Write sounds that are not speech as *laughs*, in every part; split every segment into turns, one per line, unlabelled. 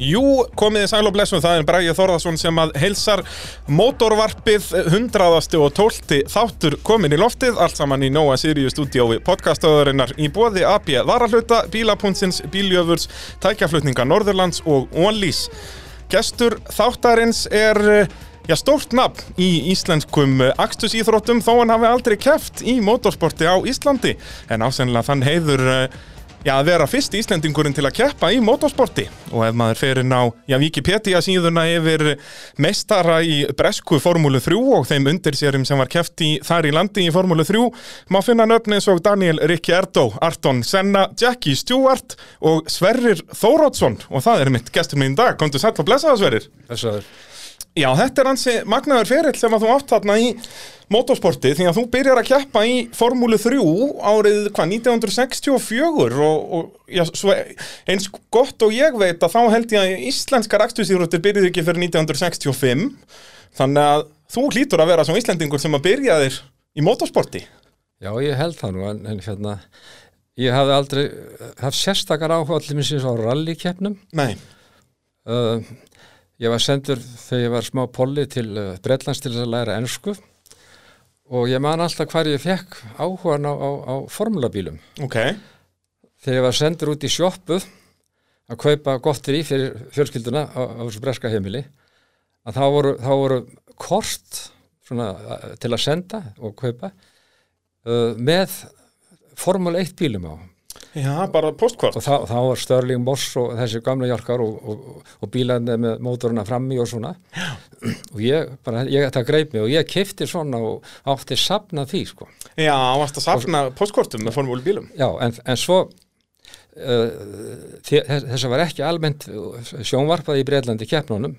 Jú, komið þið sæl og blessum, það er Bræði Þorðarsson sem að heilsar mótorvarpið 100. og 12. þáttur komin í loftið, allt saman í Nóa Sirius stúdíói podcastöðurinnar í bóði AB Varahluta, Bílapuntsins, Bíljöfurs, Tækjaflutninga Norðurlands og Onlís. Gestur þáttarins er eh, já, stórt nafn í íslenskum eh, akstursíþróttum þó hann hafi aldrei keft í motorsporti á Íslandi en ásennilega þann heiður eh, já, að vera fyrst Íslendingurinn til að keppa í motorsporti og ef maður fer inn á já, Wikipedia síðuna yfir meistara í bresku Formúlu 3 og þeim undirsérum sem var keft í þar í landi í Formúlu 3 má finna nöfn eins og Daniel Ricciardo, Arton Senna, Jackie Stewart og Sverrir Þórótsson og það er mitt gestur minn í dag, komdu sæll og blessa það Sverrir
Þessaður.
Já, þetta er ansi magnaður ferill sem að þú átt þarna í motorsporti því að þú byrjar að keppa í Formúlu 3 árið hvað, 1964 og, og já, svo eins gott og ég veit að þá held ég að íslenskar akstursýrúttir byrjuðu ekki fyrir 1965 þannig að þú hlýtur að vera svo íslendingur sem að byrja þér í motorsporti
Já, ég held það nú, en, en hérna, ég hafði aldrei haft sérstakar áhuga allir minn síðan á rallikeppnum.
Nei,
Uh, ég var sendur þegar ég var smá polli til uh, Bretlands til þess að læra ensku og ég man alltaf hvar ég fekk áhugan á, á, á formulabílum.
ok,
Þegar ég var sendur út í sjoppu að kaupa gottir í fyrir fjölskylduna á, á þessu breska heimili, að þá voru, þá voru kort svona, eh, til að senda og kaupa uh, með Formule 1 bílum á
já, bara postkvart
og þá, þá var Störling Moss og þessi gamla hjálkar og, og, og bílarni með mótoruna frammi og svona Já. og ég, bara, ég það greip mig og ég kifti svona og átti safna því sko
Já, varst að safna postkortum með Formúlu bílum
Já, en, en svo uh, þess að var ekki almennt sjónvarpað í Breitlandi keppnunum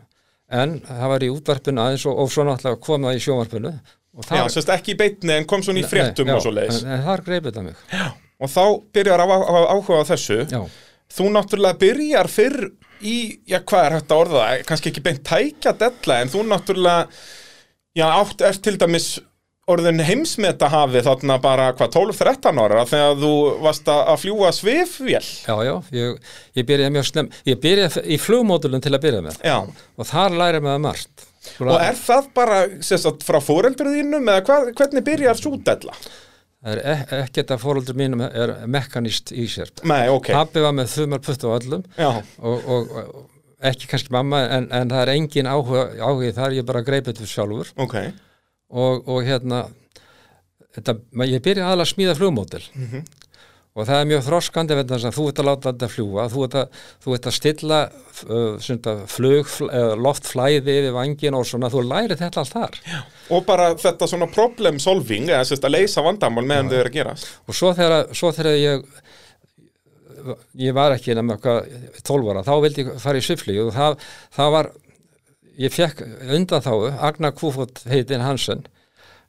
en það var í útvarpinu aðeins og, og svo náttúrulega kom það í sjónvarpinu og
Já, sérst ekki í beitni en kom svona í fréttum
Nei, já,
og svo leiðis
en, en þar greip þetta mig
Og þá byrjar að áhuga á þessu
Já,
þú náttúrulega byrjar fyrr í, já hvað er hægt að orða það, kannski ekki beint tækja della en þú náttúrulega, já átt er til dæmis orðin heimsmeta hafi þarna bara hvað 12-13 ára þegar þú varst að að fljúa svifvél.
já, já ég, ég byrjaði mjög snem ég byrjaði í flugmódulun til að byrja með
Já,
og þar læri maður margt Sko,
og er það bara sem sagt, frá fóreldur þínum eða hvað, hvernig byrjar svo della?
Það er ek- ekkert að fóröldur mínum er mekkanist í sér
Nei, ok,
Pappi var með þumarputt á öllum
já,
og, og, og ekki kannski mamma en, en það er engin áhuga, áhugi þar ég bara greipið fyrir sjálfur
ok,
og, og hérna þetta, ma- ég byrja aðalega að smíða flugmótil og það er mjög þroskandi vegna þess að þú ert að láta þetta fljúa þú ert að, þú ert að stilla uh, sunda, flug, uh, loftflæði yfir vangin og svona, þú lærir þetta allt þar Já.
og bara þetta svona problem solving eða sérst að leysa vandamál meðan þau eru að gerast.
og svo þegar, svo þegar ég ég var ekki nema eitthvað 12 ára, þá vildi ég fara í svifli og það, það var ég fekk undan þá Agnar Kúfot heitin Hansen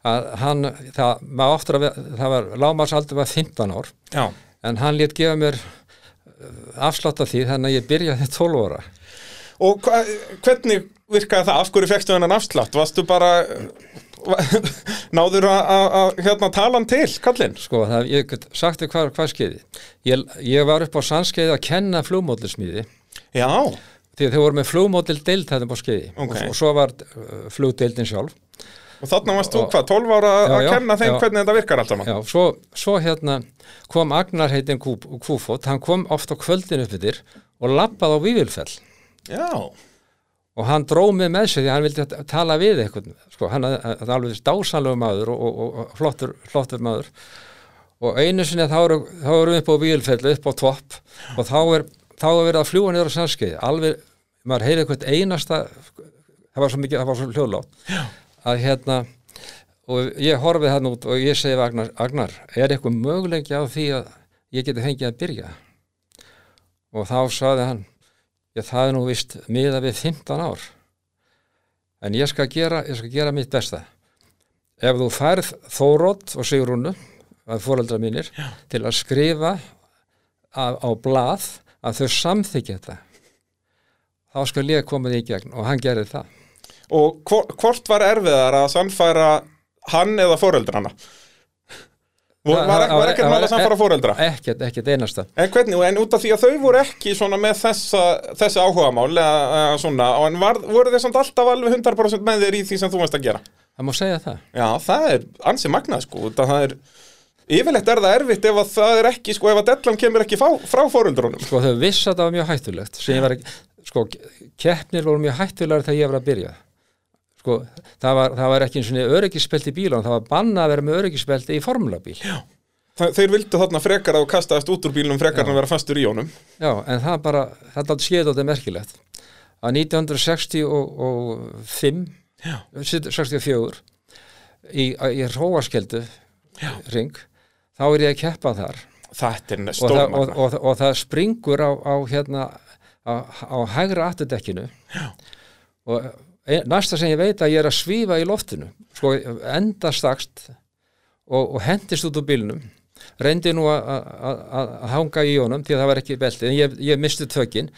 að hann, það, maður oftur að ve- það var, lámarsaldur var 15 ár
Já,
en hann lét gefa mér uh, afslátt af því þannig að ég byrjaði *laughs* 12 ára
Og hva, hvernig virkaði það? Af hverju fekstu hennan afslátt? Varstu bara, *laughs* náður að hérna, tala hann til, kallinn?
sko, það, ég get sagt þér hvað, hvað skeiði ég, ég var upp á sannskeiði að kenna flugmótlismíði
Já, og
því að þau voru með flugmótil deild þarna upp á skeiði
Ok.
og, og svo var uh, flugdeildin sjálf
þarna varst þú hvað, 12 ára
Já,
að
já,
kenna þeim
já.
hvernig þetta virkar allt saman?
Já, svo, svo hérna kom Agnar heitin Kú, Kúfót, hann kom oft á kvöldin upp yfir og labbað á Vívilfell
Já,
og hann dró mig með sér því að hann vildi t- tala við einhvern, sko, hann hafði- hann er alveg dásanlegu maður og, og, og flottur, flottur maður og einu sinni þá eru, þá eru upp á Vívilfell, upp á topp og þá er, þá er verið að fljúa niður á sannskeiði, alveg, maður heyri eitthvað einasta, það var svo mikið, það var svo hljóðlátt að hérna, og ég horfið hann út og ég segi við Agnar, Agnar er eitthvað möguleiki á því að ég geti fengið að byrja og þá saði hann ég það er nú vist miða við 15 ár en ég skal gera ég skal gera mitt besta ef þú færð Þórótt og Sigrúnu að fóreldra mínir Já. til að skrifa á, á blað að þau samþykja þetta þá skal ég koma því í gegn og hann gerði það
og hvor- hvort var erfiðar að sannfæra hann eða foreldrana? Var, var,
það-
var ekkert
það var e-
mála samfara fóreldra?
ekkert, ekkert einasta
En hvernig, en út af því að þau voru ekki svona með þessa, þessi áhugamál eða, eða svona, en var, voru þeir samt alltaf alveg 100% með þér í því sem þú varst að gera?
það má segja það
Já, það er ansið magnað sko, út að það er, yfirleitt er það erfitt ef að það er ekki, sko, ef að dellan kemur ekki frá, frá fóreldrunum.
sko þau vissi að það var mjög hættulegt sem ég var ekki, sko keppnir voru mjög hættulegar þegar ég var að byrja sko það var, það var ekki eins og öryggisbelti í bílunum, það var banna að vera með öryggisbelti í formulabíl já.
Það, þeir vildu þarna frekar að þú kastaðist út úr bílnum frekar en að vera fastur í honum.
en það bara, það er alltaf skeið og þetta er merkilegt að 1965
Já.
64 í, í Róaskeldu ring, þá er ég að keppa þar
Þetta er
og það, og,
stórmagnað.
og, og það springur á, á hérna á, á hægra afturdekkinu og ein- næsta sem ég veit að ég er að svífa í loftinu sko endastakst og, og hendist út úr bílnum reyndi nú að- að að- að hanga í honum því að það var ekki beltið en ég, ég misti tökin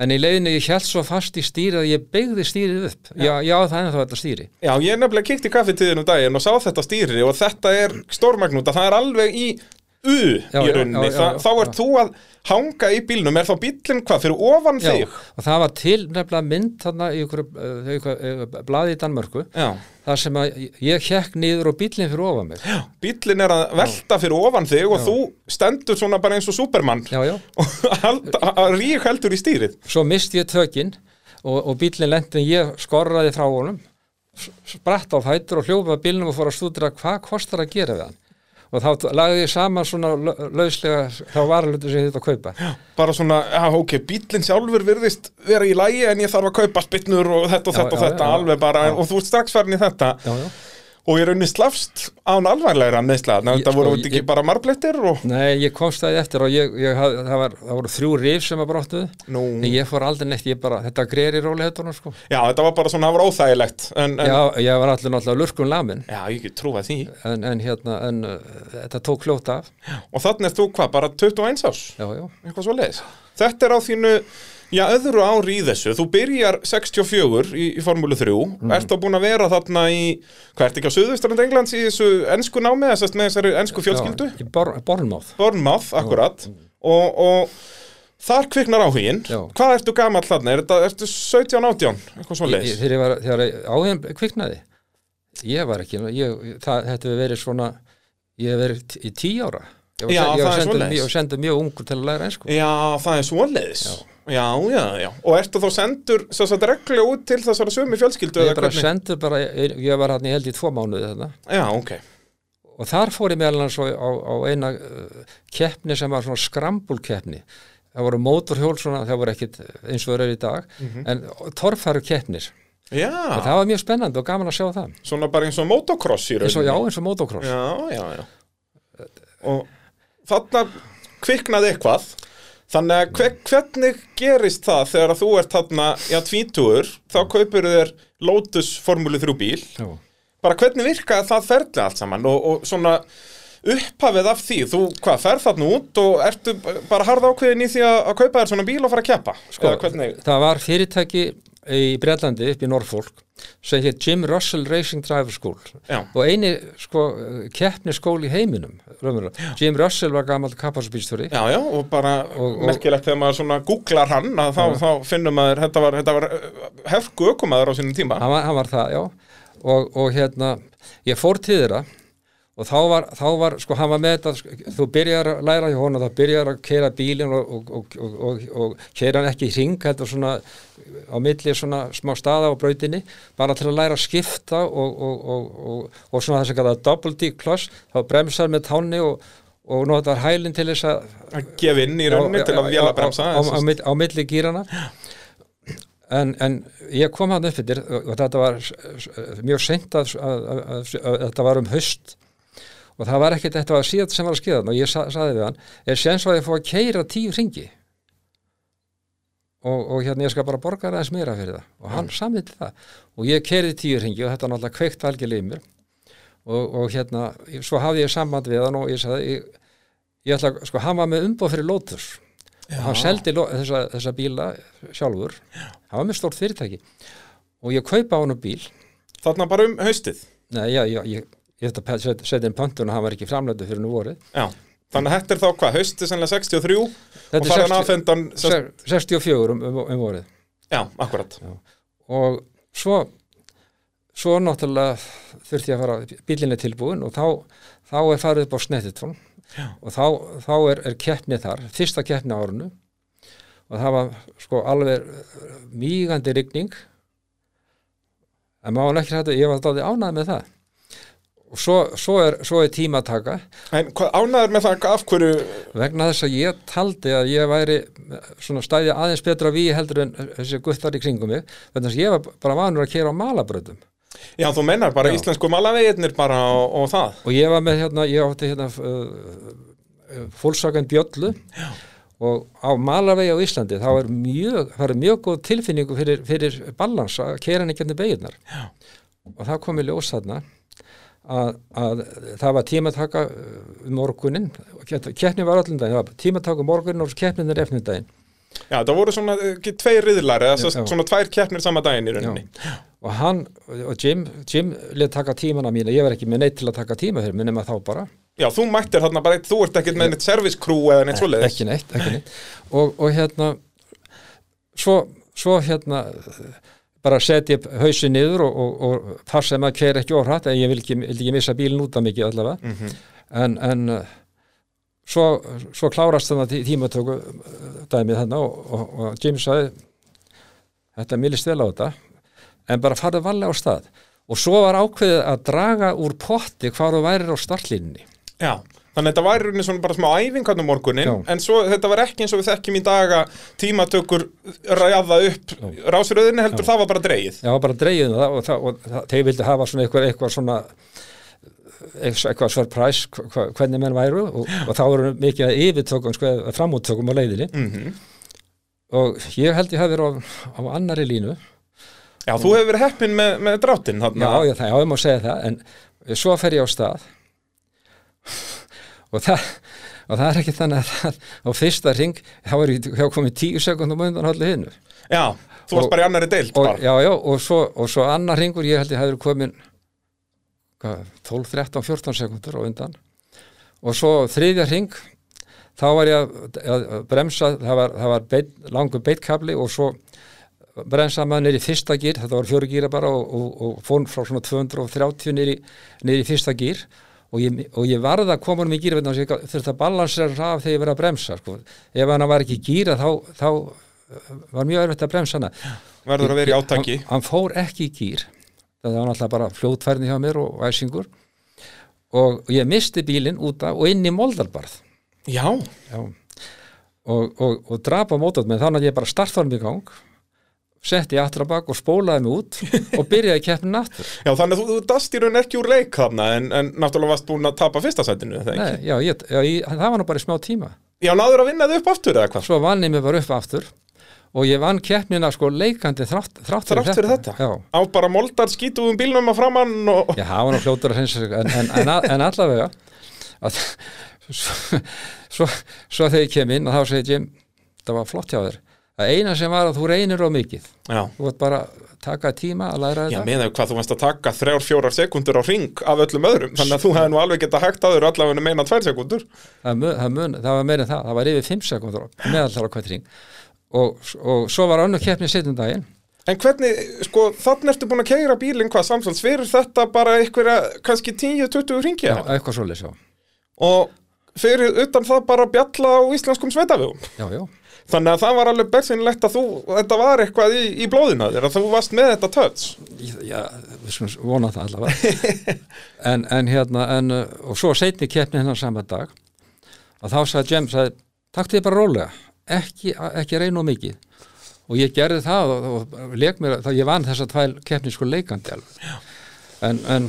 en í leiðinu ég held svo fast í stýrið að ég byggði stýrið upp já, já það er þá þetta stýri
Já, ég er nefnilega kikkt í kaffitíðinu daginn og sá þetta stýri og þetta er stórmagnúta, það er alveg í U
Já,
í
já,
rauninni,
já, já,
Þa-
já,
þá ert þú að hanga í bílnum, er þá bílinn hvað, fyrir ofan
já,
þig?
og það var til nefnilega mynd þarna í ykkur, ykkur, ykkur, ykkur eh, blaði í Danmörku
Já,
þar sem að ég hekk niður og bíllinn fyrir ofan mig já,
bílinn er að velta fyrir ofan þig og þú stendur svona bara eins og supermann
já,
og rík heldur í stýrið.
svo misti ég tökin og, og bíllinn lendi en ég skorraði frá honum s- spratt á fætur og hljópa bílnum og fór að stúdra hvað kostar að gera við hann og þá t- lagði ég saman svona lau- lauslega þá varalötu sem ég þetta að kaupa
Bara svona, já, ok, bílinn sjálfur virðist vera í lægi en ég þarf að kaupa spinnur og þetta og
Já,
þetta og
já,
þetta
já, já.
alveg bara og þú ert strax farin í þetta
já, já.
og ég rauninni slafst án alvarlegra meðslega,
Ég-
þetta
sko,
voru þetta
ég-
ekki bara marblettir og...
Nei, ég komst það eftir og ég, ég, hafði- það, var, það voru þrjú rif sem að brottuðu
Nú.
en ég fór aldrei neitt, ég bara, þetta greir í rólihetunum sko.
Já, þetta var bara svona, það var óþægilegt en, en,
já,
já.
ég var allir náttúrulega lurkum lamin
ég get trúið því
en, en hérna, en uh, þetta tók fljóta af
Og þannig er þú hvað, bara 21 árs?
já, já,
Eitthvað svo leiðis Þetta er á þínu, já, öðru ári í þessu Þú byrjar 64 í, í Formúlu 3
Mhm.
Ert þá búin að vera þarna í Hvað, ert ekki á Suðustrand Englands í þessu ensku námi eða sest með þessari ensku fjölskyldu?
Já, í bor, Bornmáð
Bournemouth, akkurat Og, og þar kviknar áhugin
Já.
Hvað ertu gamall þarna? Er þetta, ertu 17-18? Eitthvað svo leiðis
þegar ég var, þegar ég- áhugin kviknaði ég var ekki, ég, það, þetta hefur verið svona ég hef verið t- í tíu ára ég var,
Já,
send- ég
það
var
er
sendur,
svoleiðis.
mjög, var sendur mjög ungur til að læra einsku
Já, það er svoleiðis Já, já, já Og ertu þá sendur þess að regla út til þessara sömu fjölskyldu
ég
eða
bara
hvernig?
sendur bara, ég, ég var hann í held í tvo mánuði þarna
Já, ok
og þar fór ég meðal hans á, á, á eina uh, keppni sem var svona skrambulkeppni það voru mótorhjól svona, það voru ekkit eins og það eru í dag en torfæru keppnir og
Mhm. Já,
það var mjög spennandi og gaman að sjá það
svona bara eins og motocross í
eins og, já,
rauninni
eins og motocross
Já, já, já Og þarna kviknaði eitthvað Þannig að hve, hvernig gerist það þegar að þú ert þarna, já, tvítugur þá kaupir þér Lotus Formúlu 3 bíl
Já.
bara hvernig virkaði það ferli allt saman og, og svona upphafið af því, þú hvað, ferð þarna út og ertu b- bara harða ákveðin í því að, að kaupa þér svona bíl og fara að keppa
Sko,
Eða hvernig,
það var fyrirtæki í Breitlandi upp í Norfolk sem hétt Jim Russell Racing Driver School
Já.
og eini sko, keppni skól í heiminum raunverulega. Jim Russell var gamall kapparsbýrstjóri
já, já, og bara
Og- og-
merkilegt þegar maður svona googlar hann að þá, þá finnum maður, þetta var, þetta var hefku ökumaður á sínum tíma
hann, var- hann var það, já og, og hérna, ég fór til þeirra og þá var, þá var, sko, hann var með þetta sko, þú byrjar að læra hjá honum þá byrjar að keira bílinn og, og, og, og, og, og keira hann ekki í hring heldur svona á milli svona smá staða á brautinni, bara til að læra að skipta og, og, og, og, og svona þess að kalla double D kloss, þá bremsar með tánni og, og notar hælinn til þess að
að gefa inn í rauninni til að vjala bremsa
á, á, á, mill- á milli gýrana en, en ég kom hann upp yfir og þetta var s- s- mjög seint að, að, að, að, að þetta var um haust og það var ekkert þetta var síðan sem var að skeiða þarna og ég sa, saði við hann er séns að ég fór að keira tíu ringi og, og hérna ég skal bara borga aðeins meira fyrir það og hann samviti það og ég keiri tíu ringi og þetta náttúrulega kveikt algjörlega í mér og, og hérna svo hafði ég samband við hann og ég saði ég, ég ætla, að- sko, hann var með umboð fyrir Lotus og hann seldi lo- þessa, þessa bíla sjálfur hann var með stórt fyrirtæki og ég kaupa á hann bíl
þarna bara um haustið
Nei, já, já, ég, ég þetta set- setja inn pöntun og hann var ekki framlættu fyrir nú um vorið
Já, þannig að þetta er þá hvað, haustið sennilega 63 og
Þetta er
farin
60
aðfendan sem,
Se- 64 um, um, um vorið
Já, akkurat
og svo svo náttúrulega þurfti ég að fara bílinni tilbúin og þá, þá er farið upp á Snettitón og þá, þá er, er keppni þar fyrsta keppni á árunu og það var sko alveg mýgandi rigning en maður var ekki hættu ég var dáði ánæð með það og svo, svo, er, svo er tímataka
En hvað ánæður með það af hverju
vegna þess að ég taldi að ég væri eh, svona stæði aðeins betra við heldur en þessi guttar í kringum mig vegna þess að ég var bara vanur að kera á malabröðum
Já, þú mennar bara íslensku malaveginir bara og, og það
og ég var með hérna, ég átti hérna uh, fólksakan bjöllu Já. og á malavegi á Íslandi þá er mjög, það er mjög góð tilfinningu fyrir, fyrir balans að kera henni gennir beginnar og það kom í ljós þarna að, að það var tímataka um morgunin, keppni var allan daginn, það var tímataka um morgunin og keppnin er efnum daginn
Já, það voru svona eh, ekki tveir riðlar eða svo,
Já, já.
svona tvær keppnir sama daginn í rauninni
Já. og hann og Jim, Jim let taka tímana mína ég var ekki með neitt til að taka tíma fyrir mér nema þá bara
Já, þú mættir þarna bara, þú ert ekkert með neitt service crew eða neitt svoleiðis
ekki neitt, ekki neitt. Og, og hérna svo, svo hérna bara setja hausin niður og, og, og passa að maður keir ekki orðrætt en ég vil ekki, vil ekki missa bílinn út af mikið allavega en, en uh, svo, svo klárast þannig tí, tímatöku uh, dæmið þarna og, og, og James sagði þetta millist vel á þetta en bara farðu varlega á stað og svo var ákveðið að draga úr potti hvar þú værir á startlínni
Já, þannig að þetta var í rauninni svona bara smá æfingarnum morgunin,
Já.
en svo þetta var ekki eins og við þekkjum í daga tímatökur ræða upp rásröðinni heldur, það var bara dreigið.
Já, bara dreigðum það og, það, og það, þeir vildi hafa svona eitthvað, eitthvað svona eitthvað surprise hva- hva- hvernig menn væru og, og þá eru mikið að yfirtökum, sko, eða framúttökum á leiðinni og ég held ég hafi verið á, á annari línu
Já, þú hefur verið heppin með, með dráttin þarna.
já, já, það, já, ég má segja það en svo fer ég á stað og það og það er ekki þannig að það á fyrsta ring, þá er ég þá er komið tíu sekundum undan allir hinu
Já, þú varst
Og-
bara í annari deilt
og,
bara.
já, já, og svo, og svo annar ringur ég held ég hefði komin hvað, 12, 13, 14 sekundur á undan og svo þriðja ring þá var ég að, að að bremsa það var, það var beit, langur beitkabli og svo bremsa maður niður í fyrsta gýr þetta var fjóru gýra bara og, og, og fór frá svona 230 niður í, niður í fyrsta gýr og ég, og ég varð að koma um í gýra þurfti að balansera af þegar ég verið að bremsa sko. ef hann var ekki í gýra þá, þá eh, var mjög erfitt að bremsa hana
Verður að vera í átaki.
hann, hann fór ekki í gýr það var náttúrulega bara fljótfærni hjá mér og æsingur og ég misti bílinn út af og inn í Moldarbarð
Já,
Já. og, og, og drapa mótot með þannig að ég bara startaði mig í gang setti ég aftrabak og spólaði mig út og byrjaði keppnin
*laughs*
aftur
já, þannig að þú, þú dast í rauninni ekki úr leik þarna, en, en náttúrulega varst búin að tapa fyrsta sætinu, eða ekki?
Nei, já, ég, já, ég, það var nú bara í smá tíma
Já, náður að vinna þau upp aftur eða hvað?
svo vann ég mig bara upp aftur og ég vann keppnina sko leikandi þrátt, þrátt,
Þrátt fyrir þetta?
Já.
Á bara moldar skítugum bílnum að framann og...
Já, það var nú fljótur að hreinsa sig en, en, en, a- en allavega að, svo, svo, svo þegar ég kem inn og þá segi Jim það var flott hjá þér að eina sem var að þú reynir á mikið
Já.
þú vart bara að taka tíma að læra
Já,
þetta
meðan hvað þú varst að taka þrjár, fjórar sekundur á ring af öllum öðrum, þannig að þú hefði nú alveg getað hægt að þér allavega meina tvær sekundur.
það, mun, það, mun, það var meira en það, það var yfir 5 sekundur meðallar á hvert ring og, og svo var önnu keppni setjum daginn
En hvernig, sko, þannig ertu búin að keira bílinn hvað samsvölds, fyrir þetta bara einhverja, kannski 10-20 ringi
já, eitthvað svoleiðis já,
og fyrir utan það bara bjalla á íslenskum sveitafjum.
já, já,
Þannig að það var alveg bersinlegt að þú, þetta var eitthvað í, í blóðina þér, að þú varst með þetta töts.
Ég- já við skulum vona það allavega en, en hérna en, uh, og svo setni keppni hennar sama dag að þá sagði Jem sagði, takk þið bara rólega ekki, ekki reyna og mikið og ég gerði það og, og leik mér þá ég vann þess að tvæl keppni sko leikandi alveg en, en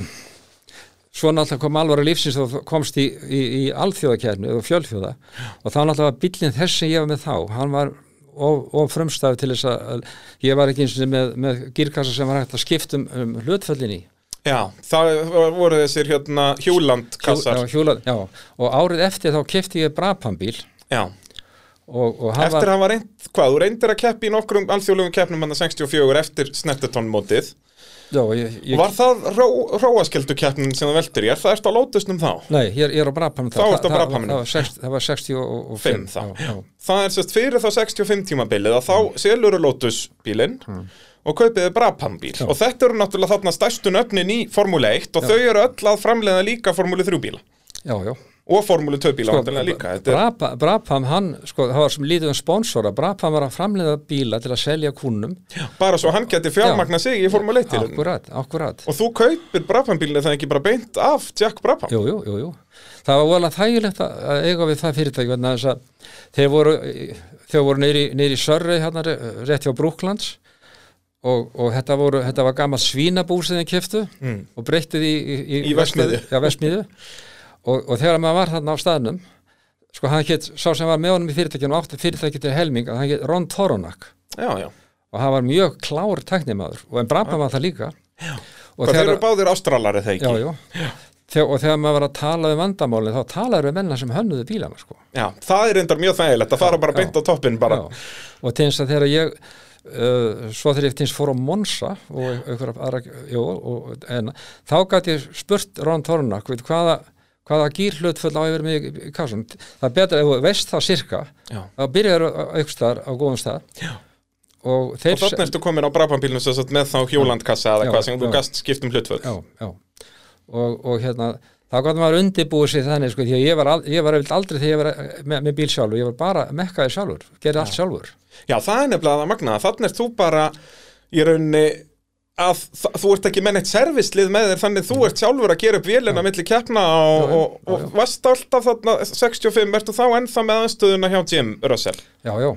svo náttúrulega kom alvara lífsins og komst í, í, í alþjóðakeppni og fjölþjóða og þá náttúrulega var bíllinn þess sem ég var með þá hann var of, of frumstæð til þess að- að ég var ekki eins og með, með gírkassa sem var hægt að skipta um, um hlutföllinni
Já, það voru þessir hérna hjúlandkassar.
hjóla, já, og árið eftir þá kefti ég brapambíl
Já,
og, og hann
eftir
var
að hann var reynd, hvað, þú reyndir að keppi í nokkrum alþjóðlegum keppnum hann 64 eftir snettetónmótið.
já, ég, ég,
Var það ró, róaskeldukeppnin sem það veldur í? Er það eftir að lótust um þá?
nei, ég, er- ég er á Brabhamnum
Þá ertu á Brabhamnum.
það, var sex- það var 65
Fimm þá.
já, Mm.
Það er sérst fyrir þá 65 tímabilið að þá seluru Lotus bílinn og kaupiði Brabham bíl og þetta eru náttúrulega þarna stærstu nöfnin í Formule 1 og þau eru öll að framleiða líka Formule 3 bíla
já, já.
og Formule 2 bíla
Sko,
sko, líka Þetta er,
Brabham, Brabham, hann, sko, það var sem lítið um sponsora Brabham var að framleiða bíla til að selja kúnum
bara svo hann geti fjármagna sig í Formule 1 -bílinn.
akkurat, akkurat
og þú kaupir Brabham bílinn það er ekki bara beint af Jack Brabham
Jú, jú, jú, jú. Það var voðalega þægilegt að að eiga við það fyrirtæki vegna þess að þeir voru, þeir voru neyri, neyri Sörri hérna re- rétt hjá Brúklands og, og þetta, voru, þetta var gammal svínabú sem þeir keftu og breyttið í,
Mm.
í,
Í verksmiðju.
Já, vestmiðu og, og þegar maður var þarna á staðnum sko hann hétt, sá sem var með honum í fyrirtækinu og átti fyrirtæki til helming, hann hétt Ron Toronak
Já, já,
og hann var mjög klár tæknimaður og en Brabham var það líka já.
hvað þeir eru báðir ástralari þeir
já,
ekki
já. Þegar, og þegar maður var að tala um vandamálin þá talaður við menna sem hönnuðu bílana sko.
Já, það er reyndar mjög þægilegt að fara bara beint á toppin bara
Já. og til þess að þegar ég uh, svo þegar ég til þess fór á Monsa og einhverja aðra jú, og, en, þá gæti ég spurt Rón Tornak við hvaða hvaða gýrhlut full á yfir mig í- í kassan það er betra, ef þú veist það sirka
Já.
þá byrjar aukst þar á góðum stað já. og þeir
Og þannig ertu komin á Brabhambílnum sem sagt með þá hjólandkassa eða
Já,
hvað sem þú
já.
gast skipt um hlutföll
já, já. Og, og hérna þá gott maður undirbúið sér þannig sko, því að ég var, al- ég var yfirleitt aldrei þegar ég var eh, með, með bíl sjálfur, ég var bara mekkaði sjálfur gerði allt sjálfur
Já, það er nefnilega það magnaða. Þannig er þú bara í rauninni að þa- þú ert ekki með neitt servislið með þér þannig þú ert sjálfur að gera upp vélina milli keppna og,
Já, já,
og, og varst alltaf þarna 65, ertu þá ennþá með aðstöðuna hjá Jim Russell
já, já,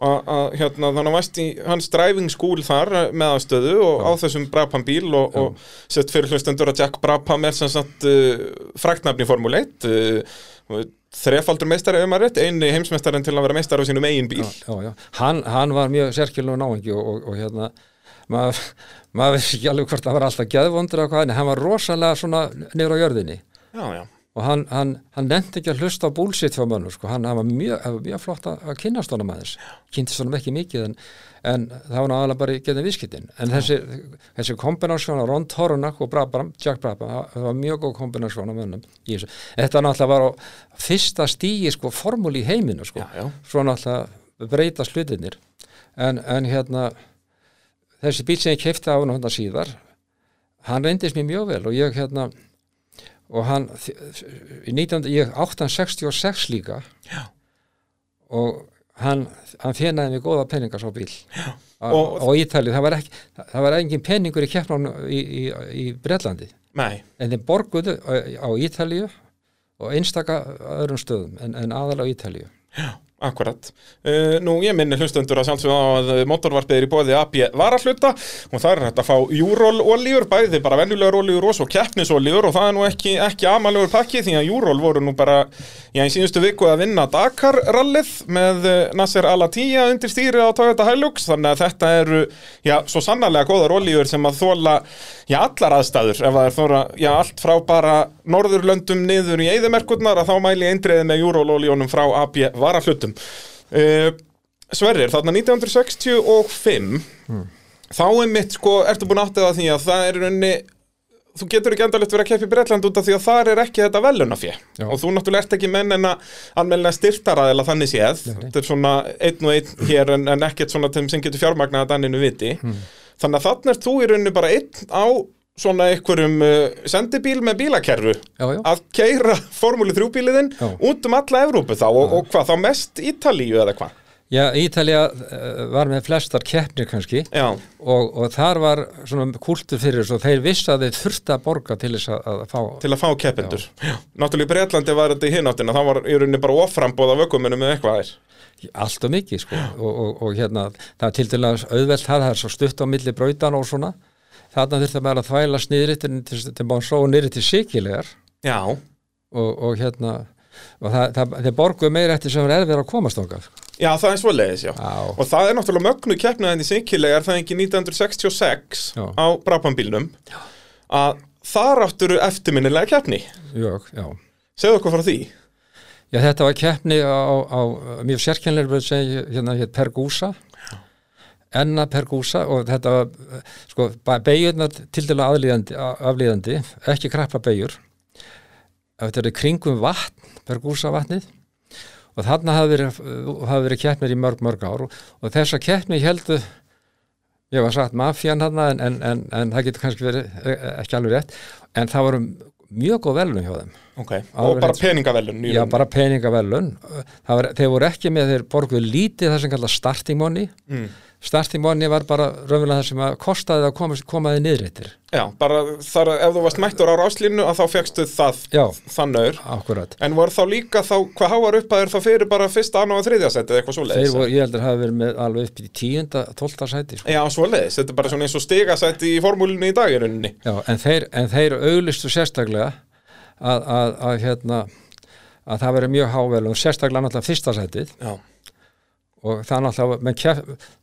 A- að hérna, þannig að varst í hans driving school þar eh, með aðstöðu og á þessum Brabham bíl og, og sett fyrir hlustendur að Jack Brabham er sem sagt uh, fræknafni Formule 1 uh, og þrefaldur meistari um að rétt, einu heimsmeistarinn til að vera meistari á sínum eigin bíl
já, já. Hann, hann var mjög sérkjulun náingi og, og, og hérna maður, maður veist ekki alveg hvort hann var alltaf geðvondur eða hvað, en hann var rosalega svona niður á jörðinni
Já, já
og hann, hann, hann nefndi ekki að hlusta á búlsitt hjá mönnum, sko, hann hann var mjög, hann var mjög flott að, að kynnast honum aðeins kynntist honum ekki mikið en, en það var náðalega bara í getum viðskiptin en þessi, þessi kombinásjón á Ron Torunak og Brabram, Jack Brabram það- það var mjög góð kombinásjón á mönnum í þessu. þetta náttúrulega var á fyrsta stíi sko, formúli í heiminu sko.
Já, já.
svo náttúrulega breyta slutinir en, en hérna þessi bíl sem ég keipti af hann hérna síðar hann reyndist mér mjög vel og ég hérna og hann í 19, ég átti hann 66 líka Já. og hann, hann fjenaði mig góða peninga svo bíl Já.
Og-
og Ítalið, það var ekki það var engin peningur í keppnum í, í, í Bretlandi
Nei,
en þeir borguðu á, á Ítalíu og einstaka öðrum stöðum en, en aðal á Ítalíu
Akkurat. Uh, nú, ég minni hlustendur að sjálfsögum á að motorvarpið er í bóði AB varahluta og það er hægt að fá júrólolíur, bæði bara venjulegar olíur og svo keppnisolíur og það er nú ekki, ekki amalugur pakki því að júról voru nú bara já, í síðustu viku að vinna Dakar-rallið með eh, Nasser Al-Attiyah undir stýri á Toyota Hilux þannig að þetta eru, já, svo sannarlega góðar olíur sem að þóla, já, allar aðstæður ef það er þóra, já, allt frá bara norðurlöndum niður í eyðimerkurnar að þá mæli ég eindriðið með júrólolíunum frá AB varahlutum uh, Sverrir, þarna 1965 þá er mitt, sko, ertu búin áttið að átta þig á því að það er í rauninni þú getur ekki endalegt verið að keppa í Bretland út af því að þar er ekki þetta velunafjö
Já.
og þú náttúrulega ert ekki menn en að almennilega styrtaraðila þannig séð
Nei.
þetta er svona einn og einn hér en, en ekkert svona þeim sem getur fjármagnað að danninu viti
Hmm.
þannig að þannig er þú í rauninu bara einn á svona einhverjum uh, sendibíl með bílakerru
Já, já.
að keira formúli 3 bíliðinn
Já.
út um alla Evrópu þá og, og hvað, þá mest Ítalíu eða hvað
Já, Ítalía eh, var með flestar keppnir kannski
Já,
og, og þar var svona kultur fyrir þessu og þeir vissu að þeir þurftu að borga til þess að, að fá
til að fá keppendur Já. Náttúrulega í Bretlandi var þetta í hináttina þá var í rauninni bara offrambóð af ökumunum eða eitthvað þær
allt og mikið sko og, og, og hérna það er til dæmis auðvelt það, það er svo stutt á milli brautan og svona þarna þurfti maður að þvæla sniðri til, til, til Bonsó og niðri til Sikilegar
Já,
og, og hérna og það, það, þeir borguðu meira eftir sem er erfið að komast okkar
Já, það er svoleiðis, já.
Já.
Og það er náttúrulega mögnu keppnaðin í Sikilega er það ekki 1966
Já.
á Brabambílnum að þar átturu eftirminnilega keppni.
já, já.
Segðu okkur frá því.
já, þetta var keppni á, á, á mjög sérkennlega sem ég- hérna hétt Pergúsa enna pergúsa og þetta var, sko, beigjurnar til dæla aðlíðandi, aflíðandi, ekki krappa beigjur. Þetta eru kringum vatn, pergúsa vatnið og þarna hafði verið, hafði verið keppnir í mörg, mörg ár og, og þessa keppni heldu, ég var sagt mafjan hann en, en, en, en það getur kannski verið eh, ekki alveg rétt, en það voru mjög góð velun hjá þeim.
Ok, og bara peningavellun í
Já,
raun.
bara peningavellun. Það Var, þeir voru ekki með, þeir borguðu lítið það sem kallað starting money.
Mm.
Starting money var bara raunverulega það sem að kostaði að komast, komaði niðrættir.
Já, bara þar, ef þú varst mættur á ráslínu að þá fegstu það
Já,
þannaur
akkurat.
En voru þá líka þá, hvað háar uppæður þá fyrir bara fyrsta, annað og þriðja setið eitthvað
Þeir
svoleiðis?
voru, ég heldur, hafi verið með alveg upp í tíunda, tólta sæti. Sko.
Já, svoleiðis, þetta er bara svona eins og stigasæti í formúlinu í dag í rauninni.
Já, en þeir, en þeir auglistu sérstaklega að, að, að, hérna, að það verið mjög hávelun, sérstaklega náttúrulega fyrsta sætið
Já,
og það náttúrulega, menn kef,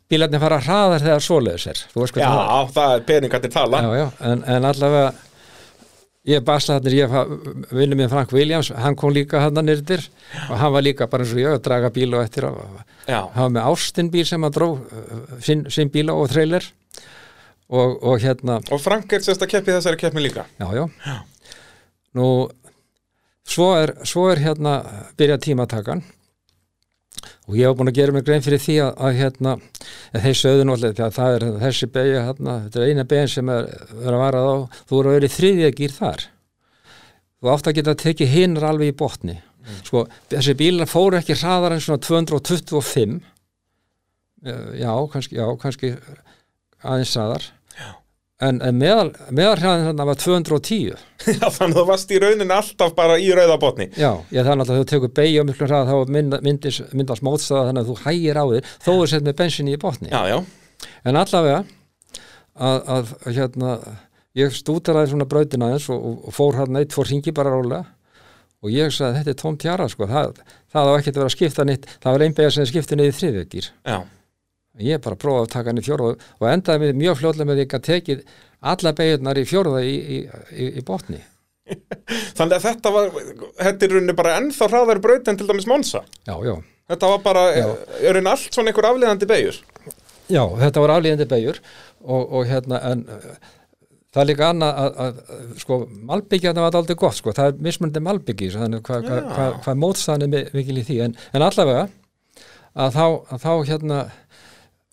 bílarnir fara hraðar þegar svoleiðis er. Þú veist hvað
já
það er.
það er peningarnir tala.
já, já, en, en allavega ég basla hann ég vinnu minn Frank Williams, hann kom líka hann nýrdir og hann var líka bara eins og ég að draga bíl og eftir að
Já,
hann var með Ástin bíl sem hann dró uh, sinn, sinn bíla og trailer og, og hérna,
og Frank er sérst að keppi þessari keppni líka.
já, já nú svo er, svo er hérna byrja tímatakan og ég hef búin að gera mig grein fyrir því að, að hérna, en þeir sögðu náttúrulega því að það er þessi beigja hérna, þetta er eina beigin sem er, er að varað á, þú eru að vera í þriðja gýr þar þú átt að geta að teki hinra alveg í botni sko, þessi bílar fóru ekki hraðar en svona 225 Eh, já, kannski, já, kannski aðeins hraðar en, en meðal, meðal hraðin þarna var 210
*laughs* Já, þannig að þú varst í rauninni alltaf bara í rauðabotni.
Já, ég það er náttúrulega að þú tekur beigja miklu hrað þá mynda- myndis, myndast mótstaða þannig að þú hægir á þér þó er sett með bensinni í botni.
Já, já,
En allavega að, að hérna ég stútaraði svona brautina aðeins og, og, og fór hérna eitt, fór ringi bara rólega og ég sagði þetta er tóm tjara sko, það, það á ekkert að vera að skipta nýtt það var einbegja sem skipti niður þriðvekir
já.
ég bara prófaði að taka hann í fjórða og endaði með mjög fljóðlega með því að tekið alla beigjurnar í fjórða í, í, í, í botni
Þannig að þetta var, þetta er í rauninni bara ennþá hraðari braut en til dæmis Monsa.
já, já,
Þetta var bara,
Já.
er rauninni allt svona einhver afleiðandi beigur.
Já, þetta var aflíðandi beigur og, og hérna en uh, það er líka annað að, að, að sko malbyggjarna var aldrei gott sko, það er mismunandi malbyggi þannig hvað hva,
Já.
hva, hva mótstæðan er mi- mikil í því en, en allavega að þá, að þá hérna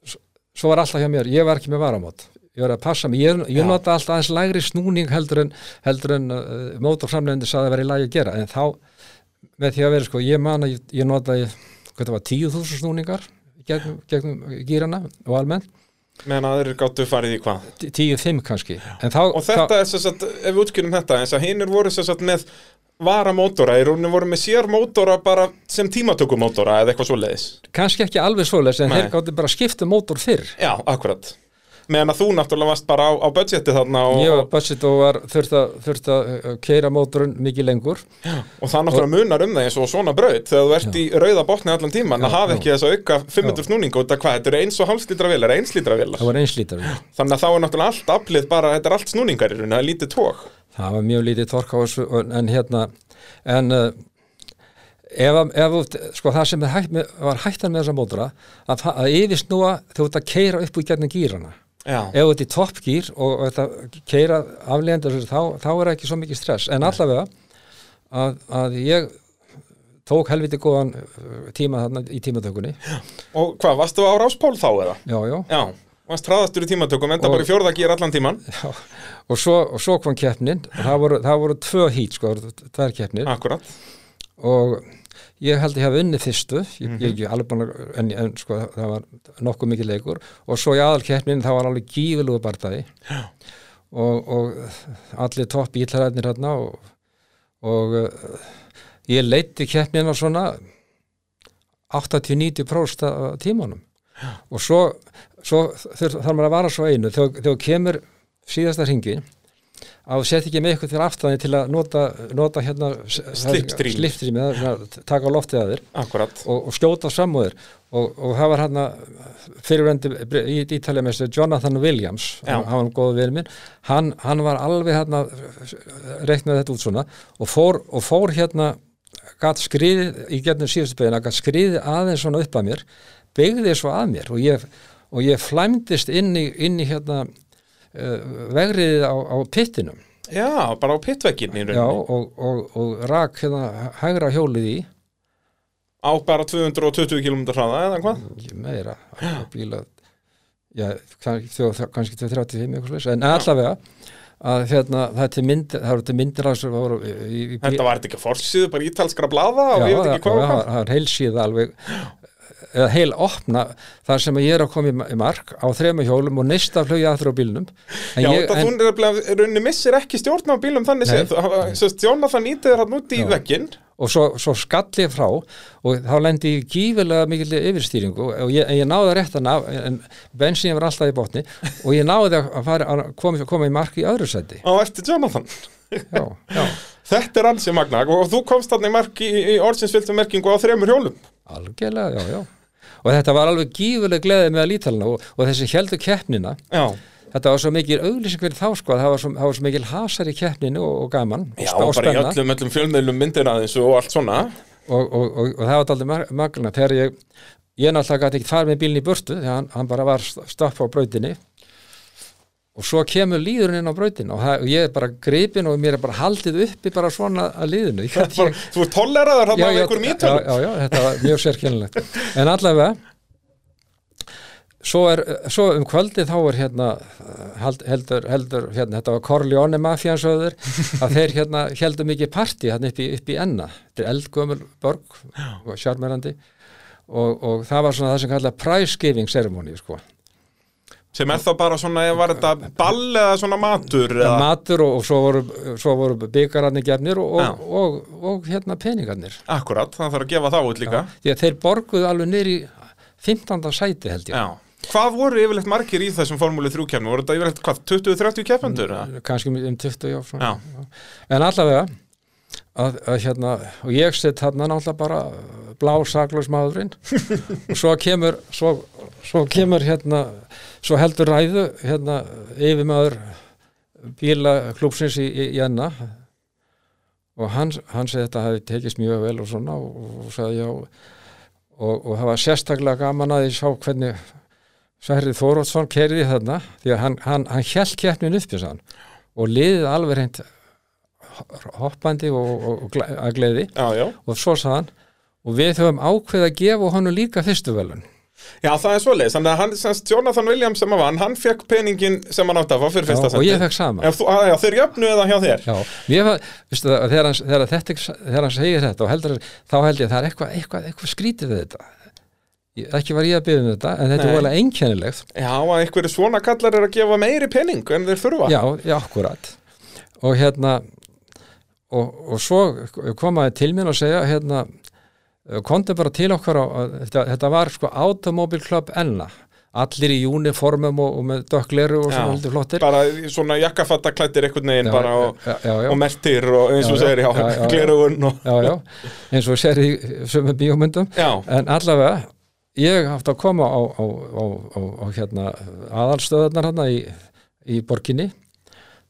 s- svo var alltaf hjá mér, ég var ekki með varamót ég var að passa mig, ég,
Já.
ég nota alltaf aðeins lægri snúning heldur en, heldur en uh, mótorframlegandi sagði að vera í lagi að gera en þá með því að vera sko, ég man að ég, ég notaði hvað það var, 10.000 snúningar gegnum, gegnum gýrana og almennt,
Meðan aðrir gáttu farið í hvað.
10-5 kannski en þá,
Og þetta er sess að, ef við útskýrum þetta, eins að hinnir voru sess að með varamótora, í rauninni voru með sér mótora bara sem tímatökumótora eða eitthvað svoleiðis.
þá, kannski ekki alveg svoleiðis en
Nei.
þeir gáttu bara að skipta mótor fyrr
Já, akkurat. Meðan að þú náttúrulega varst bara á, á budgeti þarna og,
ég var budget og var þurft að, þurft að uh, keira mótorun mikið lengur
og það náttúrulega munar um það eins og svona braut þegar þú ert í rauða botni allan tíman að hafa ekki þess að auka 500 snúning út að hvað, þetta eru eins og hálfslítra vélar, einslítra vélar.
það var einslítar
Þannig að þá er náttúrulega allt aflið bara, þetta er allt snúningar í rauninni, það er lítið tók.
það var mjög lítið tork á þessu en- en hérna en uh, ef, að- ef þú- sko það sem er hægt, með- var hættan með þessa mótora að, fa- að yfirsnúa þú ert að keira upp úr gerna gýrana
Já.
ef þetta er toppgýr og og þetta keira aflegandi þessu þá, þá er ekki svo mikið stress en allavega að, að ég tók helviti góðan uh, tíma þarna í tímatökunni já,
Og hvað, varstu á ráspól þá eða?
já,
Já, varst hraðastur í tímatökum, enda
Og-
bara í fjórða gýr allan tíman.
*laughs* já. Og, svo, og svo kom keppnin það voru, það voru tvö hít sko, það voru tvær keppnir
Akkurat.
og ég held ég hafa unnið fyrstu ég, ég er ekki alveg búin að en, en sko, það var nokkuð mikið leikur og svo í aðalkeppnin þá var alveg gífulegu bardaði og, og allir topp íllaræðnir hérna og, og uh, ég leiti keppnina svona 80-90 próst af tímanum og svo, svo þurf, þarf maður að vara svo einu þegar þegar þú kemur síðasta hringin að þú sett ekki með eitthvað til aftan þig til að nota, nota hérna
Slipstream.
slipstrými taka á loftið að þér
Akkurat.
og, og skjóta samúðir og, og það var hann fyrirvendi í Ítaljamestur Jonathan Williams
Já.
hann var góðu vinur minn hann, hann var alveg hérna reiknaði þetta út svona og fór, og fór hérna gatt skriðið í getnum síðustu beina gatt skriðið aðeins svona upp að mér byggði svo að mér og ég og ég flæmdist inn í, inn í hérna uh, vegriðið á, á pittinum
Já, bara á pittvekkinni í
Já,
rauninni.
og, og, og rak hérna hægra hjólið í
Á bara 220 km hraða eða hvað?
ekki meira á bíla já, kann- þjó- þjó- kannski 235 eitthvað slags, en allavega að hérna, það, er til mynd, það eru til myndir af þessu, það voru í, í bí-
Þetta var þetta ekki forsýðu, bara ítalskra blaða og ég veit ekki hvað
það,
og hvað.
það, það er heil síða alveg eða heil opna þar sem ég er að koma í ma- í mark á þrema hjólum og neista flögi aðra á bílnum en
Já,
ég,
þetta
en,
þú nefnilega- rauninni missir ekki stjórn á bílum þannig
Nei.
séð. Stjórna það nýtið þér hann út í vegginn.
og svo, svo skall ég frá og þá lendi ég gífilega mikil yfirstýringu og ég, en ég náði að rétta ná, en bensín var alltaf í botni og ég náði að, fara, að koma, koma í mark í öðru seti
á eftir Jonathan
já, já,
Þetta er ansið magna og þú komst þarna í, mark, í, í orðsinsviltum merkingu á þremur hjólum
algjörlega, já, já og þetta var alveg gífuleg gleðið með að lítalina og, og þessi heldur keppnina
Já,
þetta var svo mikil auglýsing fyrir þá sko að það var svo, það var svo mikil hasar í keppninu og, og gaman
Já
og
bara í
spenna og,
öllum, öllum fjölmiðlum myndir aðeins og allt svona
og, og, og það var aldrei magna þegar ég, ég náttúrulega gæti ekki farið með bílinn í burtu þegar hann, hann bara var stapp á brautinni og svo kemur líðurinn inn á brautin og, það, og ég er bara gripin og mér er bara haldið uppi bara svona að líðinu ég,
bara, Þú ert tolleraður hann
já,
af
já,
einhverjum
já,
ítölum
já, já, þetta var mjög sérkennilegt en allavega svo er, svo um kvöldið þá er hérna held, heldur, heldur, hérna, þetta var Corleone mafjansöður, að þeir hérna heldur mikið partí hérna upp í, upp í enna þetta er eldgömmul borg og sjarmerandi og, og það var svona það sem kallar prize giving ceremony sko.
sem er þá bara svona, var þetta ball eða svona matur eða,
matur og, og svo voru, svo voru byggararnir gefnir og,
Já.
og, og, og, hérna peningarnir
Akkurat, það þarf að gefa það út líka Já.
því að þeir borguðu alveg niður í 15. sæti held ég
Hvað voru yfirleitt margir í þessum formúli 3 kemni? Voru þetta yfirleitt hvað, 20-30 keppendur? eða?
kannski um um 20 já, svona.
Já,
en allavega að, að hérna, og ég set þarna náttúrulega bara uh, blá saklaus maðurinn og svo kemur svo, svo kemur hérna svo heldur ræðu hérna yfirmaður bílaklúpsins í, í, í enna og hann, hann segi þetta hafi tekist mjög vel og svona og, og sagði já og, og það var sérstaklega gaman að ég sá hvernig Sverri Þórótsson kerði þarna því að hann, hann, hann hjælt keppnin upp þess að hann og liðið alveg reynd hoppandi og, og, og gle- að gleði
já, já
og svo sað hann og við höfum ákveð að gefa honum líka fyrstu velun
Já, það er svoleiðis, þannig að hann, semst, Jonathan Williams sem að vann, hann fekk peningin sem hann átti að fá fyrir fyrsta
og ég
sendið.
fekk sama
Ef þú, að, já, þeir jöfnu eða hjá þér
Já, mér var, veistu það, þegar hann, þegar, þetta, þegar hann segir þetta og heldur, þá held ég að það er eitthvað, eitthvað, eitthvað skrítið við þetta. Ég, ekki var ég að byrja um þetta, en þetta
Nei.
er vola einkennilegt.
Já, að einhverju svona kallar er að gefa meiri pening en þeir þurfa
Já, já, akkurat. Og hérna, og, og svo komaði til mér og segja, hérna, komdu bara til okkar á, á- þetta, þetta var sko Automobile Club Enna. Allir í júniformum og, og með dökkleru og
Já,
svona heldur flottir.
Bara í svona jakkafatta klættir einhvern veginn bara og,
já, já, já.
og mertir og eins og
Já, já,
segir, já,
já, já, já.
glerugun og...
já, já, eins og sér í sömu bíómyndum
Já.
en allavega ég átti að koma á, á, á, á, á hérna, aðalstöðarnar hérna í, í borginni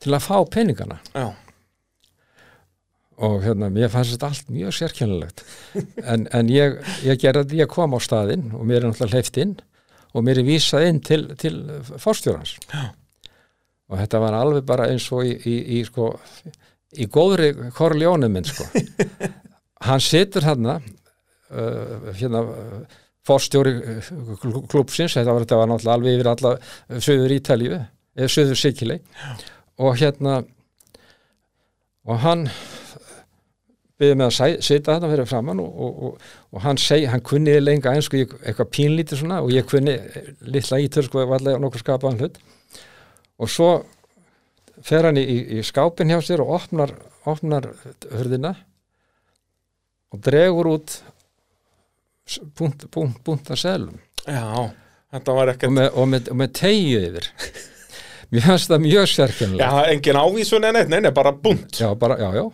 til að fá peningana
Já.
og hérna, mér fannst þetta allt mjög sérkennilegt en, en ég, ég gerði því að koma á staðinn og mér er náttúrulega hleyft inn og mér er vísað inn til, til fórstjórans
Já.
og þetta var alveg bara eins og í, í, í sko í góðri korljónu minn sko hann situr þarna uh, hérna uh, fórstjóri klúpsins þetta var, þetta var náttúrulega alveg yfir alla uh, söður Ítalíu, eða söður Sikilei og hérna og hann byrði með að sæ- sitja þarna fyrir framann og, og, og, og hann segi, hann kunni lengi aðeins sko, ég- eitthvað pínlítið svona og ég kunni litla ítöl sko, varlega nokkuð skapaðan hlut og svo fer hann í, í, í skápin hjá sér og opnar, opnar hurðina og dregur út s- punkt, punkt, punkt að selum
já, þetta var
og
ekkert
með, og með, og með tegju yfir *laughs* mér fannst það mjög
Já,
sérkjönlega
engin ávísun en eitt, nei, nei, bara bunt
já, bara, já, já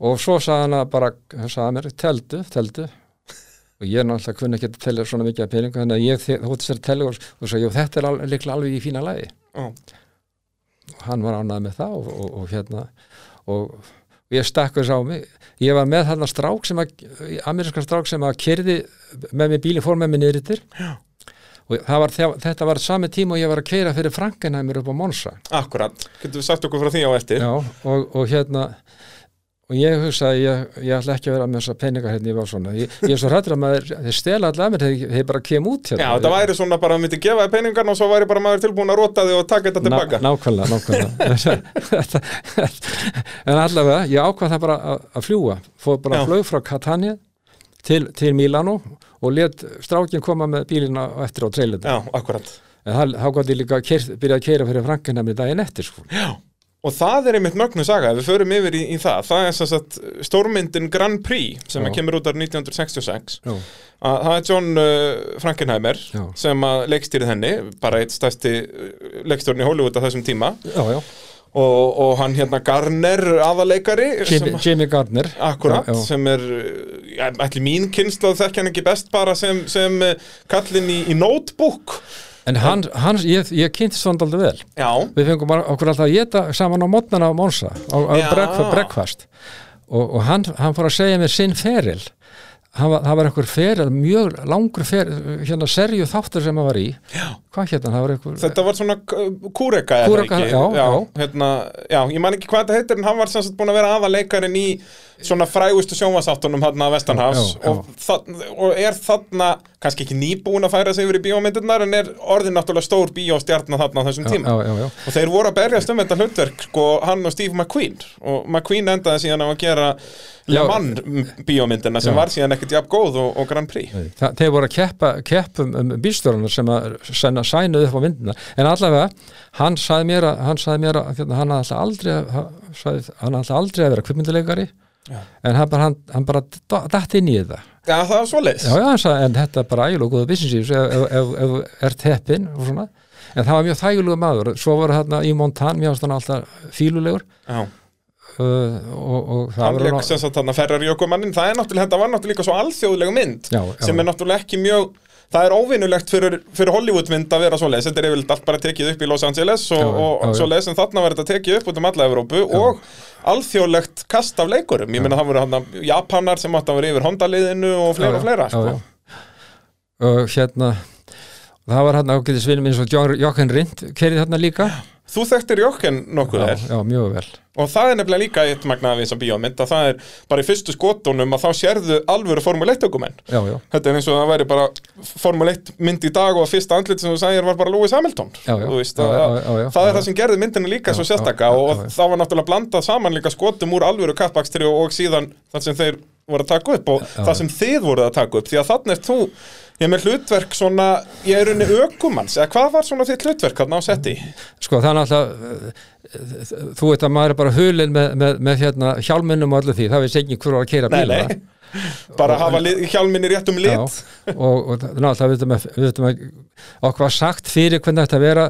og svo sagði hann að bara, hann sagði mér teldu, teldu og ég náttúrulega kunni ekki að telja svona mikið að peningu þannig að ég þi- þótti sér að telja og, og sagði, jú, þetta er al, líklega alveg í fína lagi
Já.
og hann var ánæði með það og, og, og hérna og, og ég stakk þess á mig ég var með þarna strák sem að amerískan strák sem að kyrði með mér bíli fór með mér niður yttir
Já.
og og það var, þjá- þetta var sami tíma og ég var að keira fyrir Frankenheimur upp á Monsa
Akkurat, getur við sagt okkur frá því á eftir
Já, og, og hérna og ég hugsaði, ég, ég ætla ekki að vera með þessa peningar hérna, ég var svona ég, ég er svo hrættur að maður, þeir stela allar mér þeir, þeir bara kem út
Já,
hérna
þetta væri svona bara að myndi gefa þið peningarn og svo væri bara maður tilbúin að róta þig og taka þetta
Ná,
tilbaka. *laughs*
nákvæmlega, nákvæmlega en allavega, ég ákvað það bara að, að fljúa fór bara
Já.
flög frá Catania til, til Milano og let strákin koma með bílina á eftir á treylinda
Já, akkurat.
en það, þá gott ég líka keir, byrja að keira fyrir Frankina með daginn eftir sko.
Og það er einmitt mögnu saga, ef við förum yfir í, í það, það er sem sagt stórmyndin Grand Prix sem
Já.
kemur út af 1966.
Já.
Að, það er John uh, Frankenheimer
Já.
sem að leikstýrið henni, bara eitt stærsti uh, leikstjórn í Hollywood á þessum tíma
já, já,
og, og hann hérna Garner aðaleikari
Jimmy,
sem,
Jimmy Gardner
Akkurat,
Já, já.
sem er, uh, ja, ætli mín kynnslóð þekkja hann ekki best bara sem, sem uh, kallinn í, í notebook.
en hann, hann ég, ég kynntist hann aldrei vel
Já,
við fengum bara okkur alltaf að geta saman á mótnana á Mónsa, á, á
Já.
breakfast, breakfast. og, og hann, hann fór að segja mér sinn feril hann var, það var einhver feril, mjög langur feril hérna serju þáttur sem hann var í já. hvað hérna, það var einhver
Þetta var svona k- kúreka eða
Kúreka,
ekki
já, já.
Hérna, já, ég man ekki hvað þetta heitir en hann var sem sagt búin að vera aðaleikarinn í svona frægustu sjónvasáttunum hann að Vestanhafs
Já, já.
Og, það, og er þarna, kannski ekki nýbúin að færa sig yfir í bíómyndirnar en er orðin náttúrulega stór bíóstjarnar þarna á þessum tíma
já, já, já.
Og þeir voru að berjast um þetta hlutverk sko, hann og Steve McQueen og McQueen endaði síðan á að gera Le
Já.
Mans bíómyndina sem
Já.
var síðan ekkert jafn góð og, og Grand Prix
Þa, þeir voru að keppa, keppa um, um bílstjórnar sem að sæna, sænuð upp á vindina en allavega, hann sagði mér að hann sagði mér að hérna, hann hafði alltaf aldrei að- hann sagði- hann hafði alltaf aldrei að vera kvipmynduleikari en hann bara, hann, hann bara datt inn í þetta
Já, það var svoleiðs
Já, já, hann sagði, en þetta er bara ægilega góða business í þessu ef- ef- ef ef þú ert heppin og svona, en það var mjög þægulegu maður svo voru hérna í Montan, mér varst hann alltaf fílulegur
Já.
uh, og, og það
hann
voru
leik sem sagt þarna ferrarjökumannin það er náttúrulega, þetta var náttúrulega líka svo alþjóðlegu mynd
Já, já.
sem er náttúrulega ekki mjög það er óvinnulegt fyrir, fyrir Hollywoodmynd að vera svoleiðis, þetta er yfirleitt allt bara tekið upp í Los Angeles og,
Já, já,
og
já, já.
svoleiðis en þarna var þetta tekið upp út um alla Evrópu og alþjóðlegt kast af leikurum, ég meina það voru hann Japanar sem átt að vera yfir Honda-liðinu og fleira og fleira sko.
já, já. Uh, hérna það var hérna ágætis vinnum eins og Jo- Jochen Rind kerið hérna líka
þú þekktir Jokken nokkuð
já,
vel
já, mjög vel
og það er nefnilega líka eitt magnaði þess að bíómynd að það er bara í fyrstu skotunum að þá sérðu alvöru formuleittökumenn
já, já,
Þetta er eins og það væri bara Formule 1 mynd í dag og að fyrsta andlit sem þú sagðir var bara Lewis Hamilton
Já, já.
Þú veist,
Já,
að,
já, já, já,
Það er
já, já.
það sem gerði myndina líka svo
já,
sérstaka
já, já,
og
já.
það var náttúrulega blandað saman líka skotum úr alvöru kappakstri og, og síðan það sem þeir voru að taka upp og það sem þið voruð að taka upp því að þannig er þú, ég er með hlutverk svona, ég er unni ökumans eða hvað var svona þitt hlutverk hann á setti?
sko þannig alltaf þú veit að maður er bara hulinn með, með, með hérna, hjálminnum og allir því það veist ekki hver var að keira
Nei,
bílana
nei, bara hafa lit, hjálminn í réttum
Já,
lit
og, og náttúrulega við veitum að, við veitum að okkur var sagt fyrir hvernig þetta vera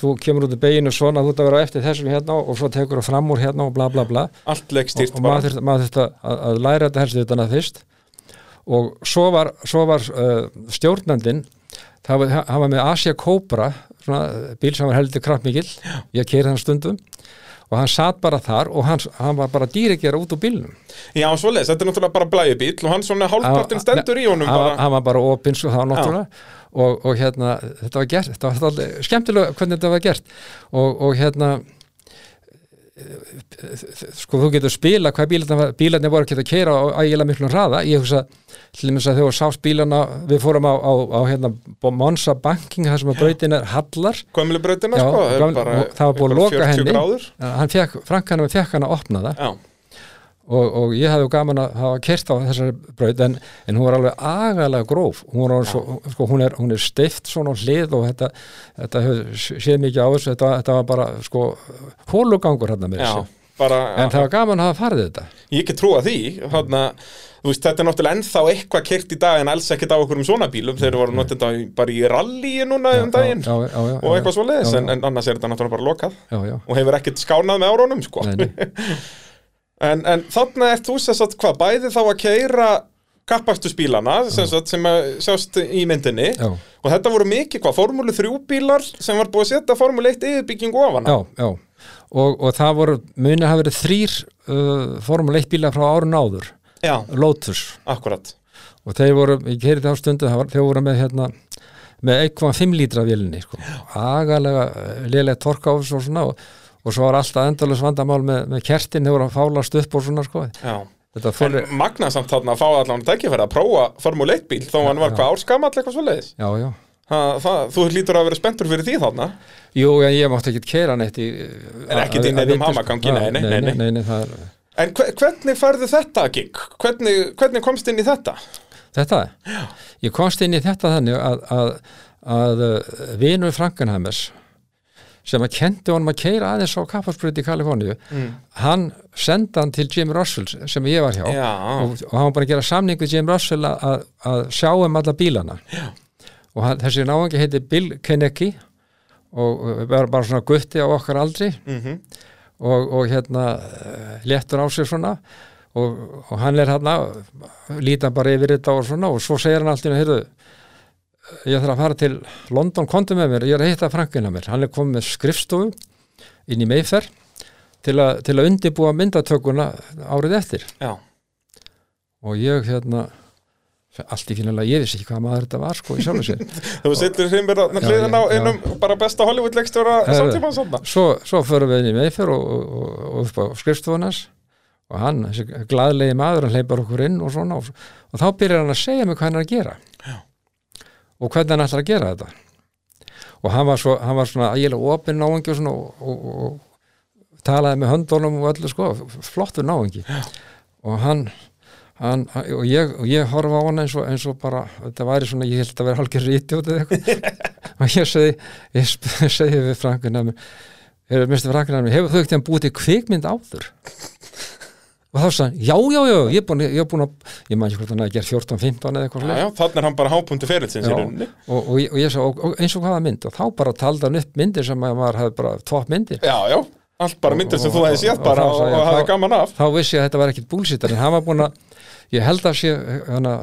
þú kemur út í beginu svona þú ert að vera á eftir þessum hérna og svo tekur þú fram úr hérna og bla bla bla
allt leikstýrt
og
bara
maður þurfti- maður þurfti að, að læra þetta helst þetta fyrst og svo var, svo var uh, stjórnandinn það var, hann var með Asia Cobra svona eh, bíl sem var heldur kraftmikil ég keiri hann stundum og hann satt bara þar og hann, hann var bara dýrikjara út úr bílnum
Já, svoleiðis, þetta er náttúrulega bara blæjubíl og hann svona hálfpartin stendur í honum
hann,
bara
var- hann var bara opinn svo það var náttúrulega og, og hérna, þetta var gert þetta var alltaf skemmtilega hvernig þetta var gert og, og hérna eh, sko þú getur spila hvað bílarnir, var- bílarnir voru að geta að keira á ægilega miklum hraða ég hugsa til þess að þegar þú sást bílarna við fórum á, á, á hérna Monsa Banking þar sem að brautin er hallar
Gömlubrautina
Já,
sko, er
gaml-
bara
og það var búið að
einhver
loka
40
henni
gráður.
Eh, hann fekk, frankanum fekk hann að opna það
Já,
og, og ég hafði gaman að hafa kert á þessari braut en, en hún var alveg agalega gróf hún, var alveg svo, sko, hún, er, hún er steift svona á hlið og þetta, þetta hefur séð mikið á þessu þetta, þetta var bara sko hólugangur hérna með
já,
þessu
bara
en það var gaman að hafa farið þetta
Ég ekki trúa því, þarna Þú veist, þetta er náttúrulega ennþá eitthvað kert í dag en alls ekkert á okkur um svona bílum þeir eru voru notið þetta í- bara í rallyi núna um daginn
já, já, já, já,
og eitthvað svo leiðis
já,
en, en annars er þetta náttúrulega bara lokað
já, já,
og hefur ekkert skánað með árónum sko
nei, nei.
*laughs* En, en þarna ert þú sem sagt hvað, bæði þá að keira kappakstursbílana sem, sagt, sem að sjást í myndinni
Já.
og þetta voru mikið hvað, formúlu 3 bílar sem var búið að setja formúlu 1 yfirbyggingu ofan á.
já, já. Og, og það voru muni hafa verið þrýr uh, formuleitt bíla frá árun áður
Já,
Lotus
akkurat
og þeir voru, ég keiri þá stundu þeir voru með hérna með 1,5 lítra vélinni sko. agalega liðlega torka á þessu og svona og, og svo var alltaf endalus vandamál með, með kertin hefur að fálast upp og svona sko.
Já.
þetta
En
fólir,
magna samt þarna að fá allan tækifæri að prófa Formule 1 bíl þó hann var hvað árskamall eitthvað svo leiðis
já já
Þú lítur að vera spenntur fyrir því þarna
Jú, en ég mátti ekkert keira neitt í
En
að-
ekkert í
að-
neinum
að vitum, sko.
hamagangi, nei, nei, nei,
nei,
nei.
nei, nei, það er,
En hve, hvernig færðu þetta gig? Hvernig, hvernig komst inn í þetta?
Þetta? Já. Ég komst inn í þetta þannig að, að, að uh, vinur Frankenhammers sem að kendi honum að keira aðeins á kapparspröyti í Kaliforníu hann sendi hann til Jim Russell sem ég var hjá
Já,
og, og hann var bara að gera samning við Jim Russell að, að, að sjá um alla bílana Já. og hann, þessi náðingi heiti Bill Kennecki og uh, var bara svona gutti á okkar aldri
mm -hmm.
og, og hérna eh, léttur á sig svona og, og hann er hérna lítan bara yfir þetta og svona og svo segir hann allt í hérna ég þarf að fara til London kondi með mér, ég er að hitta Frankina mér hann er komið með skrifstofu inn í Mayfair til, a, til að undibúa myndatökuna árið eftir
já
og ég hérna allt í finnilega, ég vissi ekki hvað maður þetta var sko í sjálfum sér
Þú sittur hrein með
Já,
hliðin á
já, já.
einum bara besta Hollywood-leikstjóra
Herðu.
samtíma saman
svo, svo förum við inn í meðferð og, og, og upp á skrifstofunars og hann, þessi glaðlegi maður hann hleypar okkur inn og svona og, og þá byrjar hann að segja mig hvað hann er að gera Já. og hvernig hann ætlar að gera þetta og hann var, svo, hann var svona ægilega opinn náungi og svona og, og, og, og talaði með höndunum og öllu sko, flottur náungi Já. og hann Hann, og, ég, og ég horfa á hann eins og, eins og bara, þetta væri svona, ég held að vera hálfgerð rítjótt eða eitthvað og ég segi, ég sp- *laughs* segi við frankunum er mistið frankunum, hefur þau ekki hann búið til kvikmynd áður? og þá sagði hann, já, já, já, ég er búin, ég er búin að ég man ekki hvort hann að gera 14-15 eða eitthvað
Já, já, þannig er hann bara hápunktu ferilsins í
Já,
rauninni
og, og, ég- og ég sagði, og, og, eins og hvaða mynd og þá bara taldi hann upp myndir sem að maður hafði bara topp myndir
Já, já, allt bara myndir sem
Og-
þú hefði
og-
séð
og-
bara
og-
og,
og-
og
og-
hafði
þá-
gaman af
þá vissi ég að þetta var ekkit búlsýttar en hann var búin að, ég held að sé hana,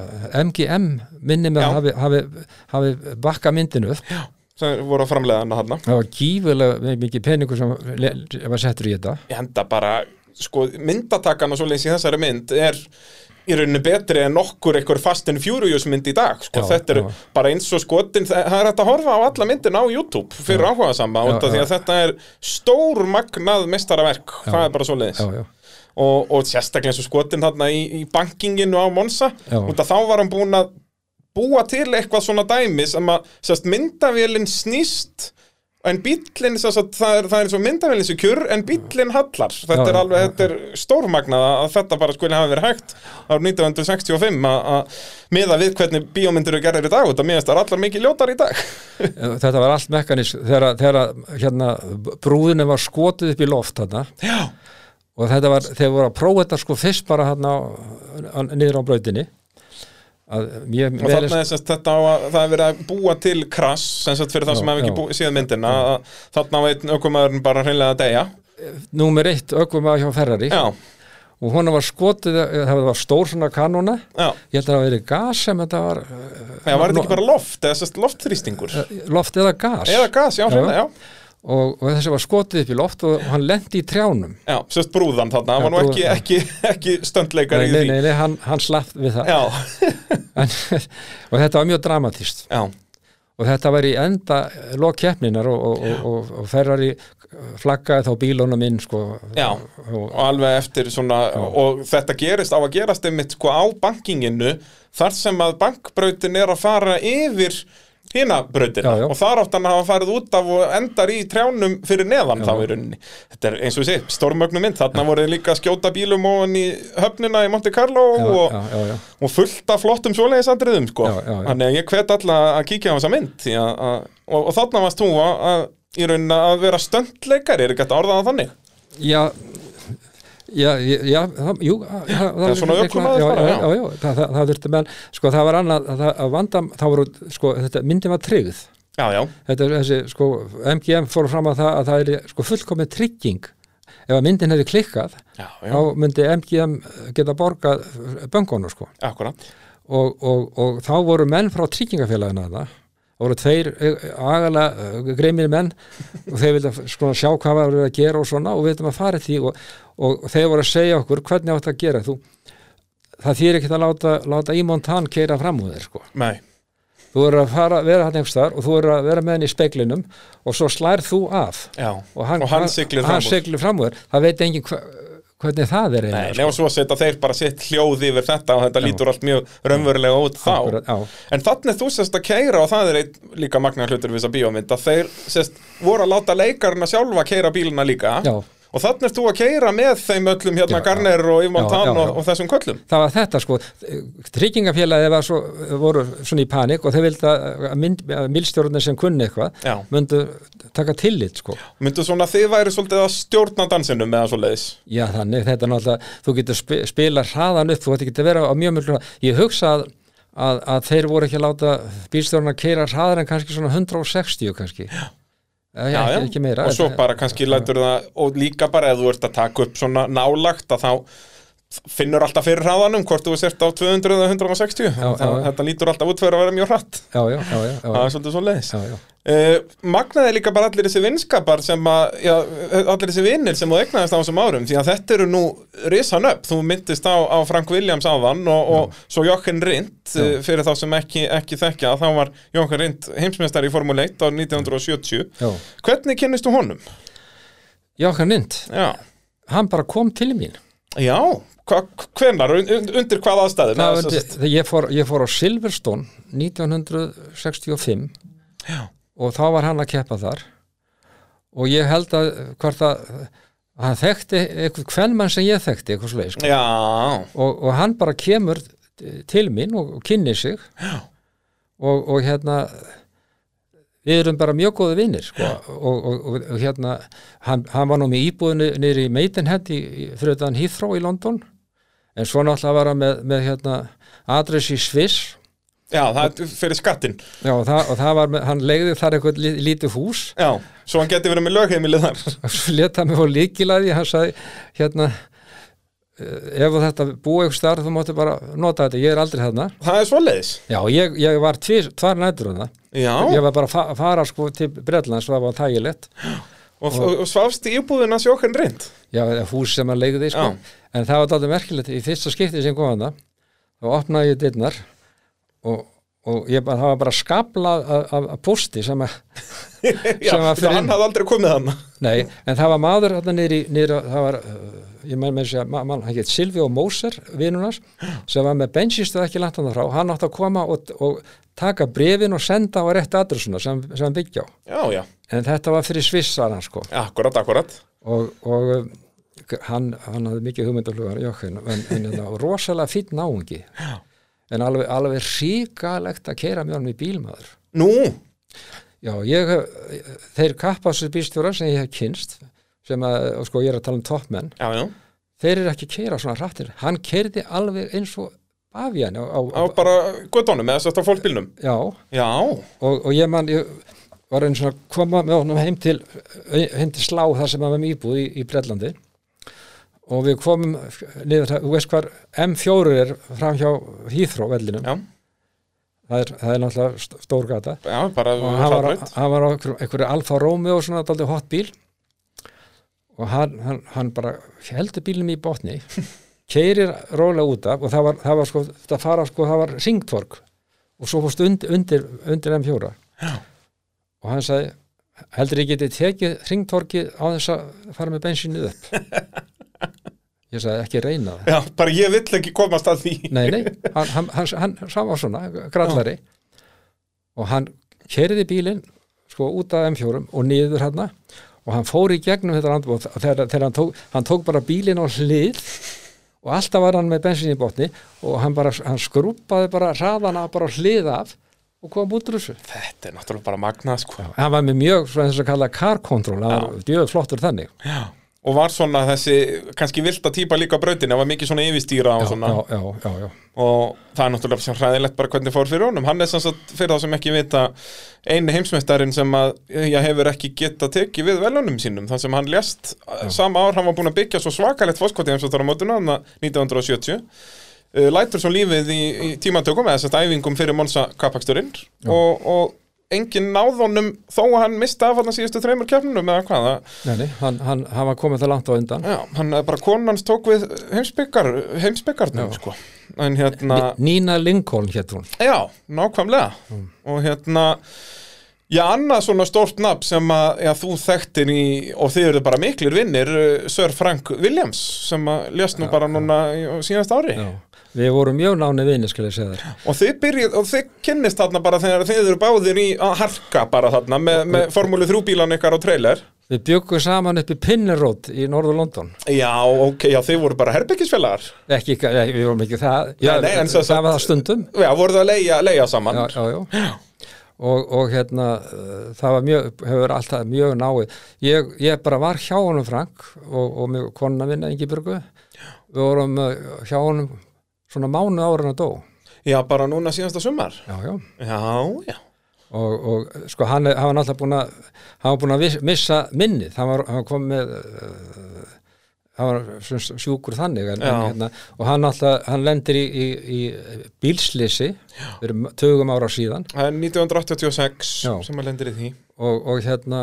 MGM minni með
Já.
hafi, hafi, hafi bakka myndinu upp
sem voru að framleiða hann hann
það var gífurlega mikið peningur sem le- var settur í þetta
Ég henda bara, sko, myndatakan og svoleiðis í þessari mynd er í rauninu betri en nokkur einhver Fast and Furious mynd í dag, sko,
Já,
þetta er
já.
bara eins og skotin, það það er hægt að horfa á alla myndin á YouTube fyrir áhugaðsamba,
Já,
út af því að
já.
þetta er stór magnað mestaraverk, það er bara svoleiðis
já, já,
og, og sérstaklega eins og skotin þarna í, í bankinginu á Monsa,
Já.
út af þá var hann búin að búa til eitthvað svona dæmi sem að sérst myndavélinn snýst en bíllinn sem sagt, það er, það er eins og myndavélinn sem kjur en bíllinn hallar þetta
Já,
er
já,
alveg,
já,
þetta er stórmagnað að að þetta bara skuli hafa verið hægt árið 1965 að- að miða við hvernig bíómyndir eru gerðir í dag út að miðast það er allar mikið ljótar í dag
þetta var allt mekanis þegar, þegar hérna, brúðinu var skotið upp í loft þarna
Já,
og þetta var, þegar voru að prófa þetta sko fyrst bara hérna á- á- niður á brautinni að ég
og
mér
þarna er sérst þetta á að það er verið að búa til krass sem sagt fyrir það
Já,
sem hafa ekki
já.
búið, síðan myndina að þarna á einn ökumæðurinn bara hreinlega að deyja
númer eitt ögum hjá Ferrari
Já,
og hún var skotið, það var stór svona kanóna
já,
ég held að það hafi verið gas sem þetta var
já var þetta ekki
Nú-
bara loft eða sérst loftþrýstingur
eh, loft eða gas
eða gas, já,
Já.
hreinlega, já
og, og þessi var skotið upp í loft og hann lendi í trjánum
Já, sérst brúðan þarna, hann var nú ekki,
brúðan.
ekki, ekki stöndleikar
nei,
í
nei,
því
nei, nei, hann, hann slapp við það
Já,
*laughs* en, og þetta var mjög dramatíst
já,
og þetta var í enda lok keppninar og, og, og, og, og Ferrari flaggaði þá bílunum inn sko,
já
og,
og alveg eftir svona og þetta gerist á að gerast einmitt sko á bankinginu þar sem að bankbrautin er að fara yfir hina brautina
Já, já.
og þar átt hann að hafa farið út af og endar í trjánum fyrir neðan þá í rauninni þetta er eins og sé, stórmögnu mynd þarna voru þið líka að skjóta bílum og hann í höfnina í Monte Carlo
já,
og,
já, já, já.
og fullt af flottum svoleiðisandriðum sko.
Já, já, já.
þannig að ég hvet alla að kíkja á þessa mynd því að, að, og, og þarna varst þú að, að í rauninni að vera stöndleikari er ekki hægt að orða það þannig
já Já, já, já, það, jú, það, það
er svona ökumaður
já,
bara,
já,
já.
já, já, það, það, það þurfti menn, sko, það var annað, það, að vanda, það voru, sko, þetta, myndin var tryggð,
Já, já,
þetta er þessi, sko, MGM fór fram að það, að það er, sko, fullkomin trygging, ef að myndin hefði klikkað,
já, já.
þá myndi MGM geta borgað böngonu, sko,
akkurat
og, og, og þá voru menn frá tryggingafélagina það, það voru tveir e, agala greimir menn og þeir vilja sko sjá hvað var verið að gera og svona og við veitum að fara því og, og, þeir voru að segja okkur hvernig átt að gera þú það þýr ekki að láta, láta Ímon Tann keira fram úr þér sko
Nei,
Þú- þú verður að fara, vera hann einhvers þar og þú verður að vera með henni í speglinum og svo slær þú af
Já.
og hann,
Og hann siglir fram
hann
úr.
siglir fram úr það veit enginn hva, hvernig það er
Nei,
eiginlega,
nefnum svo að setja þeir bara sitt hljóð yfir þetta og þetta lítur allt mjög raunverulega út þá.
Akkurat, já.
en þannig þú sérst að keira og það er eitt líka magna hlutur við þessa bíómynd að þeir sérst voru að láta leikarina sjálfa keira bílina líka
Já.
og þannig er þú að keira með þeim öllum hérna
Já,
Garner og Yvonne
Já,
Tann
já, já.
og, og þessum köllum.
það var þetta sko tryggingafélagi var svo, voru svona í panik og þeir vildi að, mynd- að milstjórnir sem
Já.
kunni eitthvað myndu taka tillit sko
Myndu svona þið væri svolítið að stjórna dansinum eða svo leiðis?
Já, þannig, þetta er náttúrulega, þú getur spi- spilað hraðan upp, þú ætti ekki að vera á mjög mjög hraðan. Ég hugsa að, að, að þeir voru ekki að láta bílstjórna keira hraðar en kannski svona 160 kannski. Já, já, ekki, ekki meira.
og svo
Þetta-
bara kannski lætur það og líka bara ef þú ert að taka upp svona nálagt að þá finnur alltaf fyrir hraðanum hvort þú sért á 200 eða 160
Já,
það,
já, já.
þetta lítur alltaf út fyrir að vera mjög hratt
Já, já, já, já,
það
já,
er svolítið svo leiðis
já, já.
Magnaði líka bara allir þessi vinskapar sem að, já, allir þessi vinnir sem þú egnaðist á þessum árum, því að þetta eru nú risan upp, þú myndist á, á Frank Williams áðan og, og svo Jochen Rindt, eh, fyrir þá sem ekki, ekki þekka, þá var Jochen Rindt heimsmeistari í Formule 1 á 1970
Já.
Hvernig kynnistu honum?
Jókan Lind,
Já,
hann bara kom til mín.
já hva- hvenar, un- un- undir hvað aðstæður?
Það,
Eða
var-
sem sagt-
þegar ég, fór, ég fór á Silverstone 1965 já. og þá var hann að keppa þar og ég held að hvort að hann þekkti eitthvað kvennmann sem ég þekkti eitthvað svoleiðis sko.
Já,
og, og hann bara kemur til mín og, og kynni sig og, og hérna við erum bara mjög góði vinnir sko. og, og, og, og hérna hann, hann var nú með íbúðinu nýri í Maidenhead í, í, fyrir þetta hann Heathrow í London en svo náttúrulega var hann með, með hérna, adress í Sviss
já, það er fyrir skattinn
Já, og, það, og það var, með, hann legði þar eitthvað lí- lítið hús *laughs*
Já, svo hann geti verið með lögheimilið þar
og svo leta mig á líkilaði hann sagði hérna eh, ef þú þetta búa ykkur starf þú máttu bara nota þetta, ég er aldrei þarna
Það er svoleiðis
Já, ég, ég var tvis, tvær nætur um það. Ég
Já,
var bara að fa- fara sko til Bretlands og það var þægilegt.
og, og, og svafst í íbúðin hans Jóhann Rind
Já, eða hús sem að leigði sko.
Já.
En það var dálítið merkilegt. Í fyrsta skipti sem kom hana, þá opnaði ég dyrnar og, og ég, bara- það var bara skablað af, af, af posti sem að,
*laughs*
*laughs*
Já,
Sem var fyrir
það hann
inn.
hafði aldrei komið hann
nei, en það var maður þarna niður í, niður, á- það var, uh, ég menn með segja, ma- mann, hann get Silvi og Móser, vinnunars, sem var með bensinstöð ekki langt hann frá, hann átti að koma og, og taka brefin og senda á rétt adressuna sem, sem hann byggja á.
Já, já,
En þetta var fyrir Svissar hann sko.
akkurat, akkurat
og, og um, g- hann, hann hafði mikið hugmyndaflugan Jókvin, en, en þetta var rosalega fýtt náungi en alveg, alveg ríkalegt að keira með hann í bílmaður
Nú,
já, ég, hef- þeir kappastu bílstjóra sem ég hef kynst sem að, og sko ég er að tala um toppmenn
já, já
þeir eru ekki að keira svona hrattir hann keirði alveg eins og af hann á, á,
Á bara göttunum eða sérst á fólkbílnum
já,
Já,
og, og ég man ég var einn svona að koma með honum heim til heim til slá þar sem hann var með íbúð í, í Breitlandi og við komum niður, það- þú veist hvar M4 er fram hjá Hýþró vellinum,
já,
það er, það er náttúrulega st- stór gata
já, bara
og hann var,
hraðbraut.
hann var á einhverju, einhverju Alfa Romeo svona daldið hot bíl og hann, hann, hann bara heldur bílum í
*laughs*
botni keirir rólega út af og það var, það var sko, það fara sko, það var ringtvork og svo fórst undir, undir, undir M4
Já.
og hann sagði heldur ég getið tekið ringtvorkið á þess að fara með
*laughs*
bensinnið upp ég sagði ekki reyna það
Já, bara ég vill ekki komast að því *laughs*
nei, nei, hann, hann, hann, hann, hann var svona grallari og hann kerði bílinn sko út af M4 og niður hann og hann fór í gegnum þetta landbóð og þegar, þegar hann, tók, hann tók bara bílinn á hlið og alltaf var hann með bensin í botni og hann bara hann skrúpaði bara hraðana bara á hlið af og kom út úr þessu
Þetta er náttúrulega bara magnað, sko
hann var með mjög svona þess að kalla car control hann var djöðu flottur þannig
Já, og var svona þessi kannski vilda típa líka á brautinni, það var mikið svona yfirstýra og svona,
já, já, já, já.
og það er náttúrulega sem hræðilegt bara hvernig fór fyrir honum, hann er sem sagt fyrir þá sem ekki vita eini heimsmeistarinn sem að ég hefur ekki geta tekið við velunum sínum, þann sem hann lést sama ár hann var búin að byggja svo svakalegt fóskvoti heimsmeistaramótuna, hann að 1970 Eh, uh, lætur svo lífið í, í tímatökum eða sérst æfingum fyrir Monsa kappaksturinn og, og enginn náð honum þó að hann mista af hann síðustu þreymur keppnum eða hvað það
Nei, nei, hann, hann, hann var komið það langt á undan
Já, hann er bara konan hans tók við heimsbyggjar, heimsbyggjarnum, sko. En hérna,
Nína Lincoln hétt hún
já, nákvæmlega.
Mm.
Og hérna, já, annað svona stórt nafn sem að já, þú þekktir í, og þið eru bara miklir vinnir, uh, Sir Frank Williams, sem að lést nú bara núna í- á síðast ári.
Já. Við vorum mjög nánið vinni, skal ég segja þér
Og þið byrjið, og þið kynnist þarna bara þegar þið eru báðir í að harka bara þarna með, með formúlu þrjúbílan ykkar á trailer.
Við bjöggum saman upp í Pinnerót í norður London
Já, ok, já, þið voru bara herbyggisfélagar.
ekki, ekki, við vorum ekki það já,
Nei, nei, en svo-
það var það stundum
Já, voru það að leia, leia saman.
já, já, já. Og, og hérna uh, það var mjög, hefur alltaf mjög náið ég, ég bara var hjá honum Frank og, og mjög konna minna Ingibjörgu við vorum uh, hjá honum svona mánuð ára en að dó
já, bara núna síðasta sumar.
já, já.
Já, já.
og, og sko hann, er- hann var náttúrulega búin að hann var búin að viss- missa minnið hann var hann kom með uh, hann var sem sagt sjúkur þannig en, en,
Já.
hérna, og hann náttúrulega hann lendir í, í, í bílslisi fyrir m- tugum ára síðan
Það er 1986
Já.
sem að lendir í því
og, og hérna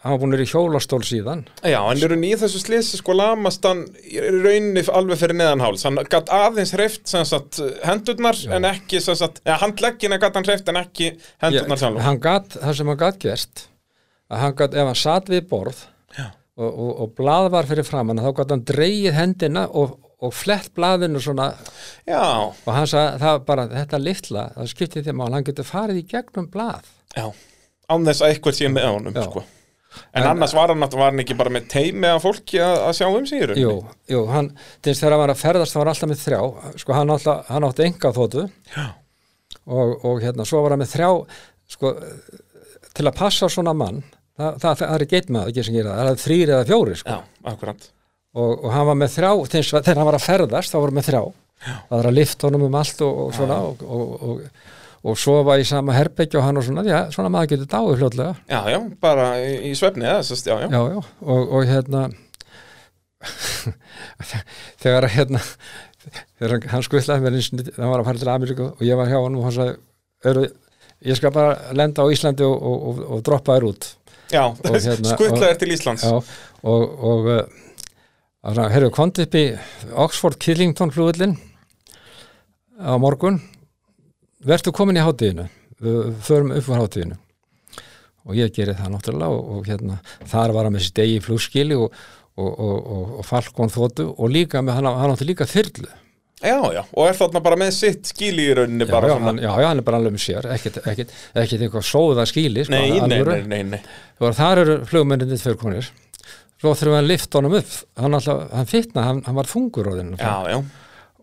hann var búin að vera í hjólastól síðan
Já, en eru nýð þessu slisi sko lamast hann í rauninni alveg fyrir neðanháls hann gatt aðeins hreift sem sagt hendurnar en ekki sem sagt eða handleggina gatt hann hreift en ekki hendurnar sjálf
hann gat, það sem hann gat gert að hann gat, ef hann satt við borð
Já.
og, og, og blað var fyrir framann þá gat hann dreigið hendina og, og flett blaðinu svona
Já,
og hann sagði það var bara þetta litla, það skipti þeim mál, hann getur farið í gegnum blað
já án þess að eitthvað sé með honum
Já.
sko. en, annars var hann, var hann ekki bara með teimi af fólki að, að sjá um sig í rauninni
jú, jú, hann, til þess þegar hann var að ferðast hann var alltaf með þrjá, sko hann, alltaf, hann átti enga þóttu
Já.
og, og hérna, svo var hann með þrjá sko, til að passa á svona mann það, það, það er geit maður ekki sem gera það, það er þrýr eða fjóri sko.
já, akkurat
og, og hann var með þrjá, til þess að þegar hann var að ferðast þá var hann með þrjá, það var að lift honum um allt og, og svona og, og, og, og sofa í sama herbyggja og hann og svona, já, svona maður getur dáið hljótlega
Já, já, bara í, í svefni eða, sest, já, já.
já, já, og, og hérna *laughs* þegar að, hérna þegar hann- hann skvillaði mér eins og hann var að fara til Ameríku og ég var hjá hann og hann sagði "Eru- ég skal bara lenda á Íslandi og, og, og, og droppa þér út
já
hérna-
*laughs* skutlaðir til Íslands
já, og, og uh, hann sagði, heyrðu, komdu upp í Oxford Killington flugvillin á morgun vertu komin í hátíðinu við förum upp á hátíðinu og ég geri það náttúrulega og, og hérna, þar var hann með þessi degi í flugskili og, og, og, og, og falkon þóttu og líka með, hann, hann átti líka þyrlu
já, já, og er þarna bara með sitt skíli í rauninni
já,
bara
já,
svona
hann, já, já, hann er bara alveg með sér ekkit, ekkit, ekkit eitthvað sóða skili sko,
Nei, nei,
alvöru.
nei, nei, nei.
og þar eru flugmenninni tveir konir svo þurfum við að lifta honum upp hann, alltaf, hann fitna, hann, hann var þungur á þinn
Já, já,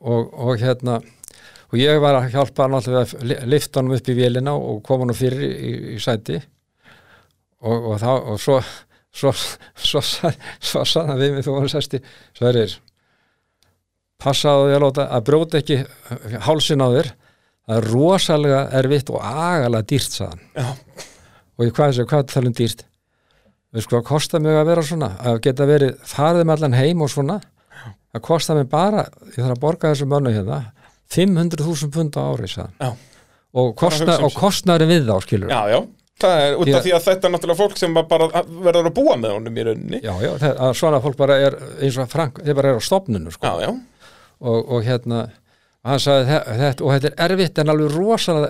og, og hérna og ég var að hjálpa hann alltaf að li- lifta honum upp í vélina og koma honum fyrir í, í sæti og, og þá og svo svo, svo, svo, svo sann að við mig þú hann sæsti Sverir passaðu því að láta að brjóta ekki hálsin á þér það er rosalega erfitt og agalega dýrt sagðan
já,
og ég hvað þessi, hvað ertu að tala um dýrt við sko að kosta mig að vera svona að geta verið farið með allan heim og svona að kosta mig bara ég þarf að borga þessum mönnu hérna 500.000 pund á ári sagði hann.
já,
og, kostna,
hugsa um
og kostnaðurinn við þá skilur
já, já. Það er út
Því
af
að-
því að þetta er náttúrulega fólk sem bara verður að búa með honum í rauninni
já, já það, að svona fólk bara er eins og Frank, þeir bara er á stopnunu sko.
Já, já,
og, og hérna og hann sagði "Þe- þetta og þetta er erfitt en alveg rosalega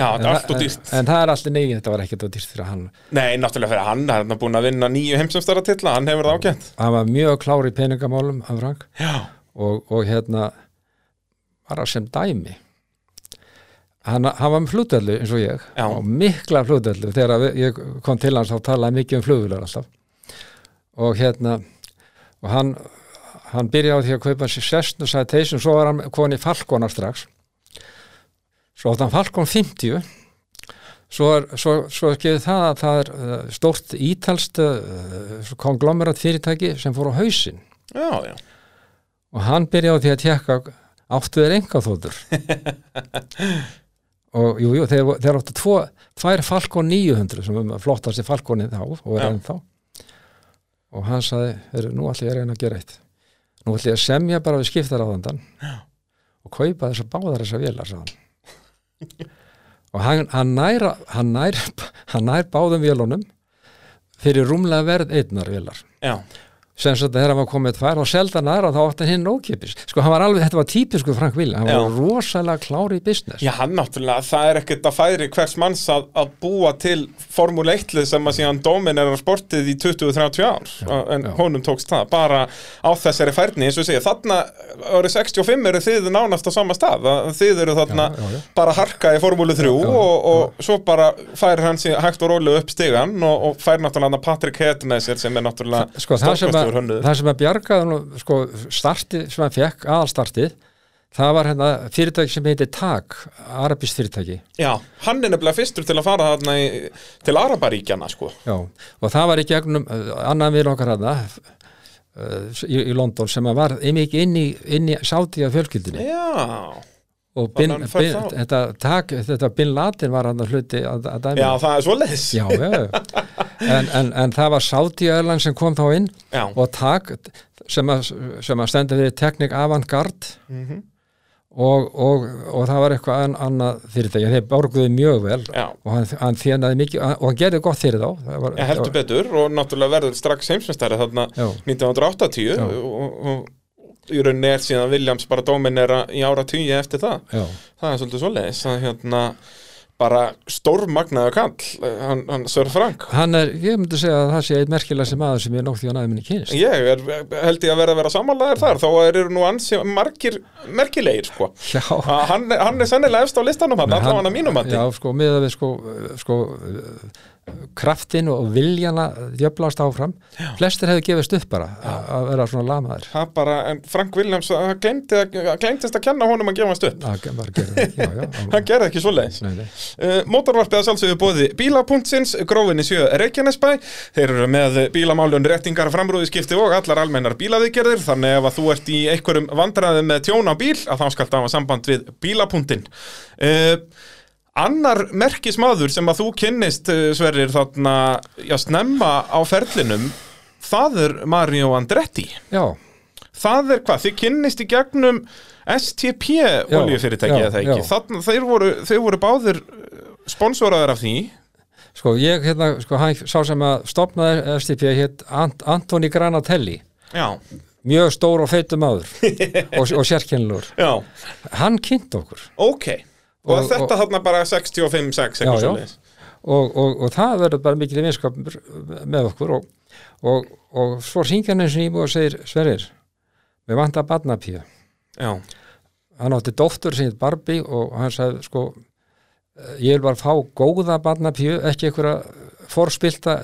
Já, þetta er
En
allt of
það-
dýrt.
en, en það er alltaf negin, þetta var ekkert og dýrt fyrir hann
nei, náttúrulega fyrir hann hann er búin að vinna nýju heimsumstara titla, hann hefur það ágætt
hann var mjög klár í peningamálum hann Frank
Já,
og, og hérna bara sem dæmi hann, hann var með flugdöllu eins og ég
Já.
og mikla flugdöllu þegar við- ég kom til hans þá talaði mikið um flugvölar alltaf og hérna og hann, hann byrjaði á því að kaupa sér sestn og sagði teisum svo var hann koni Falkona strax svo átti hann Falkon 50 svo er, svo, svo er gefið það að það er uh, stórt ítalst uh, konglomerat fyrirtæki sem fór á hausinn
já, já,
og hann byrjaði á því að tekka áttu þeir enga þóttur og jú, jú, þeir, þeir áttu tvo, tvær Falcon 900 sem um flottast í Falconi þá og er
Já.
ennþá og hann sagði, heyrðu, nú ætla ég að reyna að gera eitt nú ætla ég að semja bara við skiptar á þandan og kaupa þessar báðar þessar vélar sagði hann *laughs* og hann, hann, nær, hann, nær, hann nær báðum vélunum fyrir rúmlega verð einnar vélar
já,
sem svo þegar hann var komið tvær og selda næra þá átti hann hinn ókipis sko hann var alveg, þetta var típisku Frank Willi hann
Já.
var rosalega klári í business
já, hann náttúrulega, það er ekkert að færi hvers manns að, að búa til formúli 1 sem að síðan dóminerar sportið í 20-30 ár en
já.
honum tókst það, bara á þessari færni, eins og ég segja, þarna árið 65 eru þið nánast á sama stað að þið eru þarna
Já, já, já.
bara harka í formúli 3
já,
og, og svo bara fær hann sig hægt og rólu upp stigan og, og fær náttúrulega Patrick Head með sér sem er náttúrulega
sko, það, sem að,
stórkostlegur hönnuður.
það sem að bjargaði nú, sko, startið sem hann fekk, aðalstartið það var hérna fyrirtæki sem heiti TAG, arabist fyrirtæki
Já, hann er nefnilega fyrstur til að fara þarna í, til Arabaríkjana sko.
Já. og það var í gegnum uh, annan við okkar hérna uh, í, í London sem að var mikið inn í, inn í sátíða fjölkyldinni
Já,
og bin,
hann fær
bin,
þá.
þetta, TAG, þetta Bin Laden var hann að hluti að, að dæmi
já það er svoleiðis
Já, já, já. En, en, en það var Saudi Airlines sem kom þá inn
Já.
og tak sem að, sem að stenda fyrir Technic Avantgarde og, og, og það var eitthvað an, annað fyrirtæki, þeir borguðu mjög vel
Já.
og hann, hann þjónaði mikið og hann gerði gott fyrir þá Það var,
Ég heldur betur og náttúrulega verður strax heimsmyndstæri þarna
Já.
1980 og, og, og í rauninni er síðan Williams bara dóminera í ára tíu eftir það
Já,
það er svolítið svoleiðis að hérna bara stórmagnaðu kall eh, hann, hann Sör Frank
hann er, ég myndi segja að það sé einn merkilegasti maður sem ég nótt því að næði minni kynst
ég er, held ég að vera að vera samanlegaðir þar þó að þeir eru nú ansi margir merkilegir sko
Já,
Að hann, hann er sennilega efst á listanum hann, allavega hann að mínum mati
Já, sko, miðað við sko, sko kraftin og viljana djöflast áfram, flestir hefðu gefist upp bara að- að vera svona lamaður
það bara, en Frank Williams það gleymdi að- gleymdist að kenna honum að gefa hans upp
að bara gera það, já,
*laughs*
já
hann gerði ekki svoleiðis
Nei, nei.
uh, Mótorvarpið að sjálfsögðu bóði bílapunktsins grófinni sjö Reykjanesbæ þeir eru með bílamálun réttingar framrúðiskipti og allar almennar bílaðigerðir þannig ef að þú ert í einhverjum vandræðum með tjón á bíl að þá skalt hafa samband við bílapunktin uh, Annar merkismadur sem að þú kynnist eh, Sverrir þarna já, snemma á ferlinum það er Mario Andretti
Já,
Það er hvað, þið kynnist í gegnum STP oljufyrirtæki
já,
eða það ekki
já.
Þannig þeir voru, þeir voru báðir sponsoraðar af því
sko, ég hérna, sko, hann sá sem að stopnaði STP hétt Ant Antoni Granatelli
Já,
mjög stór og
*laughs*
feitur maður og, og sérkennlur
já,
hann kynnt okkur
ok Og,
Og-
þetta þarna bara 65-6 eitthvað
Já, já.
svoleiðis
og, og, og það verður bara mikil vinskapur með okkur og, og, og svo syngja hann eins og nýmú og segir Sverrir, við vantar barnapíu
Já, hann
hann átti dóttur sem heit Barbie og hann sagði sko eh, ég vil bara fá góða barnapíu ekki einhverja forspilta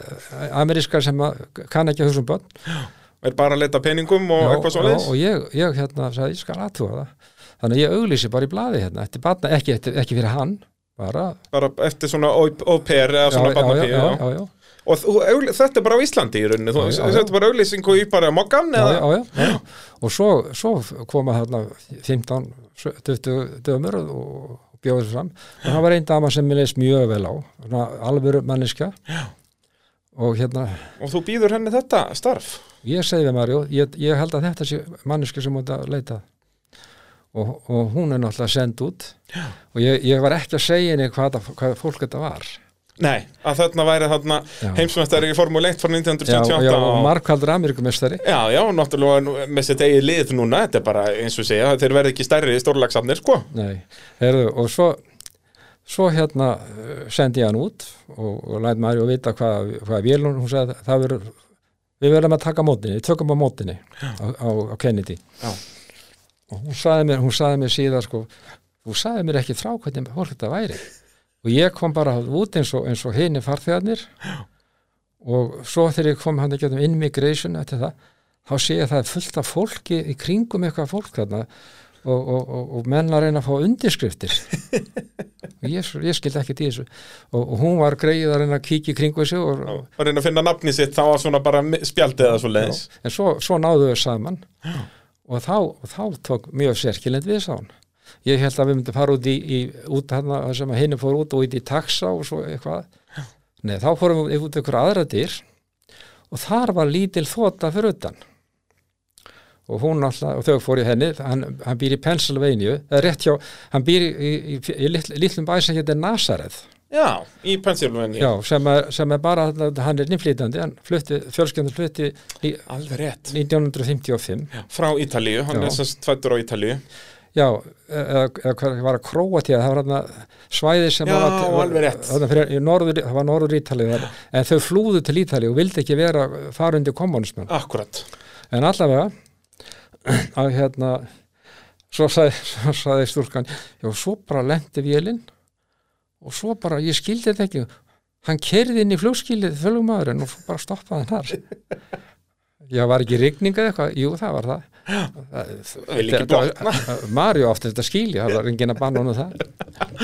ameríska sem að, kann ekki að hugsa um börn
er bara að leita peningum og
Já,
eitthvað svoleiðis
já, og ég, ég hérna sagði, ég skal aðtúa það þannig að ég auglýsi bara í blaði hérna eftir barna, ekki, eftir, ekki fyrir hann bara,
Bara eftir svona au-pair eða svona barnapíu
já,
já.
já, já,
Og þú, augl- þetta er bara á Íslandi í rauninni Þú
Já, já, já.
þetta er bara auglýsingu í bara mokkan
já,
eða
já, já, já. og svo, svo koma þarna 15, 20 dömur og og bjóðu þessu fram og það var einn dama sem mér leist mjög vel á svona alvöru manniska já. og hérna,
Og þú býður henni þetta starf
ég segi við Marjó ég, ég held að þetta sé manniska sem múið að leita og, og hún er náttúrulega send út já. og ég, ég var ekki að segja henni hvað, það- hvað fólk þetta var
Nei, að þarna væri þarna
Já.
heimsmeistari í Formule 1 frá
já,
1978
já, og markvaldur Ameríkumestari
Já, já, náttúrulega nú- með sitt eigið lið núna, þetta er bara eins og segja, þeir verða ekki stærri stórlagsafnir, sko.
Nei, heyrðu, og svo svo hérna eh, sendi ég hann út og, og læt maður að vita hvað, hvað vél hún, hún sagði það verður við verðum að taka mótinni, við tökum á mótinni á, á, á Kennedy
Já.
og hún sagði mér, hún sagði mér síðar sko, þú sagði mér ekki frá hvernig fólk þetta væri og ég kom bara út eins og, eins og hinni farþegarnir og svo þegar ég kom hann að geta um immigration eftir það, þá sé ég að það er fullt af fólki í kringum eitthvað fólk þarna og, og, og, og menn að reyna að fá undirskriftir og ég, ég skildi ekkert í þessu og, og hún var greið að reyna að kíkja í kringu þessu og, og,
Og reyna að finna nafni sitt, þá var svona bara mi- spjaldið eða svo leiðis.
en svo, svo náðu við saman og þá, og þá tók mjög sérkilend við sá hann ég held að við myndum fara út í, í út hana, sem að hinni fór út og út í taxa og svo eitthvað Nei, þá fórum við út einhverja aðra dyr og þar var lítil þóta fyrir utan og hún alltaf, og þau fór í henni hann, hann býr í Pennsylvania eða rétt hjá, hann býr í, í, í, í litl, litlum bæ sem hérna Nazareth
Já, í Pennsylvania
já, sem er, sem er bara hann er nýflýtandi, hann flutti fjölskyndur flutti í
Alveg rétt
1955
Frá Ítalíu, hann
Já.
er sérst fættur á Ítalíu
já, eða, eða hvað var að króa til það var hann svæði sem
Já,
var, að-
alveg rétt.
þarna fyrir, í norður, það var norður Ítali
*laughs*
en þau flúðu til Ítali og vildi ekki vera fara undir kommunismann
Akkurat
En allavega *clears throat* að hérna svo sagði, *laughs* svo sagði stúlkan já, svo bara lendi vélinn og svo bara, ég skildi þetta ekki hann kerði inn í flugskilið flugmaðurinn og svo bara stoppaði
*laughs*
hann þar Já, var ekki rigning eða eitthvað? Jú, það var það.
Vil ekki blotna
*laughs* Mario átti þetta skilja, það var enginn að banna honum það.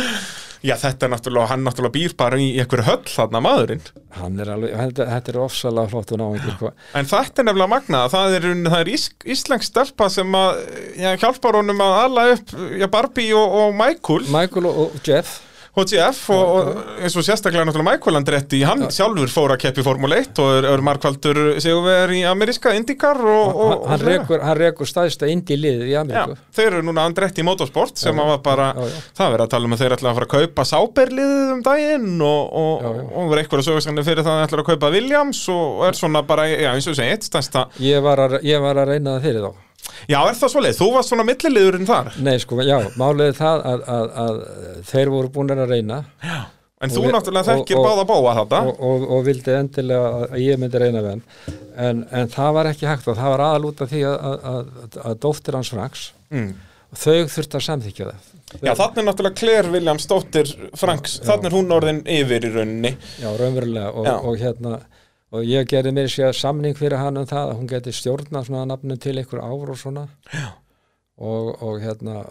Já, þetta er náttúrulega, hann náttúrulega býr bara í einhverju höll þarna maðurinn
Hann er alveg, þetta, þetta er ofsalega flott og sko. náingur. Hvað,
En þetta er nefnilega magnað, það er, það er ís, íslensk stelpa sem að, já, hjálpar honum að alla upp, já, Barbie og, og Michael,
Michael og, og Jeff
HGF og, og eins og sérstaklega náttúrulega Michael Andretti, hann sjálfur fór að keppi Formule 1 og er, er markvaldur sigurver í ameríska Indycar og, og,
hann, hann,
og fleira.
rekur, hann rekur stæðsta indi liðið í
Já,
Ameríku.
þeir eru núna Andretti Motorsport sem já, var bara,
já, já.
það verið að tala um að þeir ætla að fara að kaupa Sáberliðið um daginn og, og,
Já, já.
og það var eitthvað að sögurskandi fyrir það að þeir ætla að kaupa Williams og er svona bara, já, eins og segja, eitt stænsta
Ég, var að, ég var að reyna það fyrir þá.
Já, er það svoleið? Þú varst svona milliliðurinn þar
Nei, sko, já, málið er það að, að, að þeir voru búinir að reyna
En
Og
þú
við-
náttúrulega
og-
þekkir
og-
báða bóa þetta
og, og, og vildi endilega að- að ég myndi reyna við hann en, en það var ekki hægt og það var aðal út af því að, að, að, að dóttir hans Franks
mm.
þau þurfti að samþykja það
Já, þarna er náttúrulega Claire Williams dóttir Franks, þarna er hún orðin yfir í rauninni
já, raunverulega og,
Já.
og hérna og ég gerði mér sér samning fyrir hann um það að hún geti stjórna svona nafnum til einhver ár og svona og, og hérna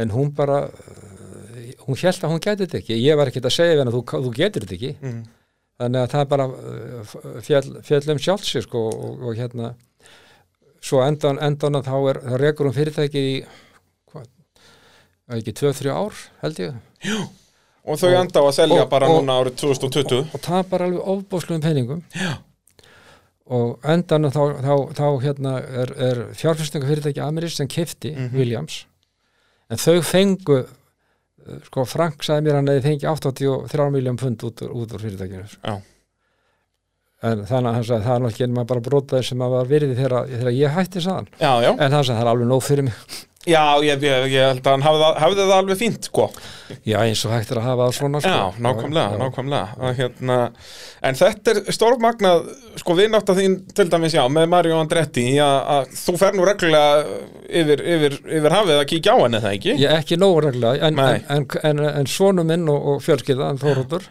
en hún bara eh, hún held að hún geti þetta ekki ég var ekkert að segja við hann að þú, þú getur þetta ekki
mm.
þannig að það er bara uh, f- fjall, fjallum sjálfsir sko, og, og hérna svo endan, endan að þá er þá rekur hún fyrirtækið í hvað, er ekki 2-3 ár held ég
Og þau enda á að selja
og-
bara
og-
núna árið 2020
og það er bara alveg ofbóðslegum peningum Já. og endan að þá, þá, þá hérna er, er fjárfyrstinga fyrirtæki Ameris sem kefti
Mhm.
Williams en þau fengu uh, sko Frank sagði mér hann að þið fengi 83 miljón pund út, úr- út úr fyrirtækinu sko.
Já.
en þannig að hann sagði það er náttúrulega maður bara brotaði sem að var virði þegar, þegar ég hætti saðan
Já, já,
en hann sagði það er alveg nóg fyrir mig
já, ég, ég, ég held að hann hafði, það- hafði það alveg fínt, sko
já eins og hægt er að hafa það svona sko.
Já, nákvæmlega,
Já.
nákvæmlega að, hérna, En þetta er stórmagnað sko vinnátt að þín til dæmis já með Mario Andretti að, að þú fer nú reglulega yfir, yfir, yfir hafið að kíkja á henni er það ekki
Ég ekki nógu reglulega, en,
Nei.
en, en, en, en svonu minn og, og fjölskylda, en Þóróttur,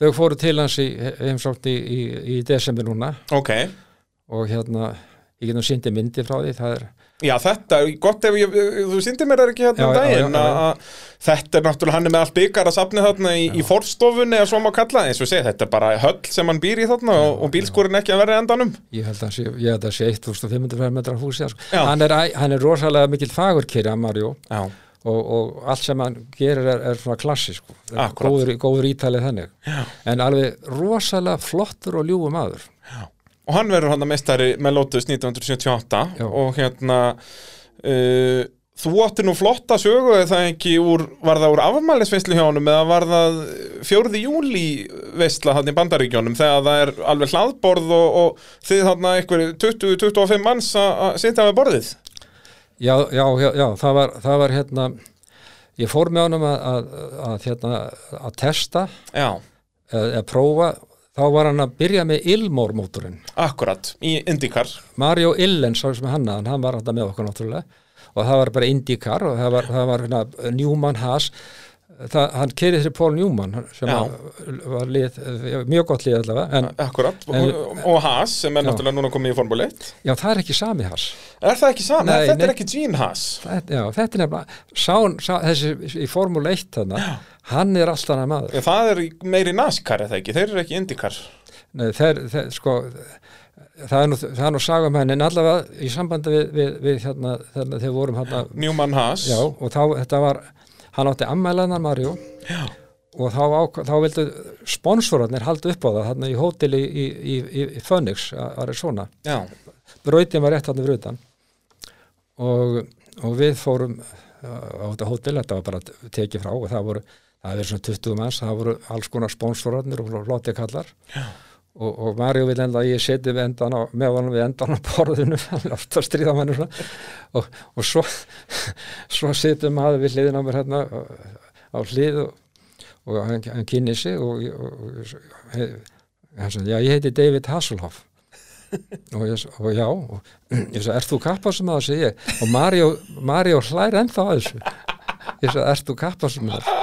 þau fóru til hans í heimsótt í, í, í desember núna
Ok,
og hérna, ég getum síndi myndi frá því, það er,
já þetta, er gott ef ég, þú sýndir mér það ekki hérna
Já,
um
já,
daginn
já, já,
að
já.
að þetta er náttúrulega hann er með allt byggar að safni þarna í, í forstofunni eða svo má kalla það, eins og segja, þetta er bara höll sem hann býr í þarna og, og bílskúrin ekki að verða endanum
ég held að sé, ég held að sé 1500 metrar húsi, sko.
Já.
hann, er, æ- hann er rosalega mikill fagurkýri að Marjó
Já,
og, og allt sem hann gerir er, er svona klassi, sko, Er
Akkúrat.
góður, góður ítalið þannig, Já. en alveg rosalega flottur og ljúfum aður.
og hann verður hann að meistari með Lotus 1978
Já.
og hérna uh, þú átti nú flotta sögu eða það ekki úr, var það úr afmælisveislu hjá honum eða var það uh, fjórði júli veistla hann í bandaríkjónum þegar það er alveg hlaðborð og, og þið hann að einhverju 20-25 manns að að sitja með borðið
Já, já, já, já það, var, það var hérna ég fór með honum að, að, að, hérna, að testa
já,
eða eða prófa þá var hann að byrja með Ilmor mótorinn
akkurat, í Indikar
Mario Illen sá sem hann að hann var alltaf með okkur náttúrulega og það var bara IndyCar og það var, það var hérna, Newman Haas það, hann kerið þér Paul Newman sem
Já.
að, var lið, eh, mjög gott lið allavega en
akkurat,
En-
og, og Haas sem er
Já.
náttúrulega núna komið í Formule 1
já, það er ekki sami Haas
er það ekki saman,
Nei,
þetta er
nei.
ekki Gene Haas
þetta, já, þetta er nefnilega sá, sá, þessi í Formule 1 þarna, hann er alltaf hann maður
það er í- meiri NASCAR eða ekki, þeir eru ekki Indikar
Nei, þeir, þeir, sko, það er nú, það er nú saga um henni en allavega í sambandi við, við, við hérna, þegar þeir vorum hérna,
Newman Haas
já, og þá, þetta var, hann átti ammælaðan Marjó
Já.
og þá, á, þá vildu sponsorarnir halda upp á það hérna í hóteli í, í, í, í Phoenix, Arizona,
Já,
brautin var rétt hérna fyrir utan og, og við fórum á þetta hótel, þetta var bara tekið frá og það voru, það verið svona 20 manns það voru alls konar spónsorarnir og lotti kallar og, og Mario vil enda að ég seti við endan á, með honum við endan á borðinu hann er alltaf að stríða manni svona og, og svo svo setur maður við hliðin á mér hérna á hlið og, og hann, hann kynni sig og, og, og he- hann sagði, já ég heiti David Hasselhoff og, ég, s- og já og *clears throat* ég sagði, ert þú kappa sem það segi ég og Mario, Mario hlær ennþá að þessu ég sagði, ert þú kappa sem það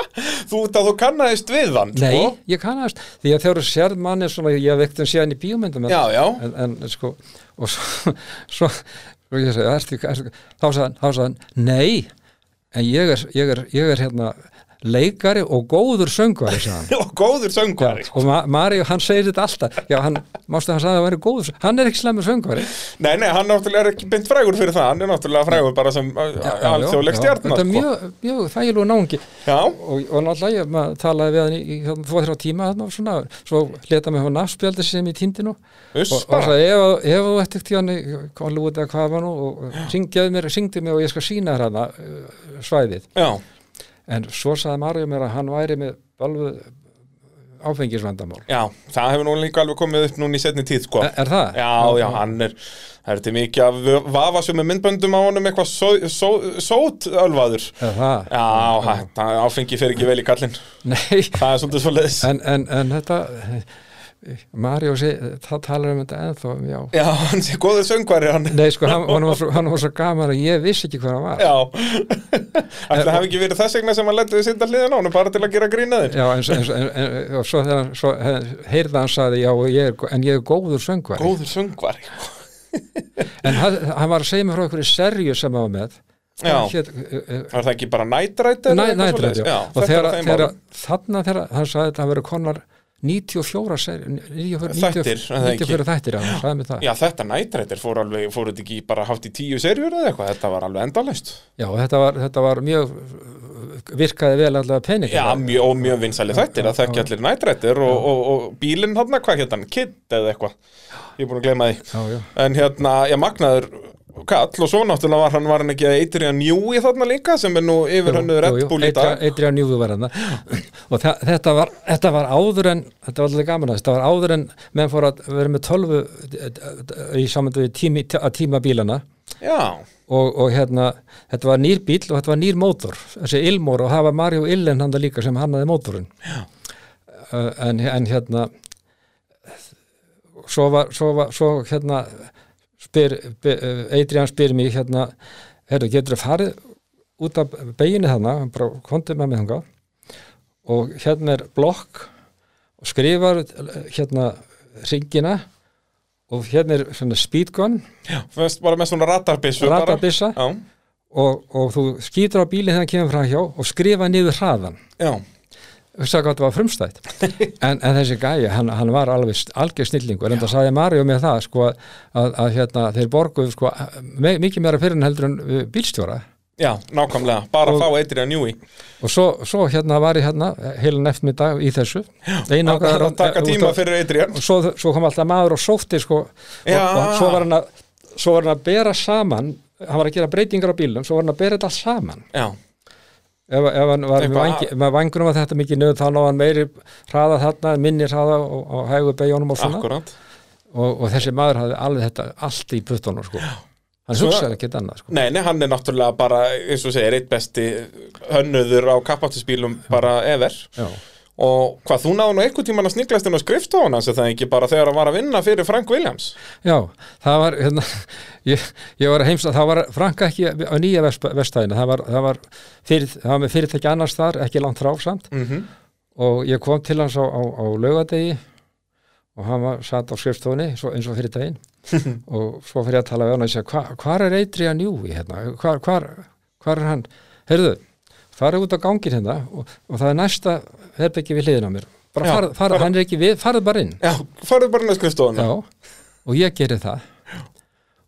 Þú út að þú kannaðist við hann,
nei,
sko?
ég kannast því að þegar þú sérð manni svona ég hef veikt um síðan í bíómyndum
Já, já.
en, en sko og svo, *laughs* svo, svo ég segi ertu, ertu, þá sagði hann, þá sagði hann nei, en ég er, ég er, ég er hérna leikari og góður söngvari sagði
*laughs*
hann.
Og góður söngvari.
og Ma Mario hann segir þetta alltaf já, hann, mástu hann sagði að hann væri góður hann er ekki slemmur söngvari
Nei, nei, hann náttúrulega er ekki beint frægur fyrir það, hann er náttúrulega frægur bara sem uh,
Já, já,
alþjóðleg sko.
já,
stjarnar.
þetta er mjög, mjög þægilegu náungi
Já,
og, og náttúrulega ég maður talaði við hann í, í þvó þrjá tíma þarna og svona, svo leta mig hafa nafnspjaldi sem ég týndi nú
uss
og, og
bara.
sagði ef, ef þú ert ekkert í hann Hollywood eða hvað var nú og syngjaði mér, syngdi mér og ég skal sína þér hana uh, svæðið
Já,
en svo sagði Mario mér að hann væri með alveg áfengisvandamál
já, það hefur nú líka alveg komið upp núna í setni tíð, sko.
er, er það?
Já, já, hann er, það er til mikið að vafa sem er myndböndum á honum eitthvað só- só- sót ölvaður.
Er það?
Já, þetta áfengi fer ekki vel í kallinn.
Nei,
Það er svolítið svolítið.
en, en, en þetta Mario, seg, það talar um þetta ennþá já.
Já, hann sé góður söngvari, hann.
Nei, sko, hann, hann, var svo, hann var svo gaman að ég vissi ekki hvað hann var
Já, ætla hafi ekki verið þess vegna sem hann letið sinda hliðin á honum bara til að gera grínaðin.
Já, en, en, en, en og svo þegar hann- svo eh, heyrði hann sagði, já, ég er, en ég er góður söngvar
Góður söngvari.
En hann, hann var að segja mig frá einhverju serju sem hann var með
Já.
Hann hét, uh, uh,
Var það ekki bara nætrætt?
næ- Næturrætt, já.
já.
og
þetta er
þegar,
á þeim
þegar,
árum.
þarna þegar hann sagði þetta að vera konar 94 serjur 94
Þættir, er það ekki?
94 þættir, já, hann sagði mig það
Já, þetta nætrættir fór alveg, fóruð þetta ekki í bara hátt í tíu serjur eða eitthvað, þetta var alveg endalaust.
Já, og þetta var, þetta var mjög virkaði vel allavega pening
Já, mjög, og mjög vinsæli þættir að þekki allir nætrættir og, og, og bílinn hann, hvað hétt hann, Kidd eða eitthvað, ég er búin að gleyma því.
já, já.
En hérna, ég magnaður kall og svo náttúrulega var hann, var hann ekki að eitri hann júi þarna líka sem er nú yfir hannu Red Bull í dag.
Eitri á njúðu var hann og þa- þetta var, þetta var áður en þetta var alltaf gaman að þetta var áður en menn fór að vera með 12 í samanlega tími, að tíma bílana
Já,
og, og hérna, þetta var nýr bíl og þetta var nýr mótor, þessi Ilmor og það var Mario Illen handa líka sem hannaði mótorinn uh, en, en hérna svo var, svo var svo hérna spyr, be, uh, Adrian spyr mig hérna, herru, getur þú farið út af beginni þarna hann bara kontið með mig þangað og hérna er blokk og skrifar eh, hérna ringina og hérna er svona speedgun
fyrst bara með svona ratarbissu. bara.
ratarbissa
Já,
og, og þú skýtur á bílinn þegar hann kemur fram hjá og skrifa niður hraðan
já,
hugsa hvað það var
*laughs*
frumstætt en, en þessi gæja, hann, hann var alveg st- algjör snillingur, en það sagði Mario með það sko, að, að hérna, þeir borguð sko, me, mikið meira fyrir en heldur en uh, bílstjóra
já, nákvæmlega, bara
Og-
fá eitri hann júi.
og svo, svo hérna var ég hérna heilan eftirmiddag í þessu eina
Það er að taka tíma fyrir eitri hann.
og svo, svo kom alltaf maður og sótti sko, og,
Já.
og svo var hann að svo var hann að bera saman hann var að gera breytingar á bílum, svo var hann að bera þetta allt saman
Já,
ef, ef hann var með,
Eitthvað-
vangi, með vangunum að þetta mikið nöð þá ná hann meiri hraða þarna minni hraða og, og hægur beigjónum og svona og,
akkurat.
og þessi maður hafði alveg þetta allt í puttunum sko. hann
Svo-
hugsaði ekki annað sko.
Nei, nei, hann er náttúrulega bara, eins og segir, eitt besti hönnuður á kappáttisbílum bara ever.
Já.
Og hvað, þú náðu nú einhvern tíman að sniglast inn á skrifstofan hans, er það ekki bara þegar hann var að vinna fyrir Frank Williams?
já, það var hérna, *laughs* ég, ég var að heimsa, það var franka ekki á nýja vestæðina það var, það, var fyrir, það var með fyrirtæki annars þar ekki langt frá samt
Mm
og ég kom til hans á, á, á laugadegi og hann var satt á skrifstofunni svo, eins og fyrir daginn
*laughs*
og svo fyrir ég að tala við hann og ég segja hva, hvar er Adrian Júi hérna hvar, hvar, hvar er hann, heyrðu farið út á gangin hérna og, og það er næsta herbyggi við hliðina á mér bara
Já,
farð, farð,
bara-
hann er ekki við, farið bara inn
Já, farðu bara inn á skrifstofan.
já, og ég geri það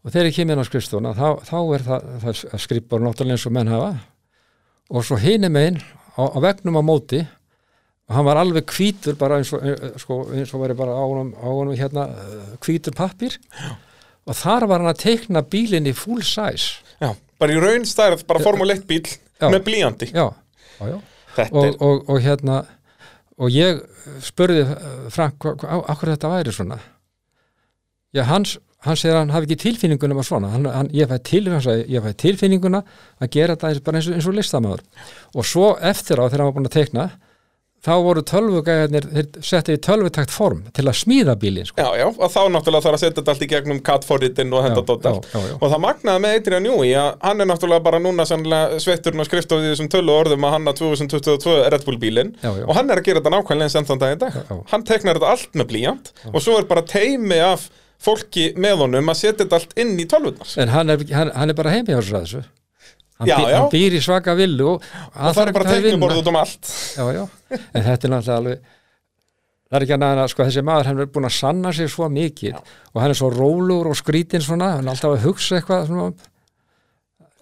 og þegar ég kem inn á skrifstofuna þá, þá er það, það skrifbor náttúrulega eins og menn hafa og svo hinum einn á, á vegnum á móti og hann var alveg hvítur bara eins og, eh, eh, sko, eins og væri bara á honum, á honum hérna eh, hvítur pappir og þar var hann að teikna bílinn í full size
Já, bara í raun stærð, bara Formule 1 bíl
Já.
með blíjandi
já, já, já.
þetta
Og, og, og hérna og ég spurði eh, Frank, hva- hva- á- af hverju þetta væri svona já, hans hann segir að hann hafi ekki tilfinninguna var svona hann, hann, ég, fæ til, hann sagði, ég fæ tilfinninguna að gera þetta eins- bara eins og, eins og listamaður og svo eftir á þegar hann var búin að teikna þá voru tölvugæðarnir þeir settu í tölvutakt form til að smíða bílinn sko.
Já, já, og þá náttúrulega þarf að setja þetta allt í gegnum kattforritin og þetta
Já,
dótt allt
já, já, já.
og það magnaði með Adrian Newey að hann er náttúrulega bara núna sannlega sveitturinn og skrifstofið í þessum tölu orðum að hanna 2022 Red Bull bílinn
Já, já.
og hann er að gera þetta nákvæmlega eins enn þann dag í dag
Já, já.
hann teknar þetta allt með blíjant og svo er bara teimi af fólki með honum að setja þetta allt inn í tölvutnar
en hann er, hann, hann er bara heimi á þessu hann,
Já,
býr-
já.
hann býr í svaka villu og,
og það er bara teikniborð út um allt
já, já, en þetta er náttúrulega alveg það er ekki annað en að sko, þessi maður hann er búin að sanna sig svo mikið og hann er svo rólur og skrítinn svona hann er alltaf að hugsa eitthvað svona,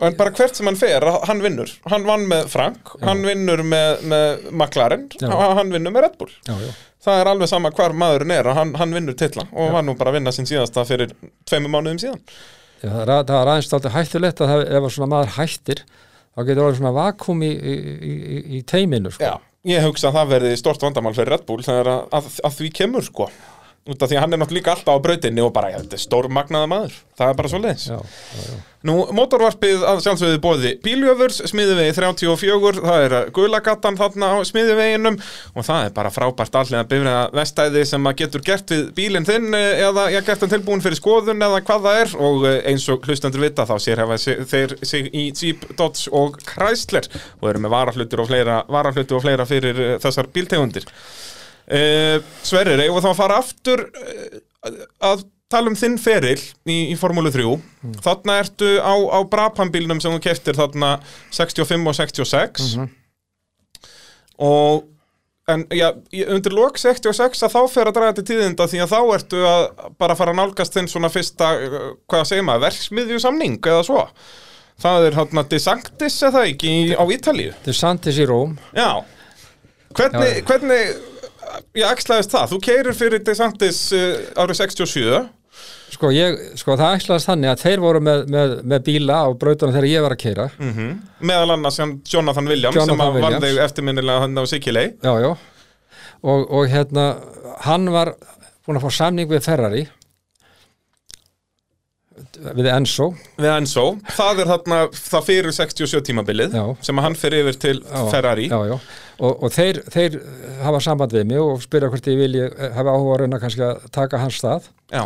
En bara hvert sem hann fer, hann vinnur Hann vann með Frank, hann vinnur með, með McLaren,
Já.
hann vinnur með Red Bull
já, já,
það er alveg sama hvar maðurinn er að hann, hann vinnur titla og var nú bara að vinna sinn síðasta fyrir tveimur mánuðum síðan
já, það er, að- það er aðeins þáttu hættulegt að það, ef að svona maður hættir þá getur orðið svona vakum í, í, í, í teiminu sko.
ég hugsa að það verði stort vandamál fyrir Red Bull þegar að, að, að því kemur sko út af því að hann er náttúrulega líka alltaf á brautinni og bara, já, þetta er stór magnaða maður það er bara svo leiðis
já,
Nú, mótorvarpið að sjálfsögðu bóði Bíljöfurs, smiðuvegi 34, það er gulagatan þarna á smiðuveginum og það er bara frábært allega bifræða vestæði sem að getur gert við bílinn þinn eh, eða ég gert hann tilbúin fyrir skoðun eða hvað það er og eh, eins og hlustendur vita þá sér hefa sig- þeir sig í Jeep, Dodge og Chrysler og eru með varahlutur og fleira, varahlutur og fleira fyrir eh, þessar bíltegundir. Uh, Sverrir, eigum við þá að fara aftur uh, að tala um þinn feril í, í Formúlu 3
Mm.
þarna ertu á, á Brabhambílnum sem þú keftir þarna 65 og 66
Mhm.
og en já, í- undir lok 66 að þá fer að draga til tíðinda því að þá ertu að bara fara að nálgast þinn svona fyrsta, uh, hvað segir maður, verksmiðjusamning eða svo það er þarna Disanctis eða ekki í, á Ítalíu
þetta er Santis í Róm
Já Hvernig,
Já.
hvernig Ég axlaðist það, þú keirir fyrir DeSantis uh, árið 67
sko, ég, sko það ætlaðist þannig að þeir voru með, með, með bíla á brautunum þegar ég var að keira
meðal annars sem Jonathan Williams sem
Jonathan
að vann
Williams.
þig eftirminnilega hann á Sikilei
já, já og, og hérna, hann var búin að fá samning við Ferrari við Enzo
við Enzo, það er þarna það fyrir 67 tímabilið
Já.
sem að hann fyrir yfir til
Já,
Ferrari
já, já. og, og þeir, þeir hafa samband við mig og spyrja hvort ég vilji hafa áhuga að reyna kannski að taka hans stað
Já.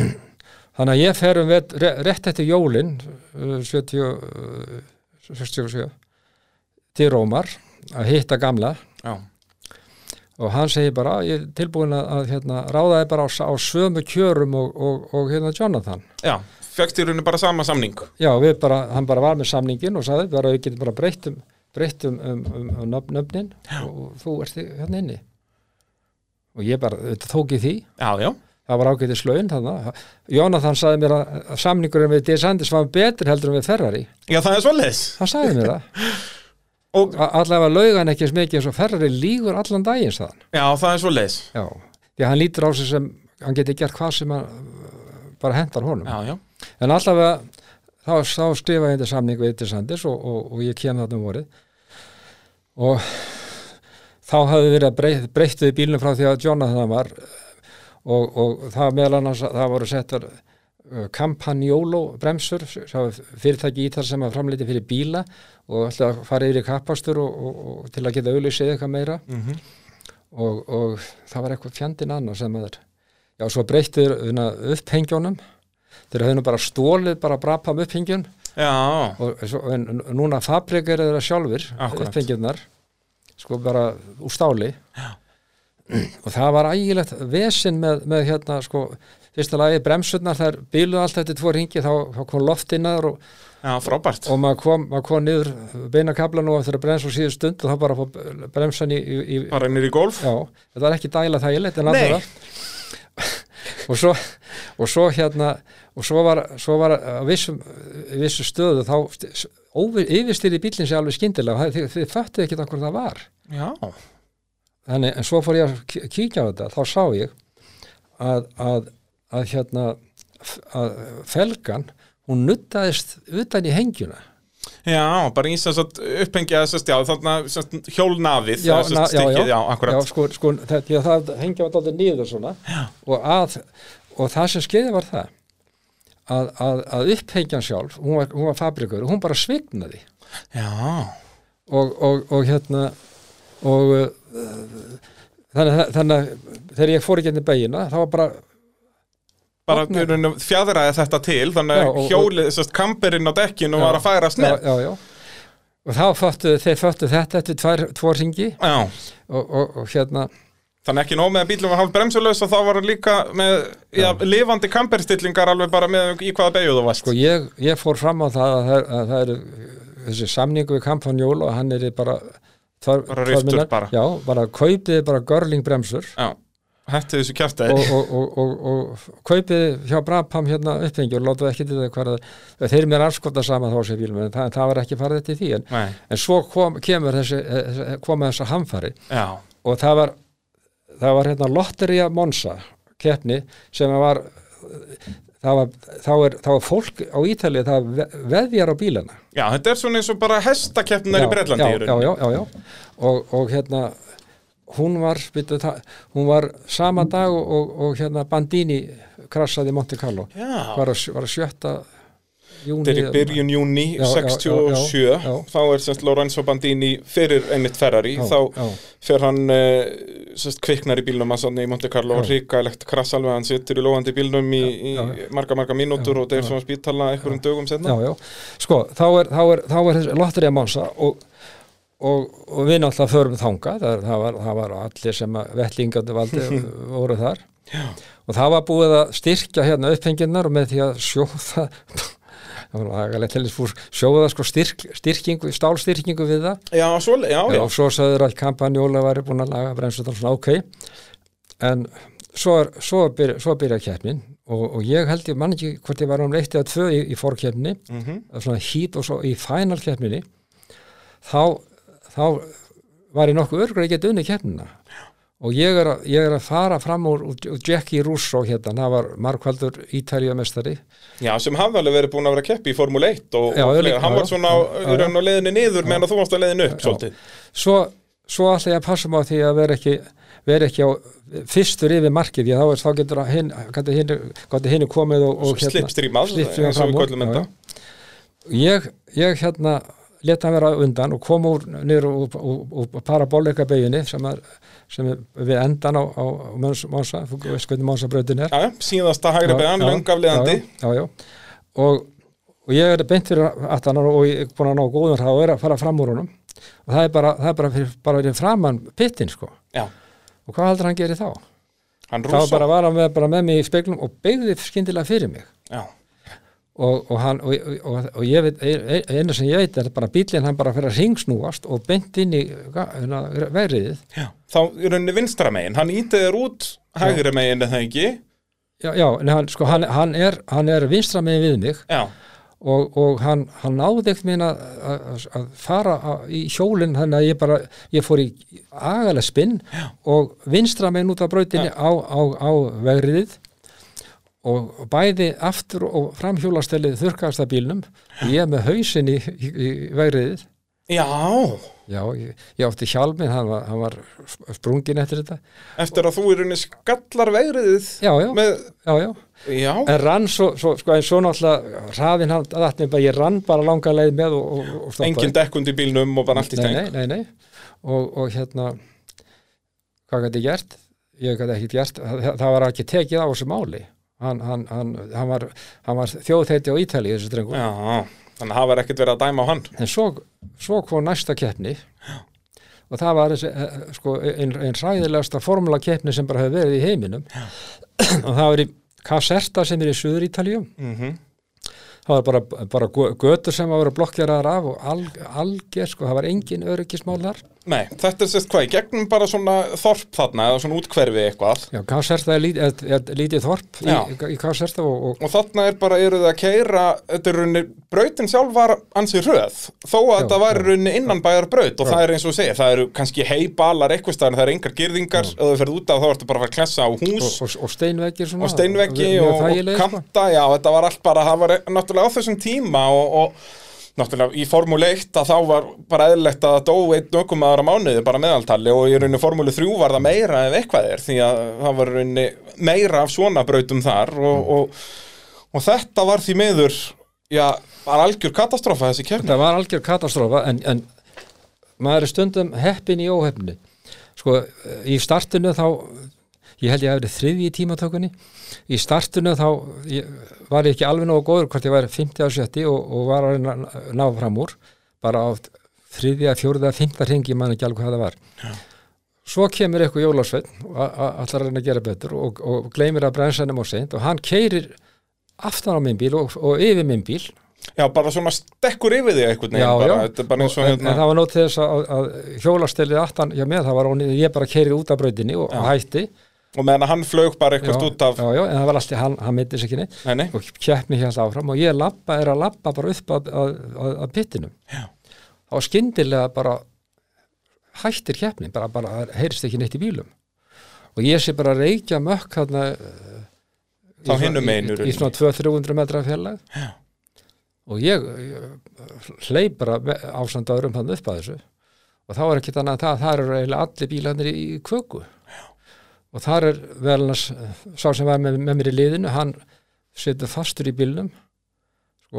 þannig að ég fer um veit, rétt eftir jólin uh, 70 uh, 67 til Rómar að hitta gamla
Já.
og hann segir bara ég er tilbúin að, að hérna, ráða þið bara á, s- á sömu kjörum og, og, og hérna Jonathan
Já. fegst í rauninu bara sama samning
Já, við bara, hann bara var með samningin og sagði bara við getum bara breytt um, breytt um, um, um, um nöfn- nöfnin og þú ert í- hérna inni og ég bara, þetta tók ég því
Já, já,
það var ágætið slöin þannig Jónathan sagði mér að að samningurinn við DeSantis var betur heldur en við Ferrari
já það er svoleiðis
hann sagði mér það
Og-
A- allavega laugan ekki eins mikið eins og Ferrari lígur allan daginn sagðan
Já, það er svoleiðis
Já, því að hann lítur á sig sem hann geti gert hvað sem hann uh, bara hentar honum
Já, já,
En allavega þá, þá skrifa ég þetta samning við Sanders og, og, og ég kem þarna um vorið og þá hafði verið að breyt, breyttuði bílnum frá því að Jonathan var og, og það meðal annars það voru settar kampanjólo bremsur það var fyrirtæki í þar sem að framleiti fyrir bíla og alltaf að fara yfir í kappastur og, og, og til að geta auðlýsið eitthvað meira og, og það var eitthvað fjandinn annað sem maður já svo breyttuður upphengjónum þeir höfðu nú bara stólið bara brapa um upphengjun
já,
og svo, en, n- núna fabrikar þeirra sjálfur
Akkúrat.
upphengjunar sko bara úr stáli já. og það var ægilegt vesinn með, með hérna sko fyrsta lagi bremsurnar þær bíluðu allt eftir tvo ringi þá, þá kom loftinnar og,
já, frábært
og maður kom, maður kom niður beina kablan og eftir að bremsa á síðu stund og þá bara fór bremsan í, í, í
Bara niður í golf
já, þetta var ekki dæla þægilegt en
Nei.
allavega *laughs* og svo, og svo hérna og svo var, svo var að vissum, vissu stöðu þá yfirstýri bílinn sér alveg skyndilega þið, þið, þið föttuð ekki hvað það var
Já,
Þannig, en svo fór ég að kí- kíkja á þetta þá sá ég að, að, að hérna f- að felgan hún nuttaðist utan í hengjuna
Já, bara í sem sagt upphengja þessast, já, þannig að hjólnafið,
já,
sem
na,
sagt,
já, já,
já, akkurat.
já, sko, sko það, því að það hengja var dálítið niður svona og, að, og það sem skeiði var það að, að, að upphengjan sjálf hún var, hún var fabrikur, hún bara svignaði
Já,
og, og, og hérna og uh, þannig, að- þannig að þegar ég fór ekki inn í beginna það var bara,
bara
Opnar-
Opna. fjadraði þetta til, þannig
Já,
að
og- og-
hjólið, sérst, kamperinn á dekkinu
Já.
var að færast
já,
með.
já, já og þá föttu, þeir föttu þetta eftir tvær, tvo ringi
Já,
og, og, og hérna
þannig ekki nóg með að bílum var hálf bremsulegs og þá var hann líka með, já, lifandi kamperstillingar alveg bara með í hvaða beigju þú varst.
sko ég, ég fór fram á það að það, að það eru þessi samningu við kampanjól og hann er bara tvær,
Bara riftur
tvær mínar.
bara.
já, bara kaupið bara görlingbremsur
Já, hætti þessu kjæftið.
og, og, og, og, og kaupið hjá Brabham hérna upphengjur, látaðu ekki til það hvað það- þeir eru mér afskota sama þá sem bílum en það, það var ekki farið eftir því en,
Nei,
en svo kom, kemur þessi, þessi koma þessa hamfari
já,
og það var það var hérna Lotteria Monza keppni sem var það var, þá er, þá er fólk á Ítalið, það ve- veðjar á bílana
já, þetta er svona eins og bara hestakeppnar í Bretlandi.
já, já, já, já, já. Og, og hérna hún var, byrju, það, hún var sama dag og, og, og hérna Bandini krassaði í Monte Carlo
já.
var að, var að sjötta júni
Þetta er í byrjun júni
Já, já,
67
já, já.
þá er semst Lorenzo Bandini fyrir einmitt Ferrari
Já,
þá
já.
fer hann uh, semst kviknar í bílnum hans þarna í Monte Carlo og ríkalegt krass alveg hann situr í lóðandi bílnum í, í marga marga mínútur og deyr sem að spítala einhverjum dögum
já,
setna
já. sko, þá er, þá er, þá er þessi lotterið Monsa og, og, og við náttúrulega förum þanga það, það, var, það var allir sem að vettlingandi valdi voru þar já. og það var búið að styrkja hérna upphenginnar og með því að sjóða *laughs* það var lagalegt til þess fór sjóða sko styrk, styrkingu, stálstyrkingu við það
Já, svo, já, já,
og svo sagður að kampanjóla væri búin að laga bremsutan svona ok en svo, er, svo, byrja, svo byrja keppnin og, og ég held ég mann ekki hvort ég var um eitt eða tvö í, í fórkeppni mm
Mhm.
svona hít og svo í final keppninni þá, þá var ég nokkuð örgur að geta unni keppnina og ég er, að, ég er að fara fram úr, úr Jackie Russo hérna, hann var markvaldur ítaljumestari
já, sem hafði alveg verið búin að vera að keppi í Formule 1 og, og
Já, já,
fleira.
líka,
hann
já,
var svona á,
já, já.
raun og leiðinni niður meðan að þú varst að leiðinni upp svolítið
svo, svo ætla ég að passa mig á því að vera ekki, vera ekki á fyrstur yfir markið því að þá, er, þá getur að hinn getur hinn, getur hinn komið og, hérna og
Slipstreamað,
slipstreamað
eins og við
fram úr,
köllum
já,
þetta.
já. ég, ég hérna leta hann vera á undan og kom úr niður úr, úr, úr paraboleika beginni sem er, sem er við endan á, á á Mons- Monsa, þú veist hvernig Monsa brautin er
Já, já, síðasta hægri beðan, löngafleðandi
já, já, já, já. Og, og ég er beint fyrir aftan hann og ég er búin að ná góðum hraða og er að fara fram úr honum og það er bara, það er bara, fyrir, bara fyrir framann pittin sko
Já,
og hvað heldur hann gerir þá?
hann
Þá
rúsa
bara var hann með, bara með mig í speklum og beigði skyndilega fyrir mig
Já,
og, og, hann, og, og, og ég veit einu sem ég veit er bara bílinn hann bara fyrir að ringsnúast og beint inn í ga- hérna, veriðið
já, þá í rauninni vinstra megin hann ítið er út hægri megin eða ekki
já, já, en hann, sko, hann, hann, er, hann er vinstra með við mig
Já,
og, og hann, hann náði ekkert minn að, að, að fara að, í hjólinn þannig að ég bara, ég fór í agalega spinn og vinstra minn út af brautinni á, á, á vegriðið og bæði aftur og framhjólastelið þurrkaðast að bílnum og ég með hausinn í, í, í vegriðið
já,
já, ég, ég átti hjálminn, hann var, hann var sprungin eftir þetta
eftir að þú í rauninni skallar vegriðið
já, já,
með,
já, já
já,
En rann svo, svo sko, en svo náttúrulega hraðin hann, að bara, ég rann bara langa leið með og, og, og stoppaði.
engin dekkund í bílnum og bara allt í steng
Nei, nei, nei, nei. Og, og hérna, hvað gæti ég gert? Ég gæti ekkert gert, það, það var ekki tekið á þessu máli. Hann, hann, hann, hann var, hann var þjóðþeiti á Ítalíu þessu drengur.
Já, þannig að hafa ekkert verið að dæma á hann
En svo, svo kom næsta keppni og það var þessi, eh, sko, ein, ein ræðilegasta formula keppni sem bara hefur verið í heiminum. *clears throat* og það var í Caserta sem er í Suður Ítalíu.
mm
Það var bara, bara gö- götur sem var að vera blokkjaraðar af og al, alger, sko, það var engin öryggismál þar.
Nei, þetta er sérst hvað, í gegnum bara svona þorp þarna eða svona útkverfi eitthvað
Já, Káserta er lítið, er, er lítið þorp í,
Já.
í, í Káserta og, og
og þarna er bara, eru það að keira þetta er runni, brautin sjálf var ansi röð þó að þetta var runni innanbæjar braut og það er eins og segja, það eru kannski heibalar eitthvað staðar, það eru engar girðingar og þú ferð út af þá ertu bara að fara að klessa á
og,
hús
og, og steinveggi svona,
og steinveggi
mjög
og, og
þægilegir, sko.
kanta, já, þetta var allt bara, það var náttúrulega á þessum tíma og, og náttúrulega í Formúlu 1 að þá var bara eðlilegt að það dó einn ökum aðra mánuði bara meðaltali og í rauninni Formúlu 3 var það meira ef eitthvað er því að það var í rauninni meira af svona brautum þar
Mm.
og, og, og þetta var því meður, já, var algjör katastrófa þessi kefni.
þetta var algjör katastrófa en, en maður er stundum heppin í óheppni sko, í startinu þá ég held ég að verið þriði í tímatökunni í startinu þá ég, var ég ekki alveg nógu góður hvort ég væri 50 á 70 og, og var að reyna að ná fram úr bara á þriðja, fjórða, fymta hringi mann ekki alveg hvað það var svo kemur eitthvað jólasveinn og a- a- ætlar að reyna að gera betur og, og gleymir að bremsa hennum á seint og hann keirir aftan á minn bíl og, og yfir minn bíl
Já, bara svona stekkur yfir því einhvern veginn, bara, þetta er bara eins og
en, en
hérna,
það var nótt til þess að, að hjólastelið aftan hjá mér, það var ónýð, ég bara keiri út af brautinni og já. hætti
og meðan að hann flaug bara
já,
eitthvað út af,
já, já, en það var alltaf, hann, hann meittist ekki neitt
nei, nei,
og keppni hér áfram og ég labba, er að labba bara upp að, að, að, að pittinum
Já.
og skyndilega bara hættir keppni, bara, bara það heyrist ekki neitt í bílum og ég sé bara reykja mökk þarna eh, í
Þá
svona-
hinum megin í
í, í,
rauninni.
í svona 200-300 metra fjarlæg Já. og ég, ég hleyp bara ásandaður um þannig upp að þessu og þá er ekki þannig að það, það eru eiginlega allir bílarnir í, í kvöku Já. og þar er vel annars eh, sá sem var með, með mér í liðinu hann setur fastur í bílnum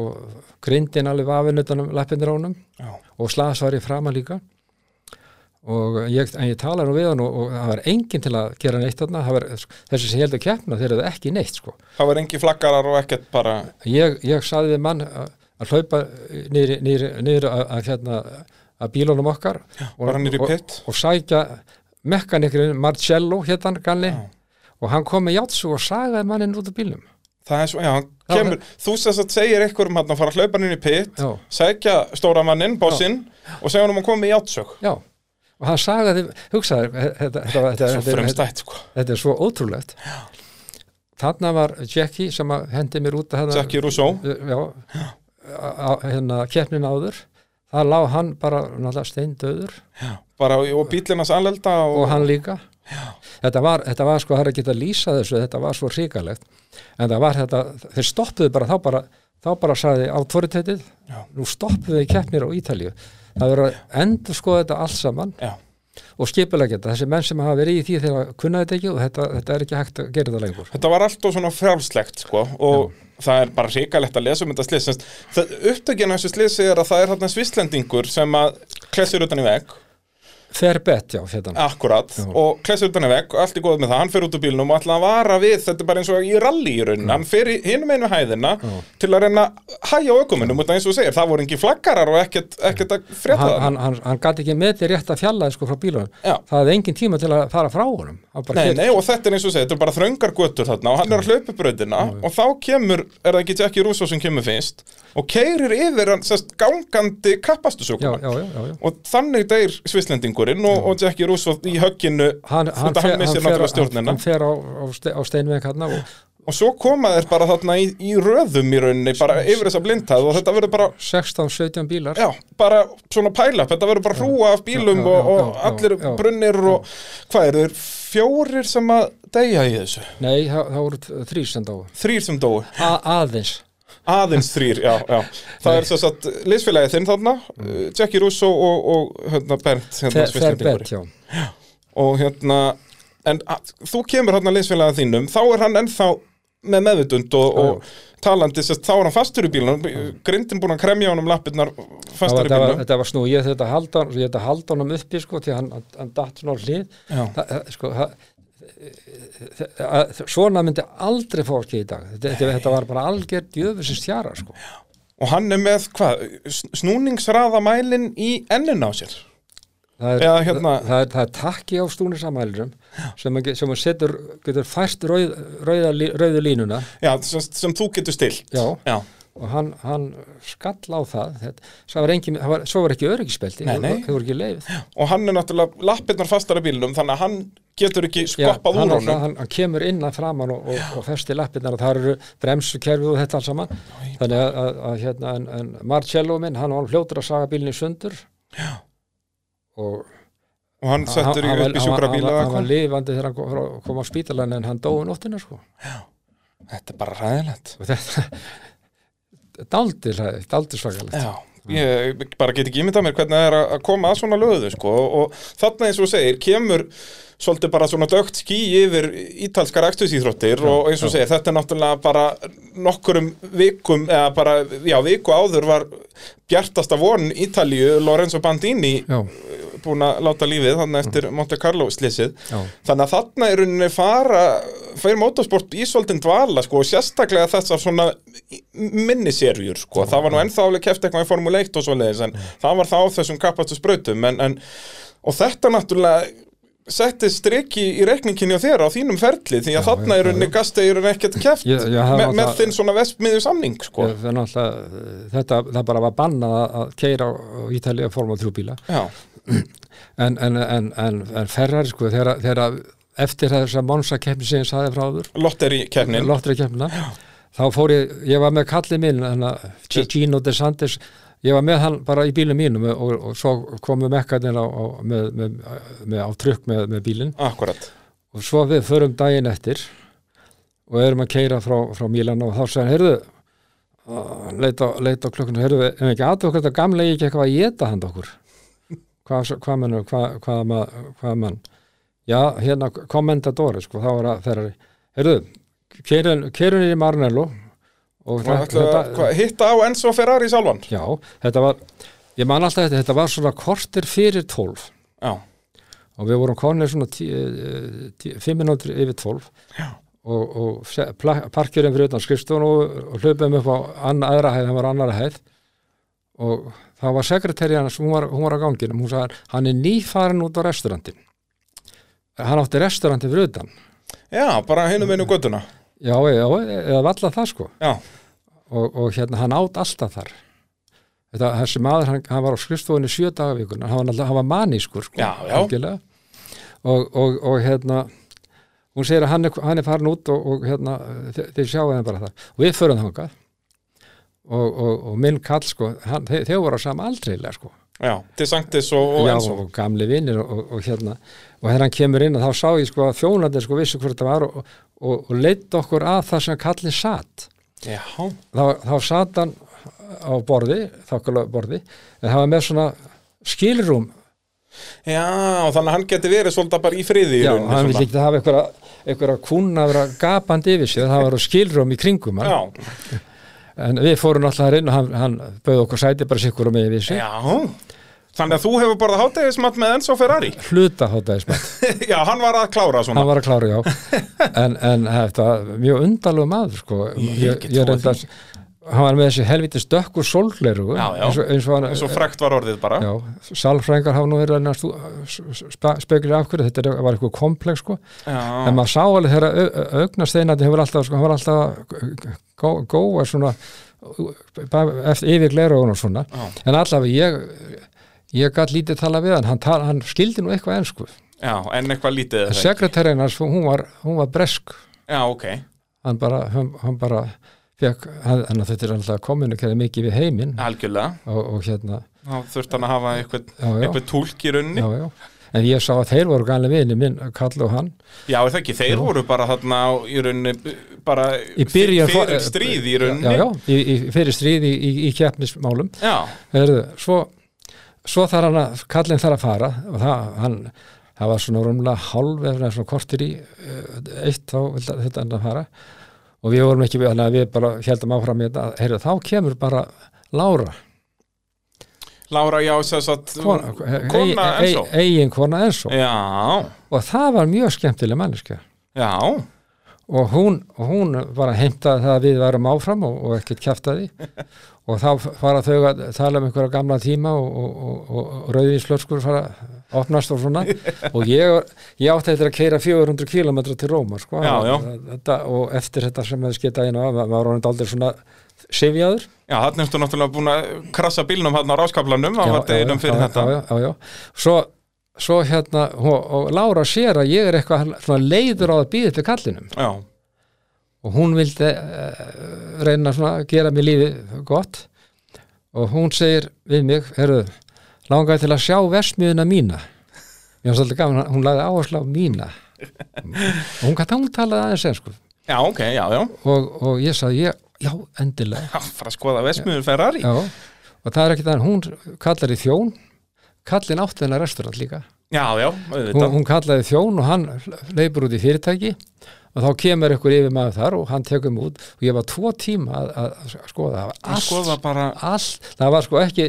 og grindin alveg vafin utan um lappindir ánum
já,
og slas var ég framan líka og ég, en ég tala nú við hann og, og það var enginn til að gera neitt þarna, það var, þessi sem ég held að keppna þeir eru ekki neitt sko
það var engi flaggarar og ekkert bara,
ég, ég saði við mann að að hlaupa niður, niður, niður að, að, hérna, að bílunum okkar og,
bara niður í
og,
pitt.
og sækja mekkanikrin Marcello hétt hann ganni
Já.
og hann kom með játsu og sagaði mannin út af bílum
Það er svo, já, hann kemur, þú sem sagt segir eitthvað um hann að fara að hlaupa hann inn í pitt,
já,
sækja stóra mannin, bossinn, og segja hann um að koma í játsög.
já og hann sagaði, hugsaði þetta, þetta, þetta,
Svo
þetta, þetta,
fremstætt, sko.
þetta er svo ótrúlegt já. þarna var Jackie sem að hendi mér út að hérna-
Jackie Rousseau,
já, á- á- hérna keppnin áður það lá hann bara náttúrulega steindauður
bara, og bílinn hans allelda
og
og,
hann líka þetta var, þetta var sko, það er ekki að lýsa þessu þetta var svo hrikalegt en það var þetta, þeir stoppuðu bara þá bara, þá bara sagði autoritetið
Já.
nú stoppuðu þið keppnir á Ítalíu það verður að endur skoða þetta allt saman
já,
og skipulega þetta, þessi menn sem hafa verið í því þegar kunnaði þetta ekki og þetta, þetta er ekki hægt að gera þetta lengur
þetta var alltaf svona frjálslegt, sko, og það er bara hrikalegt að lesa um þetta slið, semst, það upptökina þessu sliðsi er að það er þarna svislendingur sem að klessir utan í vegg,
fair bet, já, hérna. þetta
akkurat, og klessir utan í vegg, og allt er góð með það, hann fer út úr bílnum og alltaf að vara við, þetta er bara eins og í rally í rauninni, hann fer hinn með hæðina til að reyna að hæja aukumunum, út af um eins og þú segir, það voru engi flaggarar og ekkert, ekkert að frétta
hann,
það.
hann, hann, hann gæti ekki með því rétt að fjalla sko frá bílunum,
Já.
það hefði engin tíma til að fara frá honum Hann bara
Nei,
keyrði.
nei, og þetta er eins og segja, þetta er bara þröngar götur þarna og hann er að hlaupa bröðina og þá kemur, er það ekki Jackie Russo sem kemur fyrst og keirir yfir hann sest, gangandi
já,
kappastusökuna
já, já, já, já.
og þannig deyr svislendingurinn og, og Jackie Russo í högginu
Hann, hann,
þetta hann missir
fer,
náttúrulega
hann,
stjórnina
hann fer á, á, ste, á steinveg hann og
og svo koma þeir bara þarna í, í röðum í rauninni, bara yfir þessa blindhæð og þetta verður bara,
16-17 bílar
já, bara svona pæla þetta verður bara hrúa af bílum
Já, já,
og,
já,
og
já,
allir
já.
brunnir og hvað eru þeir, fjórir sem að deyja í þessu,
nei, það, það voru þrý sem dó
þrýr sem dóu
A, aðeins
aðeins þrýr, já, já það er svo satt liðsfélagið þinn þarna mm. Jackie Russo og, og hérna Bernd hérna,
Fer- fer
Svisslendingur.
bet, já
og hérna en að, þú kemur hérna liðsfélagið þínum þá er hann ennþá með meðvitund og, og talandi, sérst, þá er hann fastur í bílunum grindin búin að kremja honum lappirnar
Það
fastur í
var, það var,
bílunum
þetta var snú, ég þetta halda, hann- ég þetta halda honum uppi sko, því að hann, hann, hann datt svona á hlið
Já.
það, það- sko, það, það, svona myndi aldrei fá ekki í dag þetta, þetta- þetta var bara algjör djöfusins tjara sko.
og hann er með, hvað, sn- snúningsraðamælin í ennin á sér
það, er,
Eða hérna-
það, það, er, það er takki á stúnisamælurum sem, að ge- sem að setur, getur fært rauð, rauða, lí- rauðu línuna
já, sem, sem þú getur stilt
Já.
já,
og hann, hann skall á það þetta, svo, var engin, það var, svo var ekki öryggisbelti
Nei,
þau
nei.
voru- þau voru ekki leið
og hann er náttúrulega lappirnar fastar af bílnum þannig að hann getur ekki skoppað
hann,
úr
alltaf-
honum
hann, hann kemur innan framann og, og, og festi lappirnar og það eru bremsukerfið og þetta alls saman þannig að, að, að hérna, en, en Marcello minn, hann var fljótur að saga bílinni sundur já. og
og hann settur
hann-
upp
hann
í
var- hann
sjúkrabíla
var-
eða
hann var
eitthvað.
lifandi þegar hann kom, frá- kom á spítalan en hann dói nóttina sko
þetta er bara ræðilegt
og þetta *laughs* daldi, daldi svakalegt
Já, ég bara get ekki ímyndað mér hvernig það er að að koma að svona löðu sko. og þarna eins og þú segir, kemur svolítið bara svona dögt ský yfir ítalskar ekstusíþróttir og eins og þú segir, þetta er náttúrulega bara nokkurum vikum, eða bara, já, viku áður var bjartasta von Ítalíu, Lorenzo Bandini
já,
búin að láta lífið þannig eftir Monte Carlo slysið
Já.
þannig að þarna er rauninni fara fyrir motorsport í svolítinn dvala sko, og sérstaklega þessar svona miniserjur, sko. það var nú ennþá alveg keft eitthvað í Formule 1 og svoleiðis en það var það á þessum kapastu sprautum en, en, og þetta náttúrulega setti strikki í reikningin hjá þér á þínum ferli því að þarna er rauninni gasteirun ekkert keft
Ég- ég
me,
hafði
með
náttúrulega-
þinn svona vestmiðju samning sko.
Það er náttúrulega, eh, þetta, það bara var bannað að- að keira á Ítalíu að forma þrjúbíla
já,
en, en, en, en, en ferrar sko þegar, þegar eftir þess að Monsa keppni sem ég saði frá þur
lotteri keppnin
lottri keppnina þá fór ég, ég var með kallið minn hana, G- Gino De Santis ég var með hann bara í bílum mínum og, og, og svo komu mekkarnir á, á, með, með, með, á trukk með, með bílinn
akkurat
og svo við förum daginn eftir og erum að keira frá, frá Mílan og þá segir hann, heyrðu að leita, leita á klukkuna, heyrðu, ef ekki aðtöku þetta gamla ég ekki eitthvað að geta
*laughs*
handa okkur hvað, hvað menn, hvað, hvað, hvað, hvað mann já, hérna komendadóri, sko, þá var að ferrari heyrðu, keirun er í Marnello og
Og ætlaðu að- hvað, hitta á Enzo Ferrari sjálfan
já, þetta var ég man alltaf þetta, þetta var svona kortir fyrir 12
já
og við vorum konir svona eh, 5 minútur yfir 12 og, og se- pla- parkjörinn fyrir utan skrifstun og, og hlöpum upp á anna, aðra hæð, hann var á annarri hæð og það var sekretæri hans, hún var, hún var á ganginum, hún sagði hann er nýfarin út á restaurantin hann átti restaurantin fyrir utan
Já, bara hinum einu göttuna
já, já, eða valla það sko
Já,
og, og hérna hann átt alltaf þar þetta, þessi maður, hann, hann var á skrifstofunni sjö dagavíkunar, hann var, náttúrulega- hann var manískur sko,
Já, já.
algjörlega. og, og, og hérna hún segir að hann er, hann er farin út og, og hérna, þið, þið sjáu þeim bara þar og við förum þangað og, og, og minn kall sko, hann, þe þeir voru á sama aldreilega sko
já, til Sanktis og, og
já,
Enzo
og gamli vinnir og, og, hérna og þegar hann kemur inn að þá sá ég sko að þjónandi sko vissi hvort það var og, og, og leitt okkur að það sem kallin satt
Já,
þá, þá satt hann á borði, þákkulega borði en það var með svona skilrúm
já, þannig að hann geti verið svolítið bara í friði í
já,
rauninni,
hann
svona.
vildi ekki hafa einhverja, einhverja kúna að vera gapandi yfir sig það var skilrúm í kringum hann
Já,
en við fórum alltaf þar inn og hann, hann bauð okkur sæti bara sikkur og með yfir sig
já Þannig að þú hefur borðað hátegismat með Enzo
*laughs*
Ferrari
hluta hótaðismat,
Já, hann var að klára svona
hann var að klára
*laughs*
já en, en þetta var mjög undalegu maður sko
Ég get trúað
reynda að- hann var með þessi helvitis dökkur sólgleru
Já, já.
eins og, eins og hann,
Svo frekt var orðið bara
Já, salfrængar hafa nú verið að næstu speklir af hverju, þetta er- var eitthvað komplex sko, en
Já,
maður sá alveg þegar au- au- augnasteinandi hefur alltaf, sko, hann var alltaf að gó- góa svona uh, bara eftir yfir glerugun og svona
Já.
en allavega ég ég gætt lítið tala við hann, hann, tala, hann skildi nú eitthvað ensku,
já, en eitthvað lítið
en
eða ekki?
sekretærin hans, hún var, hún var bresk
Já, ok
hann bara, hann, hann bara fekk, hann, hann þetta er alltaf kominu mikið við heiminn
Algjörlega,
og, og hérna,
þá þurft hann að hafa eitthvað,
já, já.
eitthvað túlk í runni Já,
já, já. en ég sá að þeir voru gæli vini minn, Karl og hann
er það ekki, þeir voru bara þarna á, í runni bara
Í byrjun-
fyrir stríð í runni
já, já, í, í, fyrir stríði í, í, í keppnismálum
já,
Heyrðu, svo, svo þar hann að Karlinn þar að fara og það, hann, það var svona rúmlega hálf eða svona kortir í eh, eitt þá vildi þetta hann að fara og við vorum ekki, þannig að við bara heldum áfram í þetta, heyrðu, þá kemur bara Lára,
Lára, já, sess að
kona, e,
kona Enzo
eigin kona Enzo
Já,
og það var mjög skemmtileg manneska
já
og hún, og hún bara heimtaði það að við værum áfram og, og ekkert
*laughs*
kjaftaði og þá fara þau að tala um einhverja gamla tíma og, og, og, og rauðinslöskur fara að opnast og
*laughs*
svona og ég, ég átti eftir að keira 400 km til Róma sko,
Já, já.
Þetta, og eftir þetta sem hefði skeitt daginn á maður var hann aldrei svona sifjaður
Já, þannig ertu náttúrulega búin að krassa bílnum hann á ráskaflanum á
Já,
var deginum fyrir
já,
þetta.
já, já, já, já. Svo, svo hérna og, og Lára sér að ég er eitthvað svona leiður á að býða til kallinum
Já,
og hún vildi uh, reyna svona að gera mér lífi gott og hún segir við mig, herru langaði til að sjá versmiðuna mína ég var svolítið gaman, hún lagði áherslu á mína og hún gæti hún talaði aðeins enn sko
já, ok, já, já.
og, og ég sagði, ég, já, endilega
Já, fara að skoða vesmiður Ferrari.
já, og það er ekki það hún kallar í þjón kallin átti hennar restaurant líka
Já, já,
hún,
auðvitað.
hún kallaði þjón og hann leipur út í fyrirtæki og þá kemur ykkur yfir maður þar og hann tekur mig út og ég var tvo tíma að, að, að skoða það var
Hún
allt,
skoða bara,
allt, það var sko ekki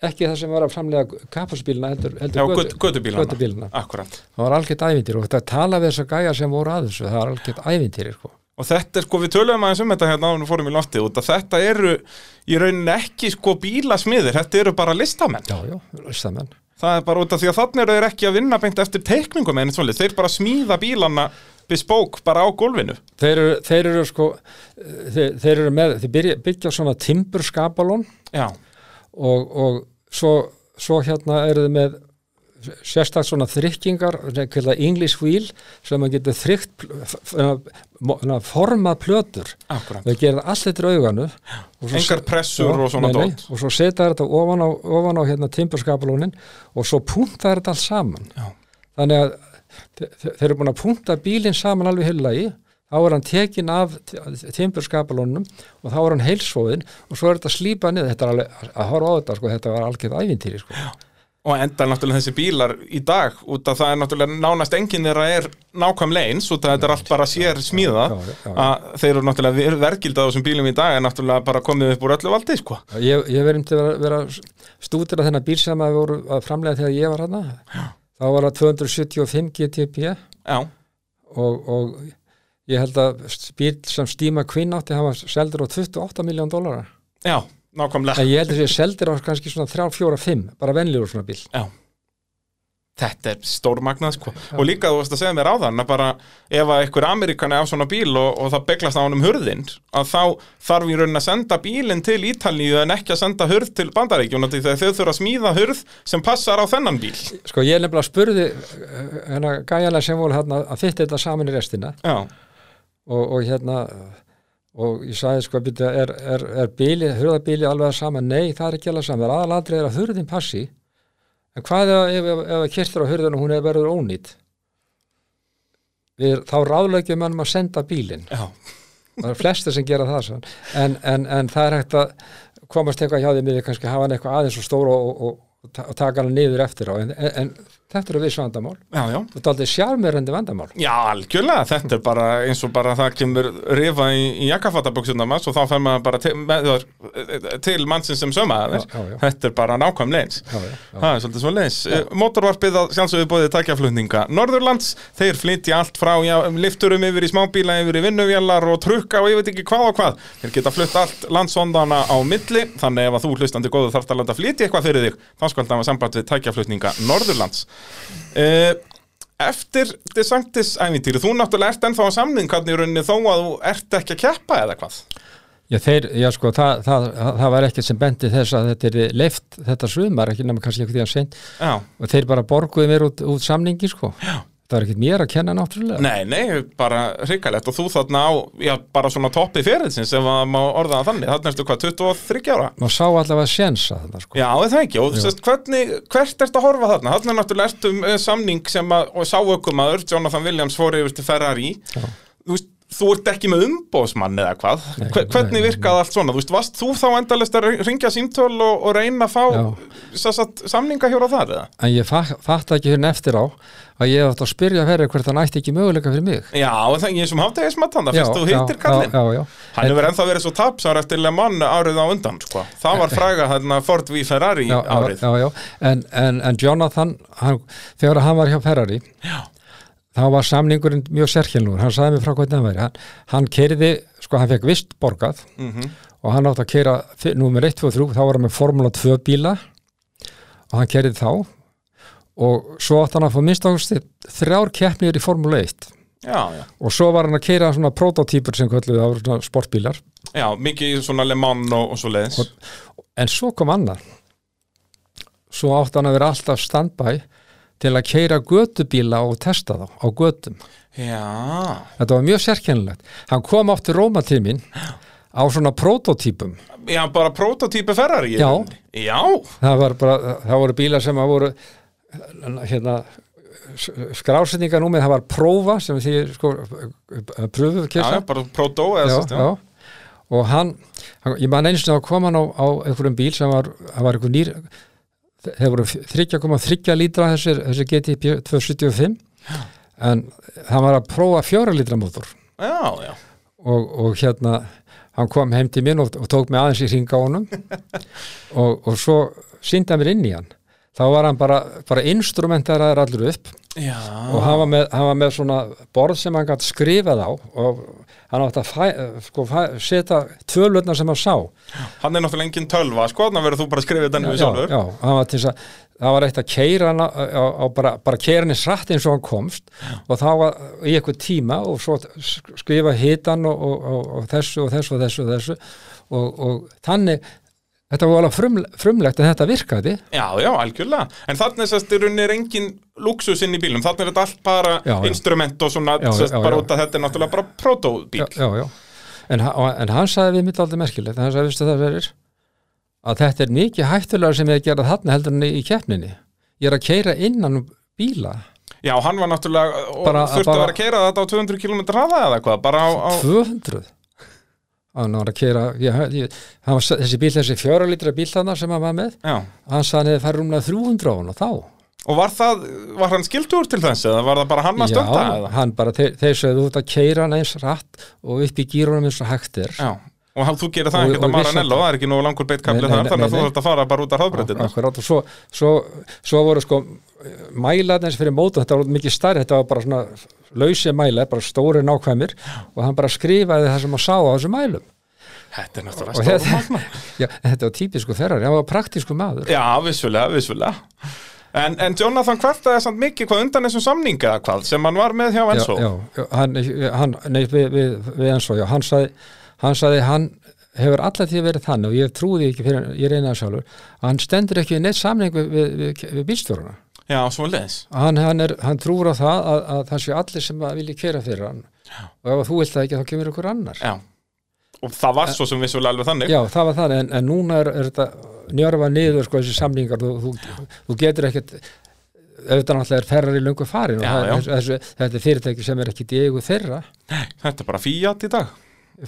ekki það sem var að framlega kapasbílina heldur,
já,
heldur götu-
gödubílana.
götubílana.
Akkurat.
það var algjört ævindir og þetta tala við þess að gæja sem voru að þessu, það var algjört ævindir sko.
Og þetta er sko, við töluðum aðeins um þetta hérna áður en við fórum í loftið út að þetta eru í rauninni ekki sko bílasmiðir, þetta eru bara listamenn.
já, já, listamenn
Það er bara út af því að þannig eru þeir ekki að vinna beint eftir teikningum einu svolítið, þeir bara smíða bílana bespoke bara á gólfinu.
þeir eru, þeir eru sko þeir, þeir eru með, þeir byrja, byggja svona timburskapalón
Já,
og, og svo, svo hérna eru þið með sérstakt svona þrykkingar kallað English wheel sem að geta þrykt pl- f- f- hérna, mo- hérna, forma plötur
akkurat.
þau gerða allt þetta rauganu
Engar pressur og svona dót.
og svo setja þetta ofan á, ofan á hérna, timburskapalónin og svo punta þetta allt saman
Já.
þannig að þe- þe- þeir eru búin að punta bílinn saman alveg heilagi þá er hann tekin af timburskapalónum og þá er hann heilsóðin og svo er þetta slípa niður þetta er alveg, að horfa á þetta sko, þetta var algjörð ævintýri sko.
Og enda náttúrulega þessi bílar í dag út að það er náttúrulega nánast enginn þeirra er nákvæmlega eins út að þetta er allt bara sér smíða
Já, já, já.
að þeir eru náttúrulega ver- verðgildi á þessum bílum í dag er náttúrulega bara komið upp úr öllu valdi sko.
ég, ég verðum til að vera- vera stútir að þennan bíl sem að voru að framlega þegar ég var hana þá var það 275 GTP
Já,
og, og ég held að bíl sem Stíma Quinn átti hann var seldur á 28 miljón dólarar
já, nákvæmlega
en ég held að sé seldur á kannski svona 3, 4, 5 bara venljur svona bíl
Já Þetta er stórmagnað sko Og líka þú veist að segja mér á þann að bara ef að einhver Amerikan er á svona bíl og, og það beglast á honum hurðinn að þá þarf í raunin að senda bílinn til Ítalíu en ekki að senda hurð til Bandaríkjuna því þegar þau þurfa að smíða hurð sem passar á þennan bíl
sko ég nefnilega spurði eh, hérna gæjala sem voru hérna að fytta þetta saman í restina
Já,
og, og hérna og ég sagði sko byrja, er, er, er bíli, hurðabíli alveg að sama nei það er ekki alveg sama, aðalandrið er að hurðin passi en hvað ef, ef, ef, ef kirtur á hurðinu hún er verður ónýtt Við, þá ráðlegjum mannum að senda bílinn
já,
það er flestir sem gera það sann. en, en, en það er hægt að komast eitthvað hjá því miður kannski hafa hann eitthvað aðeins og stóra og, og, og, ta- og taka hann niður eftir á en, en, en þetta eru viss vandamál
já, já
þetta er aldrei sjármörandi vandamál
Já, algjörlega, þetta er bara eins og bara það kemur rifa í, í jakkafattaböksunna manns og þá fer maður bara til, með, til mannsins sem sömaðar
Já, já, já.
Þetta er bara nákvæmlega eins
já, já, já.
Það er svolítið svo leins. Mótorvarpið að sjálfsögðu bóðið takjaflutninga Norðurlands, þeir flytja allt frá já, lifturum yfir í smábíla, yfir í vinnuvjallar og trukka og ég veit ekki hvað og hvað. Þeir geta flutt allt landsondana á milli, þannig ef að þú hlustandi góðu þarft að landa að flytja eitthvað fyrir þig, þá skal það hafa samband við takjaflutninga Norðurlands. Uh, eftir DeSantis ævintýri, þú náttúrulega ert ennþá á samning hvernig í rauninni þó að þú ert ekki að keppa eða hvað?
Já, þeir, já sko, það, það, það var ekkert sem bendi þess að þetta er leift þetta sumar, ekki nema kannski eitthvað því að seint
Já.
og þeir bara borguðu mér út, út samningi sko.
Já.
það var ekkert mér að kenna náttúrulega
Nei, nei, bara hryggalegt og þú þarna á, já, bara svona toppi fyrirlsins ef að má orða það þannig, þarna ertu hvað, 23 ára?
maður sá allavega sjensa þarna sko.
Já, er það ekki, og þú veist, hvernig, hvert ertu að horfa þarna? Þarna er náttúrulega ertu um samning sem að, og sá ökkum aður, Jonathan Williams fór yfir til Ferrari,
Já.
þú veist, þú ert ekki með umbóðsmann eða hvað,
Nei,
Hver,
nei,
hvernig
nei,
virkaði allt svona, þú veist, varst þú þá endalist að ringja símtöl og, og reyna að
Já.
fá satt, samninga hjá þar eða?
en ég fa- fatt ekki hérna eftir á að ég átt að spyrja verið hvert hann ætti ekki möguleika fyrir mig
Já, er það ekki eins og hátægismat hann, það
Já,
fyrst þú
já,
hittir kallinn.
já, já, já.
Hann hefur ennþá verið svo tapsar eftir Le Mans árið á undan, sko. Það var fræga þarna Ford v Ferrari
já,
árið.
já, já. En, en, en Jonathan hann, þegar hann var hjá Ferrari já. þá var samningurinn mjög sérkjálnur hann sagði mér frá hvernig hann væri hann, hann kerði, sko hann fekk vist borgað og hann átti að kera númer 1, 2 og 3, þá var hann með Formula 2 bíla og hann kerði þá og svo átti hann að fá minnst ákvæmst þrjár keppnir í Formula 1
Já, já.
og svo var hann að keira svona prototýpur sem kvölduði á svona sportbílar
Já, mikið í svona Le Mans og, og svo leiðis.
en svo kom annar svo átti hann að vera alltaf standbæ til að keira götubíla og testa þá á götum
Já.
þetta var mjög sérkennilegt hann kom átti Róma til mín á svona prototýpum
Já, bara prototípi Ferrari. í
Já.
rauninni. Já.
það, var bara, það voru bílar sem að voru hérna skrásetninga númið, það var prófa sem því sko pröfu
Já, já, bara proto eða
já,
svo
já. og hann, hann ég man eins og þá kom hann á, á einhverjum bíl sem var, það var einhver nýr þeir voru 3,3 lítra þessir, þessir GTP 275 en hann var að prófa 4 lítra mótor
Já, já.
og, og hérna hann kom heim til minn og, og tók mig aðeins í hringa á honum og, og svo síndi hann mér inn í hann þá var hann bara, bara instrumentaraður allur upp
Já.
og hann var, með, hann var með svona borð sem hann gætt skrifað á og hann átti að fæ, sko, fæ, setja tvölutna sem hann sá
Hann er náttúrulega engin tölva, sko, þannig verður þú bara að skrifa þetta ennum við sjálfur.
já, hann var til þess að það var eitt að keira hann á, á, á bara, bara keira hann í srætt eins og hann komst og þá var í eitthvað tíma og svo sk- skrifa hitan og, og, og, og þessu og þessu og þessu og þessu og, og þannig þetta var alveg frum, frumlegt að þetta virkaði
Já, já, algjörlega. En þannig sérst í rauninni er engin luxus inn í bílum. Þannig er þetta allt bara
Já, já.
instrument og svona,
Já, já,
sérst
já,
bara
já.
út að þetta er náttúrulega bara protobíl.
já, já, já. En, ha- og- en hann sagði við mitt aldrei merkilegt hann sagði, veistu það verir að þetta er mikið hættulega sem ég gerði þarna heldur en í keppninni ég er að keira innan um bíla
Já, hann var náttúrulega, eh, og
Bara-
þurfti
bara-
að vera að keira þetta á 200 km hraða eða hvað, bara á, á
200 að hann var að keira ég, ég, hann var, þessi bíl, þessi fjóra litra bíl þarna sem hann var með
já.
hann sagði hann hefði farið rúmlega 300 á hann og þá
Og var það, var hann skildur til þess eða var það bara hann að stönda eða?
hann bara, þeir, þeir sögðu út að keira hann eins rætt og upp í gýrunum eins og hægt er
Já. Og hann, þú gerir það
Og-
ekkert
og
að
vissi
Maranello, það er ekki nógu langur
Nei,
beittkafli
nei,
þar,
nei,
þannig að þú
nei.
þurft að fara bara út af hraðbreytina.
Akkurat, og svo, svo, svo voru sko mælarnir fyrir mótum, þetta var mikið starri þetta var bara svona lausi mælar bara stóri nákvæmir og hann bara skrifaði það sem hann sá á þessum mælum
Þetta er
og
náttúrulega stóra
þetta, *laughs* já, þetta var típisku þerrar, hann var praktísku maður
Já, vissulega, vissulega En, en Jonathan kvartaði samt mikið hvað undan þessum samninga eða hvað sem hann var með hjá
já,
Enso
já, já, hann, hann nei, við, við, við eins og já, hann sagði hann sagði hann hefur alla því verið þann og ég trúði ekki fyrir, ég reyna það sjálfur að hann stendur ekki við neitt samning við, við, við, við bílstjóruna
já svo leis
hann, hann, er, hann trúur á það að, að það séu allir sem að vilja kera fyrir hann og ef þú vilt það ekki þá kemur ykkur annar
Já Og það var svo sem vissulega alveg þannig
já, það var það, en, en núna er, er þetta njörfa niður sko þessi samlingar þú, þú, þú getur ekkert auðvitað náttúrulega er ferrar í löngu farin og
Já,
það,
já.
Þessu, þetta er fyrirtæki sem er ekki í eigu þeirra
Þetta er bara Fiat í dag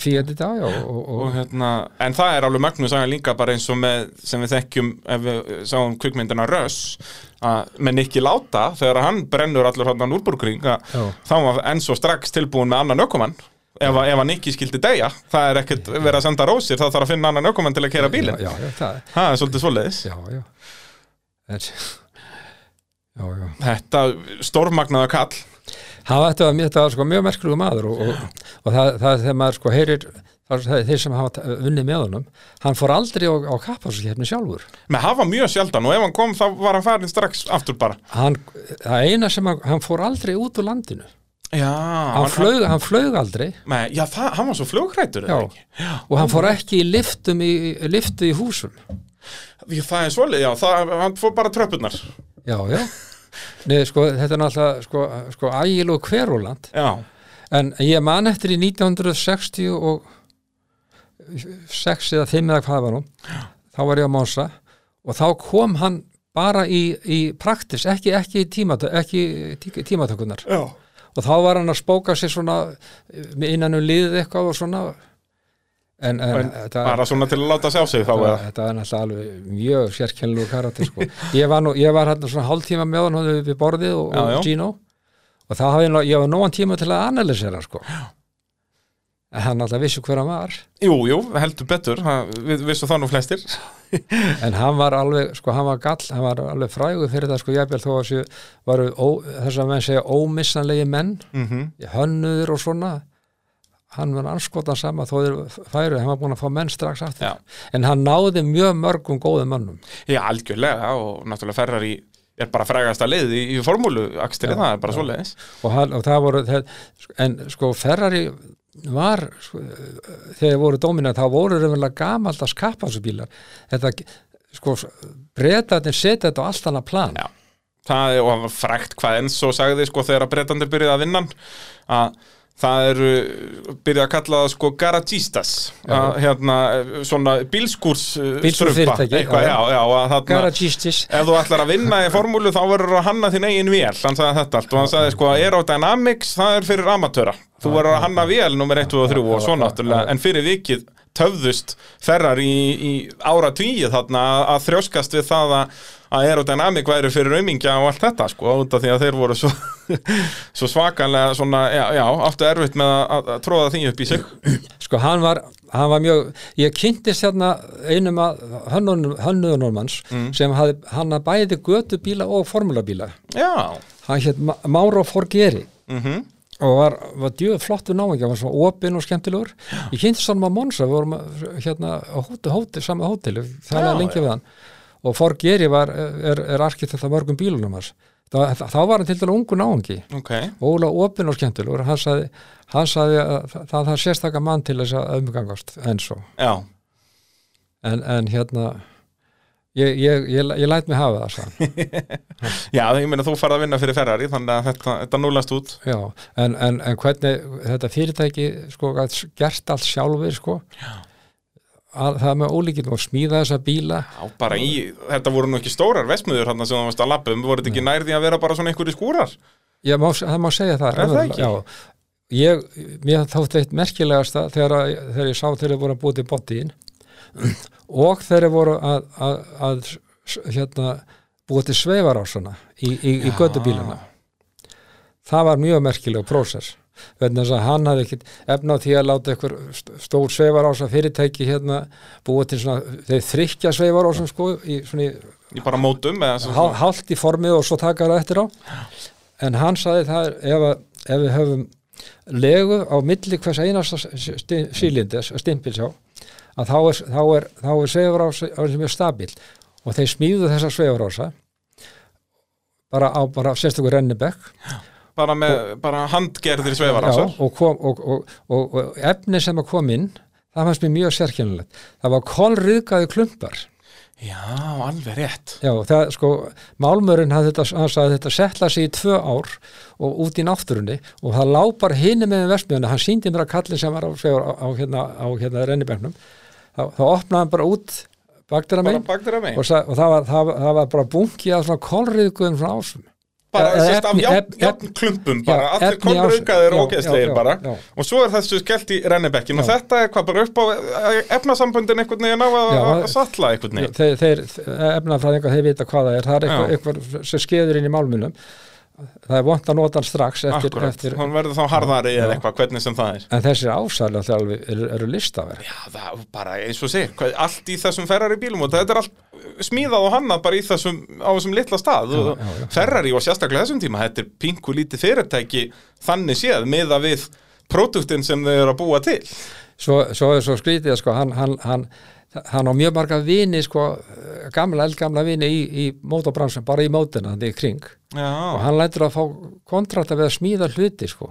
fyrir þetta, já, og, og,
og, hérna, En það er alveg magnus aðeins líka bara eins og með, sem við þekkjum ef við sáum kvikmyndina Röss að með Nicky Láta þegar hann brennur allur hann úrbúrkring
Já.
þá var Enso strax tilbúin með annan ökumann Ef, að- ef að Nicky skildi deyja, það er ekkert verið að senda rósir, það þarf að finna annan ökumann til að kera bílinn.
já, já, það,
Það er svolítið svoleiðis.
já, já en, já, já
Þetta stórmagnaða kall
Það var, þetta var, þetta var sko mjög merkilegu maður og, og, og það, það er þegar maður sko heyrir það, það er þeir sem hafa ta- unnið með honum hann fór aldrei á, á kappháskeppni sjálfur
með hafa mjög sjaldan og ef hann kom þá var hann farin strax aftur bara
hann, það eina sem hann, hann fór aldrei út úr landinu hann,
Já, hann, hann,
flaug, hann flaug aldrei
með, já það, hann var svo flugrættur
já, og hann fór ekki í liftum í, í- liftu í húsum
Það er svolítið, já, það, hann fór bara tröppurnar
já, já Nei, sko, þetta er náttúrulega sko, sko ægil og hverúland
Já,
en ég man eftir í 1960 og 6 eða 5 eða hvað það var nú þá var ég á Mósa og þá kom hann bara í, í praktis, ekki, ekki, í tímat, ekki í tímatökunar
já
og þá var hann að spóka sér svona innan um liðið eitthvað og svona en, en,
En
þetta,
Bara svona til að láta sjá sig þá
þetta,
eða
þetta var náttúrulega alveg mjög sérkennlu karakter sko. ég var, nú, ég var hérna svona hálftíma með hann við borðið og,
Já, já.
og Gino og þá hafði ég, ná- ég var nógan tíma til að analysera hann, sko. en hann alltaf vissi hver hann var *laughs*
Jú, jú, heldur betur, það- við vissu það nú flestir
en hann var alveg, sko, hann var gall hann var alveg frægur fyrir það, sko, jafnvel þó að séu, varu ó, þess að menn segja ómissanlegi menn,
mm -hmm.
hönnuður og svona hann var anskotan sama þó þeir færu, hann var búin að fá menn strax aftur,
Já.
en hann náði mjög mörgum góðum mönnum
Já, algjörlega og náttúrulega Ferrari er bara frægasta leið í, í formúlu akstri, það er bara svoleiðis
og, hann, og það voru það, en sko Ferrari var sko, eh, þegar voru dóminant þá voru raunverulega gamaldags kapphásubílar þetta sko breytaðin setja þetta á allt annað plan
Já, það er og hann var frægt hvað enn svo sagði sko þegar að breytandi byrjaði að vinna hann, að það eru byrjaði að kalla það sko garagistas að, hérna svona bílskúrs
Bílskúrsfyrirtæki,
eitthvað,
já,
já, já, að þarna
garagistis
Ef þú ætlar að vinna í formúlu þá verður að hanna þín eigin vél, hann sagði þetta allt og hann sagði sko að aerodynamics það er fyrir amatöra, þú verður að hanna vél nummer 1 og 3 og svo náttúrulega, en fyrir vikið töfðust ferrar í, í ára tvíi þarna að þrjóskast við það að að aerodynamic væri fyrir raumingja og allt þetta sko, út af því að þeir voru svo, *laughs* svo svakalega svona, já, já áttu erfitt með að, að- að tróða því upp í sig
sko hann var, hann var mjög ég kynntist hérna einum að hönnuðunarmanns mm. sem hafði, hann hafði bæði götubíla og formulabíla
Já,
hann hétt Ma- Mauro Forgeri
mhm
og var, var djöð flottu náingi, hann var svona opinn og skemmtilegur ég kynntist hann á Monsa, við vorum að- hérna á hóti, hóti, sama hóteli það
Já,
var lengi
já.
við hann og Forgeri var, er, er arkitekt af mörgum bílunum hans þá, þá var hann til dæla ungu náingi
Ok,
ólega opinn og skemmtilegur hann sagði, hann sagði að það, það þarf sérstaka mann til þess að umgangast eins og
já,
en, en hérna ég, ég, ég, ég læt mig hafa það sann
já, ég meina þú farð að vinna fyrir Ferrari þannig að þetta, þetta núlast út
Já, en, en, en hvernig þetta fyrirtæki sko, gat s- gert allt sjálfur sko, að, það er með ólíkinn og smíða þessa bíla
Já, bara í, þetta voru nú ekki stórar vesmiður hann sem það varst að lappa um, voru þetta ekki nær því að vera bara svona einhverju skúrar?
ég má, það má segja það,
Er það
alveg-
ekki?
Já, ég, mér þátti eitt merkilegasta þegar, að- þegar ég sá þeirra voru að búið til bottiðin *clears throat* og þeirra voru að, að, að s- hérna, búið til sveifarásana í, í, í göttubílana það var mjög merkileg prósess vegna þess að hann hafði ekkit efna á því að láta einhver st- stór sveifarása fyrirtæki hérna búið til svona, þeir þrykja sveifarásum sko í svona í
Í bara mótum eða svona,
hál- hálft í formið og svo taka það eftir á en hann sagði það er ef, að, ef við höfum legu á milli hvers einasta sílindi stimpilsjá að þá er, þá er, þá er sveifurás sem er stabíl og þeir smíðu þessa sveifurása bara á bara sérstakur rennibekk
bara með, bara handgerðir sveifarásar.
Já, og, kom, og, og, og, og efni sem að kom inn það fannst mér mjög sérkennilegt það var kolriðgaði klumpar
Já, alveg rétt.
Já, það sko, málmörinn hafði þetta, hann sagði þetta setla sig í tvö ár og út í náttúrunni og það lápar hinni með versmiðunni, hann síndi mér að kallin sem var á, á, á, hérna, á hérna rennibegnum, þá, þá opnaði hann bara út bakdara
Bara
megin
baktir að
og,
megin.
sa, og það, var, það, var- það var bara bunki af svona kolriðguðum svona ásum.
Bara
eða
sérst af
efni-
jafn,
efni-
jafn klumpum,
Já,
bara allir
efni á sig.
konraukaðir
Já,
og ógeðslegir
já, já,
bara.
já.
Og svo er þessu skellt í rennibekkin og
Já.
þetta er hvað bara upp á eh, efnasamböndin einhvern veginn á að,
Já,
að satla einhvern veginn.
þeir, þeir efnafræðingar þeir vita hvað það er, það er eitthvað,
Já.
eitthvað sem skeður inn í málmunum, það er vont að nota hann strax eftir,
Akkurat,
eftir
hún verður þá harðari eða eitthvað, hvernig sem það er.
en þessir ásæðlega þegar alveg eru, eru listaverk.
Já, það er bara eins og segir, hvað- allt í þessum Ferrari bílum og þetta er allt uh, smíðað og hannað bara í þessum, á þessum litla stað og
já, já.
Ferrari og sérstaklega þessum tíma, þetta er pinku lítið fyrirtæki þannig séð meða við próduktin sem þau eru að búa til.
svo, svo, svo skrítið að sko, hann, hann, hann, hann á mjög marga vini sko, gamla, eldgamla vini í, í mótobransum, bara í mótina þannig í kring og
Já,
hann lætur að fá kontrakta við að smíða hluti sko.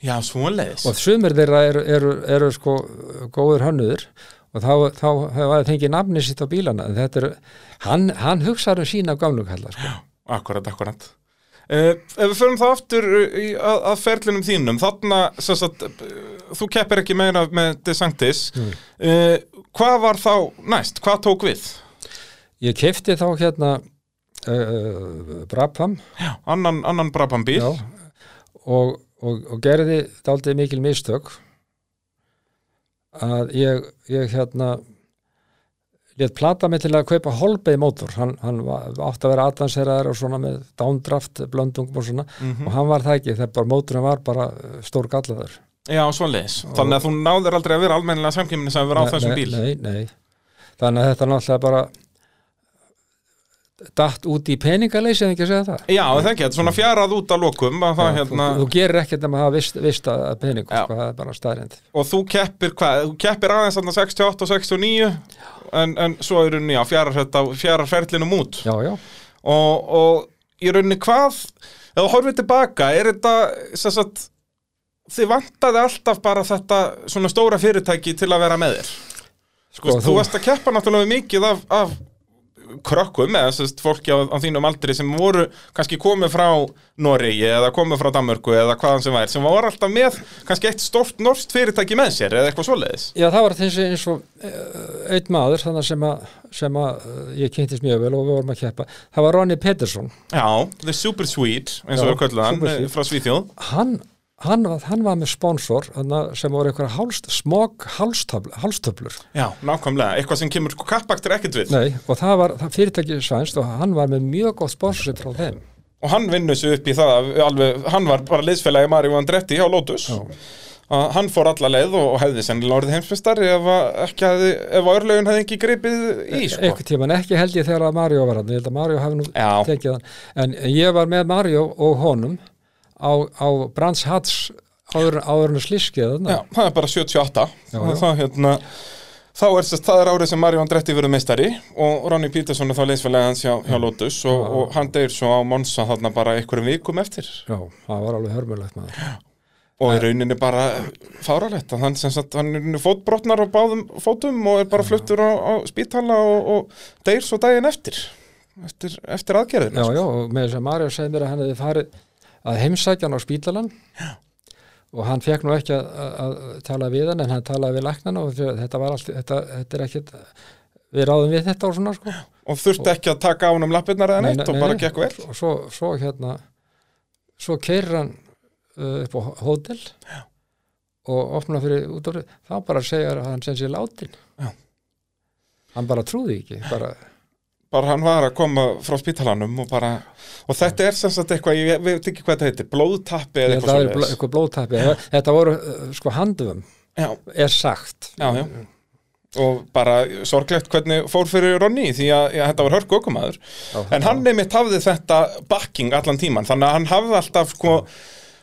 já, svoleiðis.
og sumir þeirra eru, eru, eru sko, góður hönnuður og þá, þá hefur það fengið nafni sitt á bílana En þetta er, hann, hann hugsaður um sína gamlu kalla sko.
Akkurat, akkurat. Uh, ef við förum þá aftur uh, í, að, að ferlinum þínum, þarna, sem sagt, uh, þú keppir ekki meira með DeSantis, mm. hvað var þá næst, hvað tók við?
ég kefti þá hérna uh, Brabham
Já, annan, annan Brabham bíl.
Já, og, og, og gerði daldið mikil mistök að ég, ég hérna létt plata mig til að kaupa Holbeig mótor, hann, hann var, átti að vera advanseraður og svona með downdraft blöndungum og svona
Mhm.
og hann var það ekki þegar bara mótorinn var bara eh, stór gallaður
Já, svoleiðis. Þannig að þú náður aldrei að vera almennilega samkjömmin sem við á þessum bíl.
Nei, nei, þannig að þetta náttúrulega bara datt út í peningaleysi en ekki að segja það
Já, er það ekki, þetta er svona fjarað út að lokum að það,
Já,
hérna,
þú, þú gerir ekkert nema að hafa vist, vist að pening
Já.
sko, það er bara staðrind
og þú keppir hvað, þú keppir aðeins þarna 68 og 69 en, en svo er rauninni, já, fjarar þetta, fjarar ferlinum út
já, já,
og, og í rauninni hvað ef þú horfið tilbaka, er þetta sem sagt, þið vantaði alltaf bara þetta svona stóra fyrirtæki til að vera með þér
Sko,
þú,
þú-
þú varst að keppa náttúrulega við mikið af, af krökkum eða sérst fólki á, á þínum aldri sem voru kannski komið frá Noregi eða komið frá Danmörku eða hvaðan sem væri sem var alltaf með kannski eitt stórt norskt fyrirtæki með sér eða eitthvað svoleiðis
já það var þessi eins og eh, einn maður þannig sem að, sem að eh, ég kynntist mjög vel og við vorum að keppa það var Ronny Pettersson
Já, The Super Swede eins og
Já,
við köllum
Super
hann eh,
Swede.
frá Svíþjóð
hann, hann, var- hann var með sponsor þarna, sem voru einhverja hálst, smog hálstöfl, hálstöflur
Já, nákvæmlega, eitthvað sem kemur kappaktur ekkert við
Nei, og það var það fyrirtæki sænst og hann var með mjög gott sponsorship frá þeim
og hann vinnur sig upp í það að alveg, hann var bara liðsfélagi Mario Andretti hjá Lotus
Já.
að hann fór alla leið og, og hefði sennilega orðið heimsfestari ef, að ekki hefði, ef að örlögin hefði ekki gripið í sko.
einhvern tímann ekki held ég þegar að Mario var hann ég held að Mario hafi nú
Já.
tekið hann en ég var með Mario og honum á, á Brands Hats áður, áður en slískið
Já, það er bara 78
Já,
og
já.
það hérna þá er sérst, það er árið sem Mario Andretti verið meistari og Ronny Peterson er þá liðsfélagi hans hjá, hjá Lotus og, og hann deyr svo á Monsa þarna bara einhverjum vikum eftir
Já, það var alveg hörmulegt maður
og í rauninni bara fáralegt að hann sem sagt, hann er í rauninni fótbrotnar á báðum fótum og er bara fluttur á, á spítala og, og deyr svo daginn eftir eftir, eftir
Já,
aðgerðina
já, og með þess að Mario segði mér að hann hefði farið að heimsækja hann á spítalan og hann fekk nú ekki að, að, að tala við hann en hann talaði við læknana og fyrir, þetta var allt, þetta, þetta er ekkit við ráðum við þetta og svona sko
og þurfti ekki að taka á hann um lappirnar eða
Nei,
neitt
nei,
og bara
nei.
gekk vel
og svo, svo hérna svo keirir hann uh, upp á hótel Já. og opna fyrir út af þá bara segja að hann sem sér látin
Já.
hann bara trúði ekki bara,
bara hann var að koma frá spítalanum og bara, og þetta er sem sagt eitthvað ég veit ekki hvað þetta heitir, blóðtappi
ég
eða
held að
eitthvað
það er bló-
svoleiðis.
eitthvað blóðtappi þetta voru uh, sko handum
já,
er sagt
já, já og bara sorglegt hvernig fór fyrir Ronny því að já, þetta var hörku okkumaður
Já,
en hann nefnitt hafði þetta backing allan tíman þannig að hann hafði alltaf sko,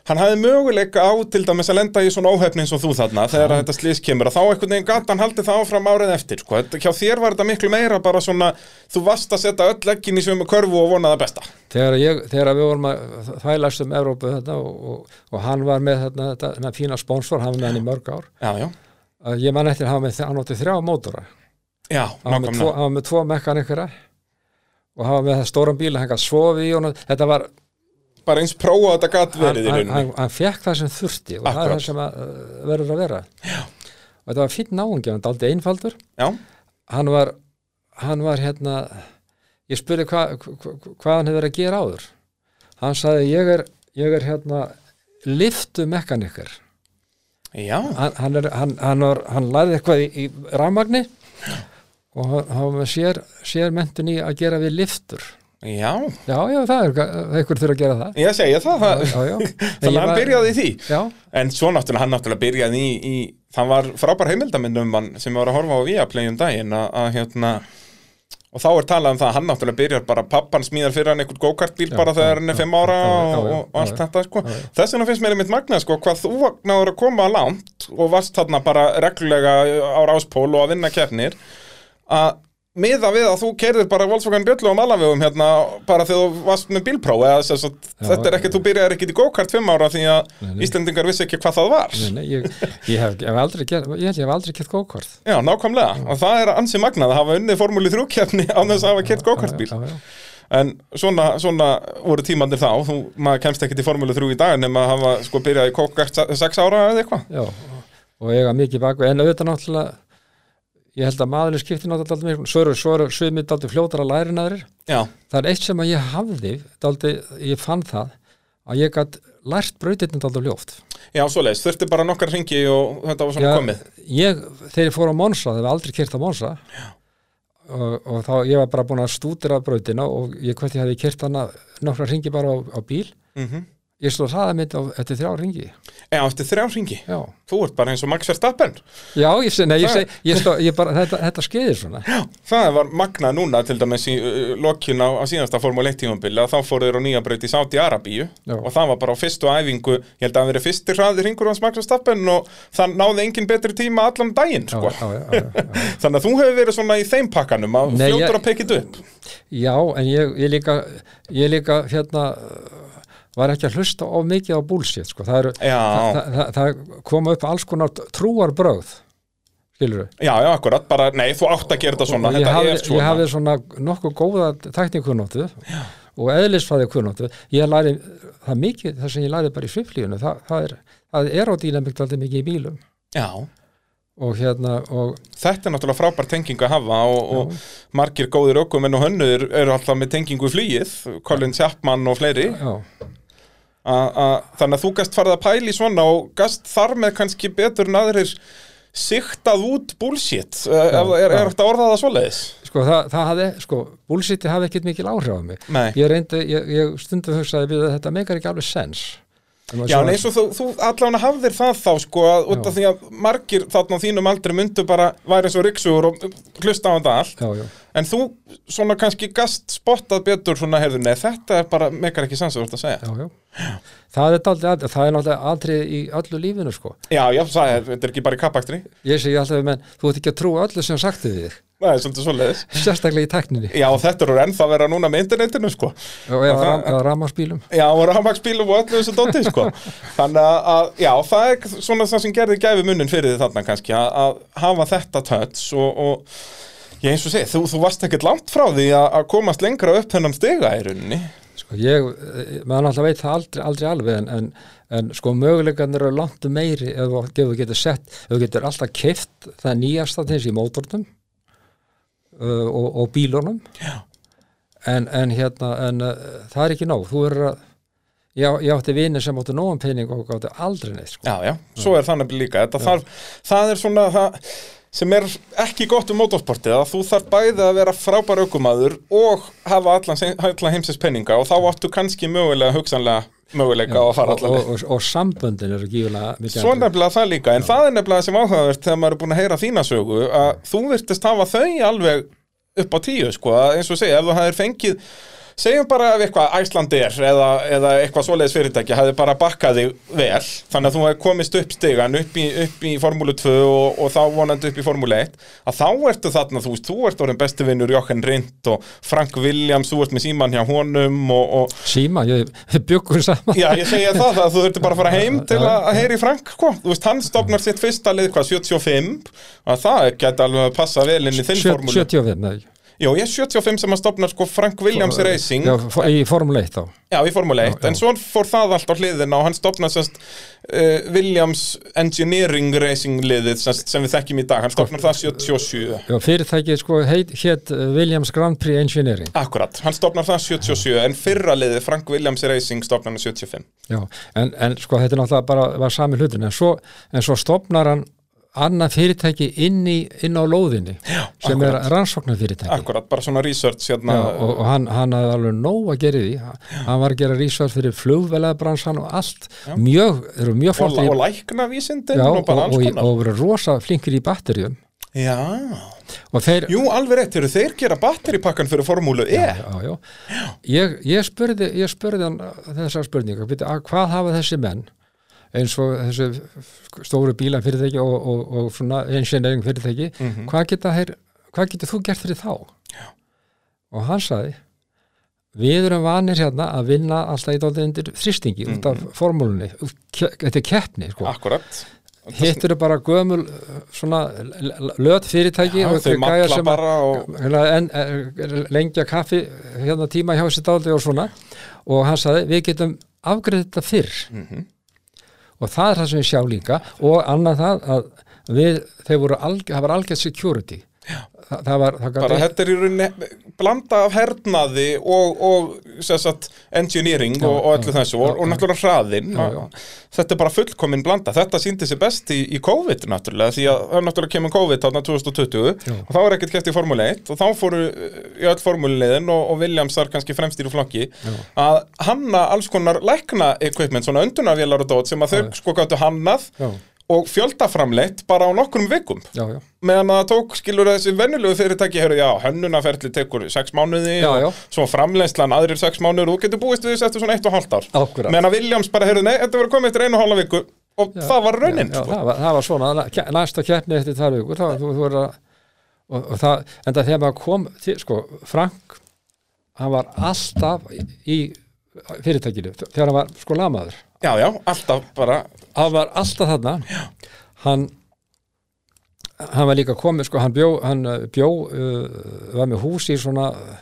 hann hafði möguleika á til dæmis að lenda í svona óhefni eins og þú þarna þegar þetta slís kemur og þá einhvern veginn gata hann haldið það áfram árið eftir sko. Þetta- hjá þér var þetta miklu meira bara svona þú varst að setja öll ekkin í sömu körfu og vona það besta
þegar, ég, þegar við vorum að þælast um Evrópu þetta og, og, og hann var með þetta, þetta, þetta fína sponsor, hann var með hann í mörg ár
já, já,
Uh, ég man eftir að hann var með- hann átti þrjá mótora
já,
hann var með tvo,
nákvæmlega
hann var með tvo mekkan einhverja og hann var með það stóran bíl hann gæti sofið í honum þetta var,
bara eins prófa þetta gat
hann,
verið í
hann,
rauninni
hann, hann fekk það sem þurfti og það
Akkurat.
er það sem að, uh, verður að vera Já. og þetta var fínn náungi, hann daldi einfaldur
já,
hann var, hann var hérna ég spurði hva, hva, hvað hann hefur verið að gera áður hann sagði ég er, ég er hérna liftu mekkanikar
já,
hann, hann, er, hann, hann, var, hann lagði eitthvað í, í rafmagni og hann- hann var með sér, sér mentun í að gera við liftur
já
Já, já, það er einhver þurfa að gera það
ég segi það, það
Já,
*laughs*
já
þannig að hann byrjaði í því
Já,
En svo náttúrulega, hann náttúrulega byrjaði í, í það var frábær heimildamind um hann sem ég var að horfa á Viaplay um daginn að, að hérna og þá er talað um það að hann náttúrulega byrjar bara pappan smíðar fyrir hann einhvern go-kartbíl
Já,
bara
já,
þegar hann er
já,
5 ára
já, já,
og,
já,
og allt
já, já.
þetta sko.
Já, já.
þess vegna finnst mér einmitt magnað sko, hvað þú náður að koma langt og varst þarna bara reglulega á ráspól og að vinna keppnir að miða við að þú kerðir bara Volkswagen Bjöllu og Malavegum hérna bara þegar þú varst með bílpróf eða þess að þetta er
já.
ekki, þú byrjar ekki í go-kart 5 ára því að
Nei, nei.
Íslendingar vissi ekki hvað það var
nei, nei, ég, ég hef, ég hef aldrei gert, ég held ég hef aldrei gert gókvart
Já, nákvæmlega, og það er ansi magnað að hafa unnið formúli þrjúkjafni *laughs* án þess að hafa kert gokartbíl
Já, já,
En svona, svona voru tímandir þá, þú, maður kemst ekki til formúli þrjú í dag nema að hafa sko byrjað í kokart sex ára eða eitthvað
já, já. og eiga mikið bakveg en auðvitað náttúrulega ég held að maðurinn skipti náttúrulega aldrei mikið svo eru, svo eru, sumið daldi fljótar að læri næðrir
Já,
það er eitt sem að ég hafði daldi, ég fann það að ég gat lært brautirni daldi ljóft
já, svoleiðis, þurfti bara nokkar ringi og þetta var svona komið
ég, þegar ég fór á Monsa, þegar var aldrei kert á Monsa og, og þá ég var bara búin að stúdira brautina og ég hvert ég hefði kert hana nokkra ringi bara á, á bíl
Mhm.
ég sló hraða mitt á eftir þrjá ringi
eða eftir þrjá hringi
já,
þú ert bara eins og Max Verstappen
já ég, seg- nei, ég,
Það-
seg, ég, sló, ég bara, þetta, þetta skeiðir svona
Já, það var magna núna til dæmis í uh, lokjun á, á síðasta Formule 1 tímambil að þá fóru þeir á nýja braut í Saudi Arabíu
Já.
og það var bara á fyrstu æfingu ég held að það verið fyrsti hraði ringur hans Max Verstappen og það náði engin betri tíma allan daginn
já,
sko.
já, já, já, já.
þannig að þú hefur verið svona í þeim pakkanum að
Nei,
fljótur
ég-
að pekja þetta upp
já, en ég, ég líka ég líka hérna var ekki að hlusta of mikið á bullshit sko. það, eru,
Já,
það, það, það koma upp alls konar trúarbrögð skilur
já, já, akkurat, bara, nei, þú átt að gera þetta svona,
og ég
þetta
hafði,
er svona
ég hafði svona nokkuð góða tæknikunóttu og eðlisfæði kunóttu ég læri það mikið, það sem ég læri bara í sviflífinu það, það er, það er á dýnamikt aldrei mikið í bílum
Já,
og hérna og
þetta er náttúrulega frábær tengingu að hafa og, og margir góðir okkumenn og hönnuður eru alltaf með tengingu í flýið Colin Chapman og fleiri
já,
a, a, þannig að þú gast farið að pæli svona og gast þar með kannski betur en aðrir siktað út bullshit já, ef það er,
já.
er hægt að orða það svoleiðis
sko það, það hafði, sko bullshiti hafði ekkert mikil áhrif á mig
Nei.
ég reyndi, ég, ég stundum hugsaði við að þetta meikar ekki alveg sens En maður
Já, en
svona-
eins og þú, þú allan hafðir það þá sko, að út af því að margir þarna á þínum aldrei myndu bara væri eins og ryksugur og hlusta á þetta allt
já, já,
en þú svona kannski gast spottað betur svona heyrðu, nei, þetta er bara mekar ekki sans að voru að segja.
já, já. Það, er dálítið, það er náttúrulega aldrei í öllu lífinu sko.
Já, já, það er, þetta er ekki bara í kappakstri
ég segi alltaf við menn, þú ert ekki að trúa öllu sem sagt er við þig,
það er svolítið svoleiðis.
sérstaklega í tækninni
Já, og þetta eru ennþá að vera núna með internetinu sko.
og eða, ram, eða rammarsbílum
Já, og rafmagsbílum og öllu þessu dóti, sko. Þannig að- að, já, það er svona það sem gerði gæfi munnin fyrir þið þarna kannski, að, að hafa þetta töts og, og ég eins og segi, þú, þú varst ekkert langt frá því að, að komast lengra upp þennan stiga í rauninni.
sko, ég, eh, maður alltaf veit það aldrei, aldrei alveg en, en, en sko möguleikarnir eru langt meiri ef þú- ef þú getur sett ef þú getur alltaf keift það nýjasta til þess í mótornum uh, og, og bílunum en, en hérna en, uh, það er ekki nóg þú er að ég, ég átti vini sem áttu nógum pening og áttu aldrei neitt sko.
Já, já, svo er þannig líka. Þetta þarf, það er svona það sem er ekki gott um motorsportið, að þú þarf bæði að vera frábær aukumadur og hafa allan, allan heimsins penninga og þá áttu kannski mögulega, hugsanlega möguleika á að fara
og,
allan leið.
og, og, og samböndin eru gífulega mikið
Svo er
andri-
nefnilega það líka, en það er nefnilega sem áhugavert þegar maður er búin að heyra þína sögu að þú virtist hafa þau alveg upp á tíu, sko, að eins og segja, ef þú hafðir fengið segjum bara ef eitthvað Æslandir eða, eða eitthvað svoleiðis fyrirtæki hafði bara bakkað þig vel þannig að þú hafði komist upp stigan upp í, upp í Formúlu 2 og, og þá vonandi upp í Formúlu 1 að þá ertu þarna, þú veist, þú ert orðin besti vinnur Jochen Rindt og Frank Williams þú ert með síman hjá honum og, og
síma, ég *laughs* bjökkum saman
Já, ég segja það, að þú þurfti bara að fara heim til að að heyra í Frank, sko. Þú veist, hann stofnar sitt fyrsta lið, hvað, 75, að það geti alveg að passa vel inn í þinn
Sjö-
formúlu.
75 nei.
Jó, ég er 75 sem að stofnar, sko, Frank Williams Racing,
Já,
já,
fó- í Formule 1 þá
í formúlu 1, en svo fór það allt á hliðina og hann stofnar semst uh, Williams Engineering Racing liðið semst, sem við þekkjum í dag, hann stofnar það 77.
Já, fyrirtækið sko heit, hétt uh, Williams Grand Prix Engineering
Akkurat, hann stofnar það 77, en fyrra liðið, Frank Williams Racing, stofnar hann 75.
Já, en, en sko þetta er náttúrulega bara var sami hlutin, en svo, en svo stopnar hann annað fyrirtæki inn, í, inn á lóðinni Já, sem er rannsóknarfyrirtæki
Akkurat, bara svona research hérna.
Já, og, og hann, hann hafði alveg nóg að gera í því Hann- hann var að gera research fyrir flugvelaðbransan og allt, mjög, þeir eru mjög
og,
flott í
og lækna vísindin
Já,
og
og,
bara
og,
alls
og,
konar
og verið rosa flinkir í batterjum
Já,
og þeir,
jú alveg rétt eru þeir gera batteripakkan fyrir formúlu E
já, já. Ég, ég, spurði, ég spurði hann þessar spurningar, byrja, að hvað hafa þessi menn eins og þessi stóru bíla fyrirtæki og, og, og svona engineering fyrirtæki,
Mm. Mhm.
hvað, geta þeir, hvað getur þú gert fyrir þá? Já. Og hann sagði, við erum vanir hérna að vinna alltaf í dálítið undir þrýstingi út af formúlunni, Ke- þetta er keppni, sko.
Mm-hmm. Akkurat
Hitt eru bara gömul uh, svona l- l- löt fyrirtæki
Já,
og
þau
einhverjir gæjar
malla
sem að-
bara og
Hérna, en, eh, lengja kaffi hérna tíma hjá sér dáldi og svona og hann sagði við getum afgreðið þetta fyrr og það er það sem við sjá líka og annað það að við, þeir voru alg, það var algjörð security Já. hérna. það, það var það gat
Bara
ein-
þetta er í rauninni blanda af hernaði og, og sem sagt, engineering og, og öllu þessu og, og náttúrulega hraðin Þetta er bara fullkomin blanda Þetta síndi sér best í, í COVID náttúrulega því að það náttúrulega kemur COVID þarna 2020 og þá er ekkert keft í Formule 1 og þá fóru eh, í öll formuleiðin og, og Williams þar kannski fremstir í flokki að hanna alls konar lækna equipment, svona öndunarvélar og dót sem að þau sko gáttu hannað
Já.
og fjöldaframleitt bara á nokkrum vikum
já, já,
meðan að það tók skilur þessi vennulegu fyrirtæki heyrðu, já, hönnunaferli tekur sex mánuði
Já, já.
og svo framleiðslan aðrir sex mánuður og þú getur búist við þessu eftir svona eitt og hálft ár
Akkúrat.
meðan að Williams bara heyrðu, nei, þetta verður komið eftir einu og hálfa viku og það var raunin
já,
sko.
það, var, það var svona, ke- næsta keppni eftir tvær vikur, það, þú, þú er að og, og það, en það þegar maður kom til, sko, Frank hann var alltaf í fyrirtækinu, þegar hann var sko lamaður
já, já, alltaf bara
hann var alltaf þarna hann hann var líka komið, sko, hann bjó hann uh, bjó, uh, var með hús í svona uh,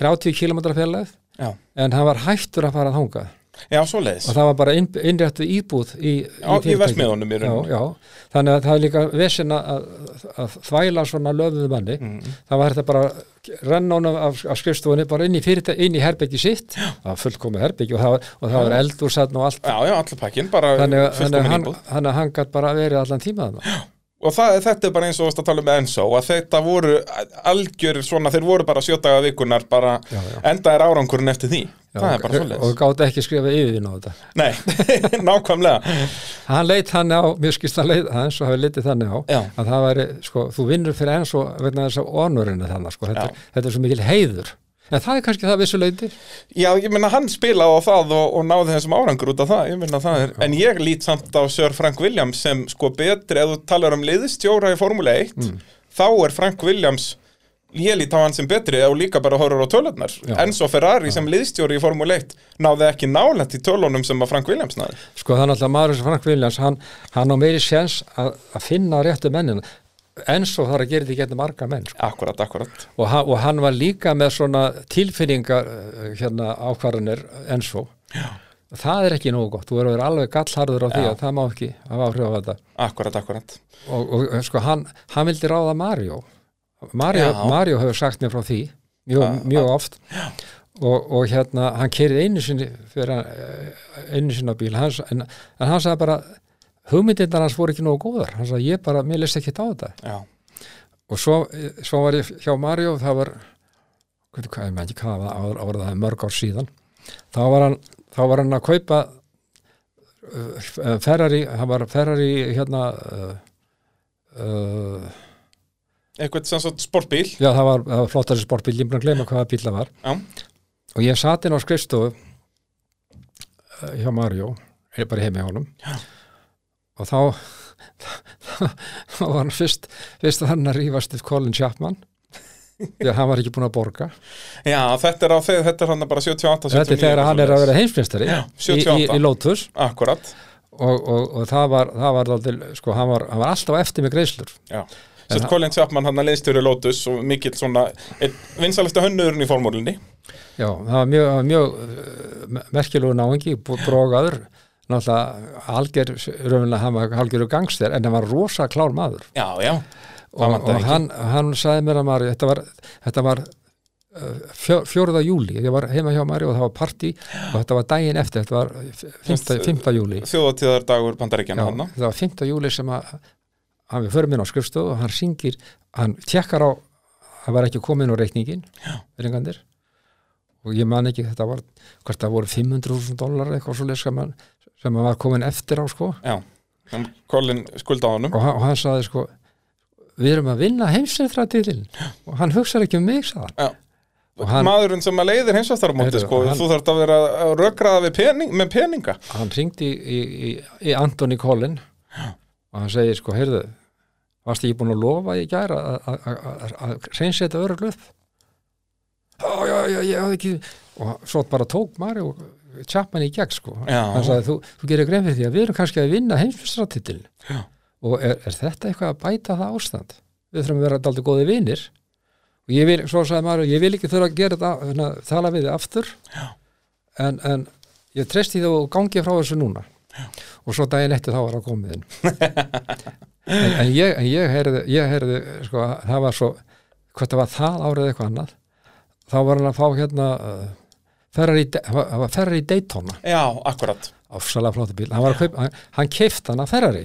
30 km fjarlæð
já,
en hann var hættur að fara að hanga
já svoleiðis
og það var bara inn, innrættu íbúð í,
Já, í
fyrirtækinu.
verksmiðjunum í
já,
rauninni.
já, þannig að það er líka vesinn að, að þvæla svona löfðu manni, það var þetta bara renna honum af, af skrifstofunni bara inn í, fyrirtæ, inn í herbyggi sitt það var fullkomið herbyggi og það var, og það var eldur sann og allt
já, já, allir pakkin, bara
þannig að- þannig að
fullkomin
hann,
íbúð
hann, hann gætt bara verið allan tíma þarna
og það, þetta er bara eins og þú varst að tala um með Enzo að þetta voru algjör svona þeir voru bara sjótaga vikunar bara
Já, já.
enda er árangurinn eftir því það er
og,
bara svoleiðis
og gátt ekki skrifa yfir á þetta
Nei, *laughs* nákvæmlega
hann leit hann á, mér skist hann leit hann svo hafi litið þannig á
Já.
að það væri, sko, þú vinnur fyrir enn svo vegna þess að onurinu þannig, sko, þetta,
Já.
er- þetta er svo mikil heiður en það er kannski það vissu leiti
Já, ég meina hann spilaði á það og, og náði þessum árangur út af það, ég meina það er en ég lít samt á Sir Frank Williams sem sko betri, ef þú talar um liðstjóra í Formule 1,
Mm.
þá er Frank Williams ég lít á hann sem betri og líka bara horfur á tölurnar Enzo Ferrari sem liðstjóri í Formule 1 náði ekki nálætt í tölunum sem að Frank Williams náði
sko það er náttúrulega maður sem Frank Williams hann, hann á meiri séns að, að finna réttu mennin en svo þarf að gera þetta í getur marga menn sko.
Akkurat, akkurat
og, hann, og hann var líka með svona tilfinningar eh, hérna ákvarðanir en svo Já. það er ekki nógu gott, þú verður að vera alveg gallharður á því að það má ekki hafa áhrif á þetta
Akkurat, akkurat
og, og eh, sko hann, hann vildi ráða Mario Mario,
Já.
Mario hefur sagt mér frá því mjög, mjög oft og, og hérna, hann kerið einu sinni fyrir hann, eh, einu sinna bíl hans, en, en hann sagði bara hugmyndirnar hans voru ekki nógu góðar hann sagði ég bara, mér leist ekki á þetta
Já,
og svo, eh, svo var ég hjá Mario og það var hvað, hvað, ég man ekki hvað það var, ára það er mörg ár síðan þá var hann, þá var hann að kaupa uh, Ferrari hann var Ferrari hérna uh, uh,
eitthvað sem svo sportbíl
Já, það var, það var flottari sportbíl, ég er búin að gleyma hvaða bíl það var
Já,
og ég satt inn á skrifstofu eh, hjá Mario, ég er bara heim í honum Já. og þá þá var hann fyrst fyrst var hann að rífast við Colin Chapman því að hann var ekki búin að borga
já þetta er á þeir, þetta er hann bara 78, 79
þetta er þegar hann er að vera heimsfinstari
Já,
í, í,
78.
í Lotus
Akkurat,
og, og, og það var, það var, dálítil, sko, hann var, hann var alltaf eftir með greiðslur
Já, sérst Colin Chapman hann að leiðstjóri Lotus og mikill svona vinsalasta hönnurinn í formúlinni
Já, það var mjög, það var mjög uh, merkilegu náingi, bro- brogaður náttúrulega algjör raunlega hann var algjöru gangster en hann var rosa klár maður
Já, já
og,
vantaði
og
ekki.
hann, hann sagði mér að maður þetta var, þetta var eh, fjör, fjórða júli, ég var heima hjá maður og það var partí og þetta var daginn eftir þetta var fymta, fymta júli
Þjóðatíðardagur
Já,
bandaríkjana hann
það var 5. júli sem að hann við förum inn á skrifstofu og hann syngir, hann tjekkar á hann var ekki komin á reikningin reyngandir og ég man ekki þetta var, hvort það voru 500.000 dólar eitthvað svo leið sem hann sem hann var komin eftir á sko
Já, en Colin skulda á honum
og hann, og hann saði sko við erum að vinna heimsendratillin og hann hugsar ekki um mig sagði
Já
hann og hann,
Maðurinn sem að leiðir heimsvæftarmóti
Heyrðu,
sko,
hann-
þú þarft að vera að rökraða við pening, með peninga
hann ringdi í, í, í Antoni Collin og hann segi sko, heyrðu varst ekki búin að lofa í gæra að reynsetta öruglu upp já, já, já, ég hafði ekki og svo bara tók Mari og tjappan í gegn sko
Já.
hann sagði, þú, þú gerir grein fyrir því að við erum kannski að vinna heimsfyrstratitil
Já.
og er, er þetta eitthvað að bæta það ástand við þurfum að vera daldi góði vinir og ég vil, svo sagði Mari, ég vil ekki þurfa að gera þetta, hérna, tala við þið aftur en, en ég treysti þú gangi frá þessu núna og svo daginn eftir þá var það komið inn en, en ég, en ég heyrði, ég heyrði sko, það var svo hvort það var það árið eða eitthvað annað þá var hann að fá hérna uh, Ferrari, De- hann var- hann var Ferrari Daytona
Já, akkurat
ofsalega flóti bíl, hann var að kaupa hann, hann keifti hann að Ferrari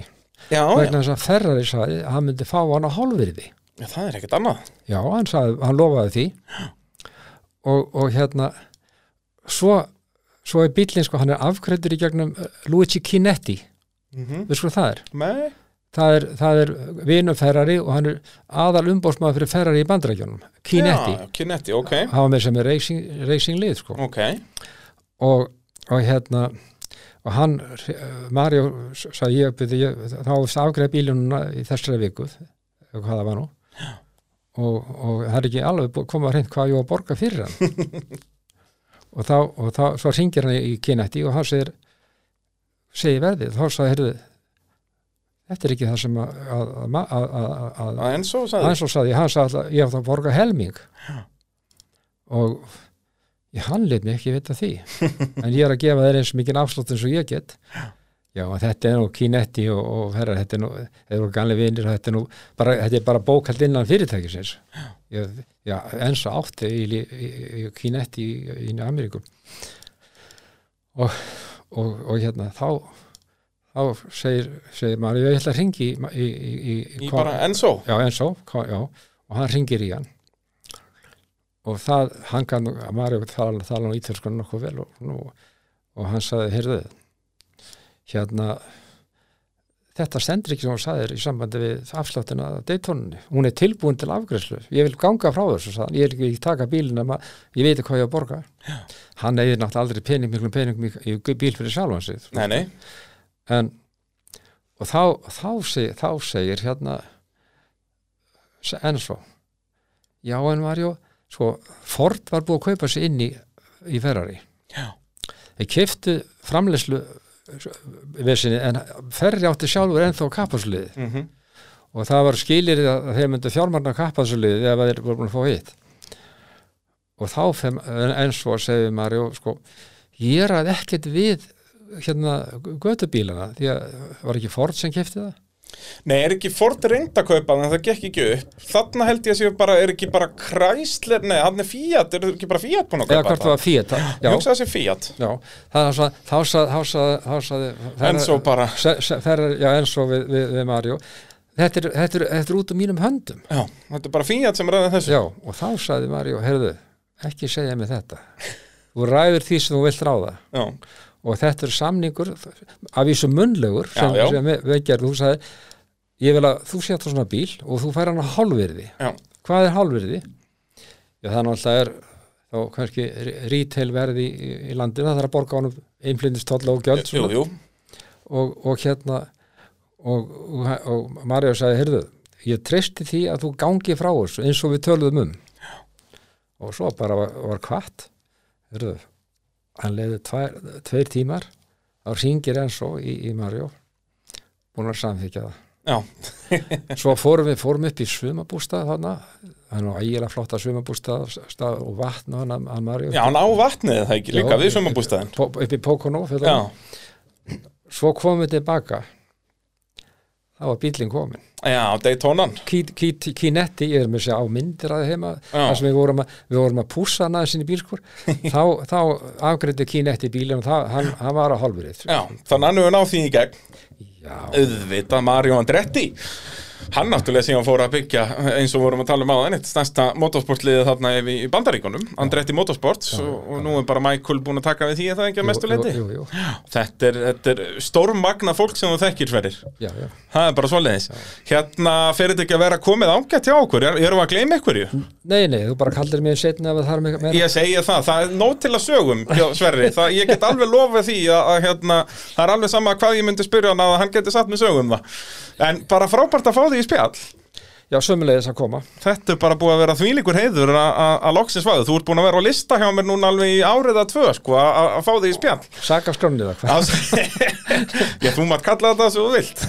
Já, já.
vegna þess að Ferrari sagði að hann myndi fá hann á hálfirði
Já, það er ekkert annað
Já, hann, sagði, hann lofaði því og, og hérna svo, svo er bíllinn sko, hann er afgreiftur í gegnum eh, Luigi Chinetti,
mm
við sko það er
Nei,
það er, það er vinum Ferrari og hann er aðal umbóðsmaður fyrir Ferrari í bandrækjunum Chinetti,
já, Kinetti, ok
hann var með sem er racing, racing lið sko.
Ok,
og, og hérna og hann, eh, Mario s- sagði ég, byrði, ég þá afgreif bílununa í þessari viku eða hvað það var nú og, og það er ekki alveg bú- komið að reynd hvað ég á að borga fyrir hann og þá, og þá svo ringir hann í kynetti og hann segir segir verðið, þá sagði heyrðu þetta er ekki það sem að, að, að, að, að
að eins og sagði
hann svo sagði, hann sagði alltaf, ég hef það að borga helming og ég hann leit mig ekki vita því en ég er að gefa þeir eins mikið afslátt eins og ég get já, en þetta er nú Kinetti og, og herrar, þetta er nú þeir eru ganlega vinir, og þetta er nú bara, þetta er bara bókald innan fyrirtækisins ég, já, eins og átti í, í, í, í Kinetti í, í Ameríku og, og, og hérna þá þá segir, segir maður, ég ætla að ringi í, í, í,
Í
hvað-
bara eins og
já, eins og, hva- já, og hann ringir í hann og það, hann kann, Mario tala, tala nú ítölskun nokkuð vel og, nú, og hann sagði, heyrðu hérna þetta stendur ekki sem hún sagði þér í sambandi við afsláttina að deytónunni, hún er tilbúin til afgreðslu, ég vil ganga frá þessu sagði hann, ég vil ekki taka bílina, ma- ég veit ekki hvað ég á að borga hann eigði náttúrulega aldrei pening, miklum peningum í, í bíl fyrir sjálfan sig
Nei, nei,
en og þá, þá, seg, þá segir hérna se- en svo já en Mario sko, Ford var búið að kaupa sig inn í, í Ferrari
Já.
þeir keftu framleyslu vesinni en Ferrari átti sjálfur ennþá kappasliði
mm
og það var skilirðið að þeir myndu fjármarna kappasuliðið ef þeir voru búin að fá hitt og þá fem, en, en svo segir Mario sko, ég er að ekkert við hérna götubílana því að var ekki Ford sem kefti það
nei, er ekki Ford reynd að kaupa þannig að það gekk ekki upp Þarna held ég að séu bara, er ekki bara Chrysler, nei, hann er Fiat, er ekki bara Fiat búin að
eða
kaupa
hvort það var Fiat það-
Ég
já,
hugsa að það sé Fiat
já, það er svo þá sagði, þá sagði, þá sagði
En svo bara,
se, se, fer, já, en svo við, við, við Mario þetta er, þetta, er, þetta er út um mínum höndum
já, þetta er bara Fiat sem ræða þessu
Já, og þá sagði Mario, heyrðu, ekki segja mig þetta þú ræður því sem þú vilt ráða
Já,
og þetta er samningur af því sem munnlegur sem,
Já, já.
sem við, við gerðum, þú sagði ég vil að þú sétt á svona bíl og þú fær hann á hálfirði
já,
hvað er hálfirði? Já, það náttúrulega er þá kannski re- retail verði í, í landinu, það þarf að borga honum einflindistólla og gjöld
jú,
svona,
jú
og, og hérna og, og, og Mario sagði, heyrðu ég treysti því að þú gangi frá þessu eins og við töluðum um og svo bara var, var kvart heyrðu, hann leiði tvær, tveir tímar þá ringir enn svo í, í Mario búin að samþykja það
Já,
svo fórum við fórum upp í sumabústað þarna það er nú ægilega flotta sumabústað stað, og vatn og hann, hann Mario
já, hann á vatnið er það ekki líka
Já,
við sumabústæðin
Po- upp í Pocono fyrir
Já,
það. svo komum við tilbaka þá var bílinn komin
já, Daytonan
Kinetti, ég er með sér á myndir að heima
Já.
þar sem við vorum að, við vorum að pússa hann aðeins inn í
*laughs*
bílskur þá, þá afgreifdi Kinetti bílinn og það, hann, hann var á hálfurrið
Já, þannig hann hefur náð því í gegn
Já,
auðvitað Mario Andretti hann náttúrulega síðan fór að byggja eins og vorum að tala um áðan, eitt stærsta motorsportliðið þarna ef í í Bandaríkunum Andretti Motorsports og, og nú er bara Michael búin að taka við því er það ekki að mestu leiti
Jú, jú, jú,
þetta er, þetta er stórmagna fólk sem þú þekkir verir
já, já
það er bara svoleiðis hérna fer þetta ekki að vera komið ágætt hjá okkur Er- erum við að gleyma ykkurju?
Nei, nei, þú bara kallir mig setna ef það er með, með
Ég segja það, það er nóg til að sögum hjá Sverri, það, ég get alveg lofað því að, að hérna, það er alveg sama hvað ég myndi spyrja hann að hann geti satt með sögum það en bara frábært að fá því í spjall
Já, sömulegis að koma
Þetta er bara búið að vera þvílíkur heiður að- að að loksins fæðu. Þú ert búin að vera á lista hjá mér núna alveg í árið að tvö, sko, að að- að fá þig í spjall.
Saka skránið eða hvað
*laughs* Ás- Ég, þú maður kalla þetta svo þú vilt.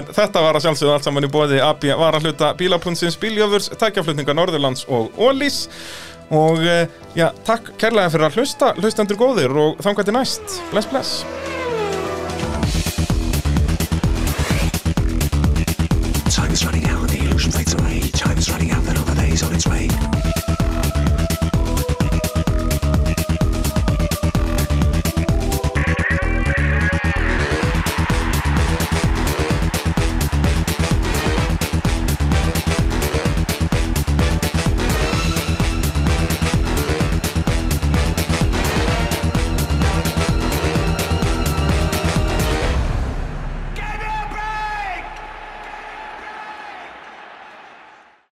en þetta var að sjálfsögðu allt saman í bóði AB varahluta bílapunnsins, bíljöfurs, tækjaflutninga Norðurlands og Ólís. Og eh, já, takk kærlega fyrir að hlusta, hlustendur góðir og þangar til næst. Bless, bless.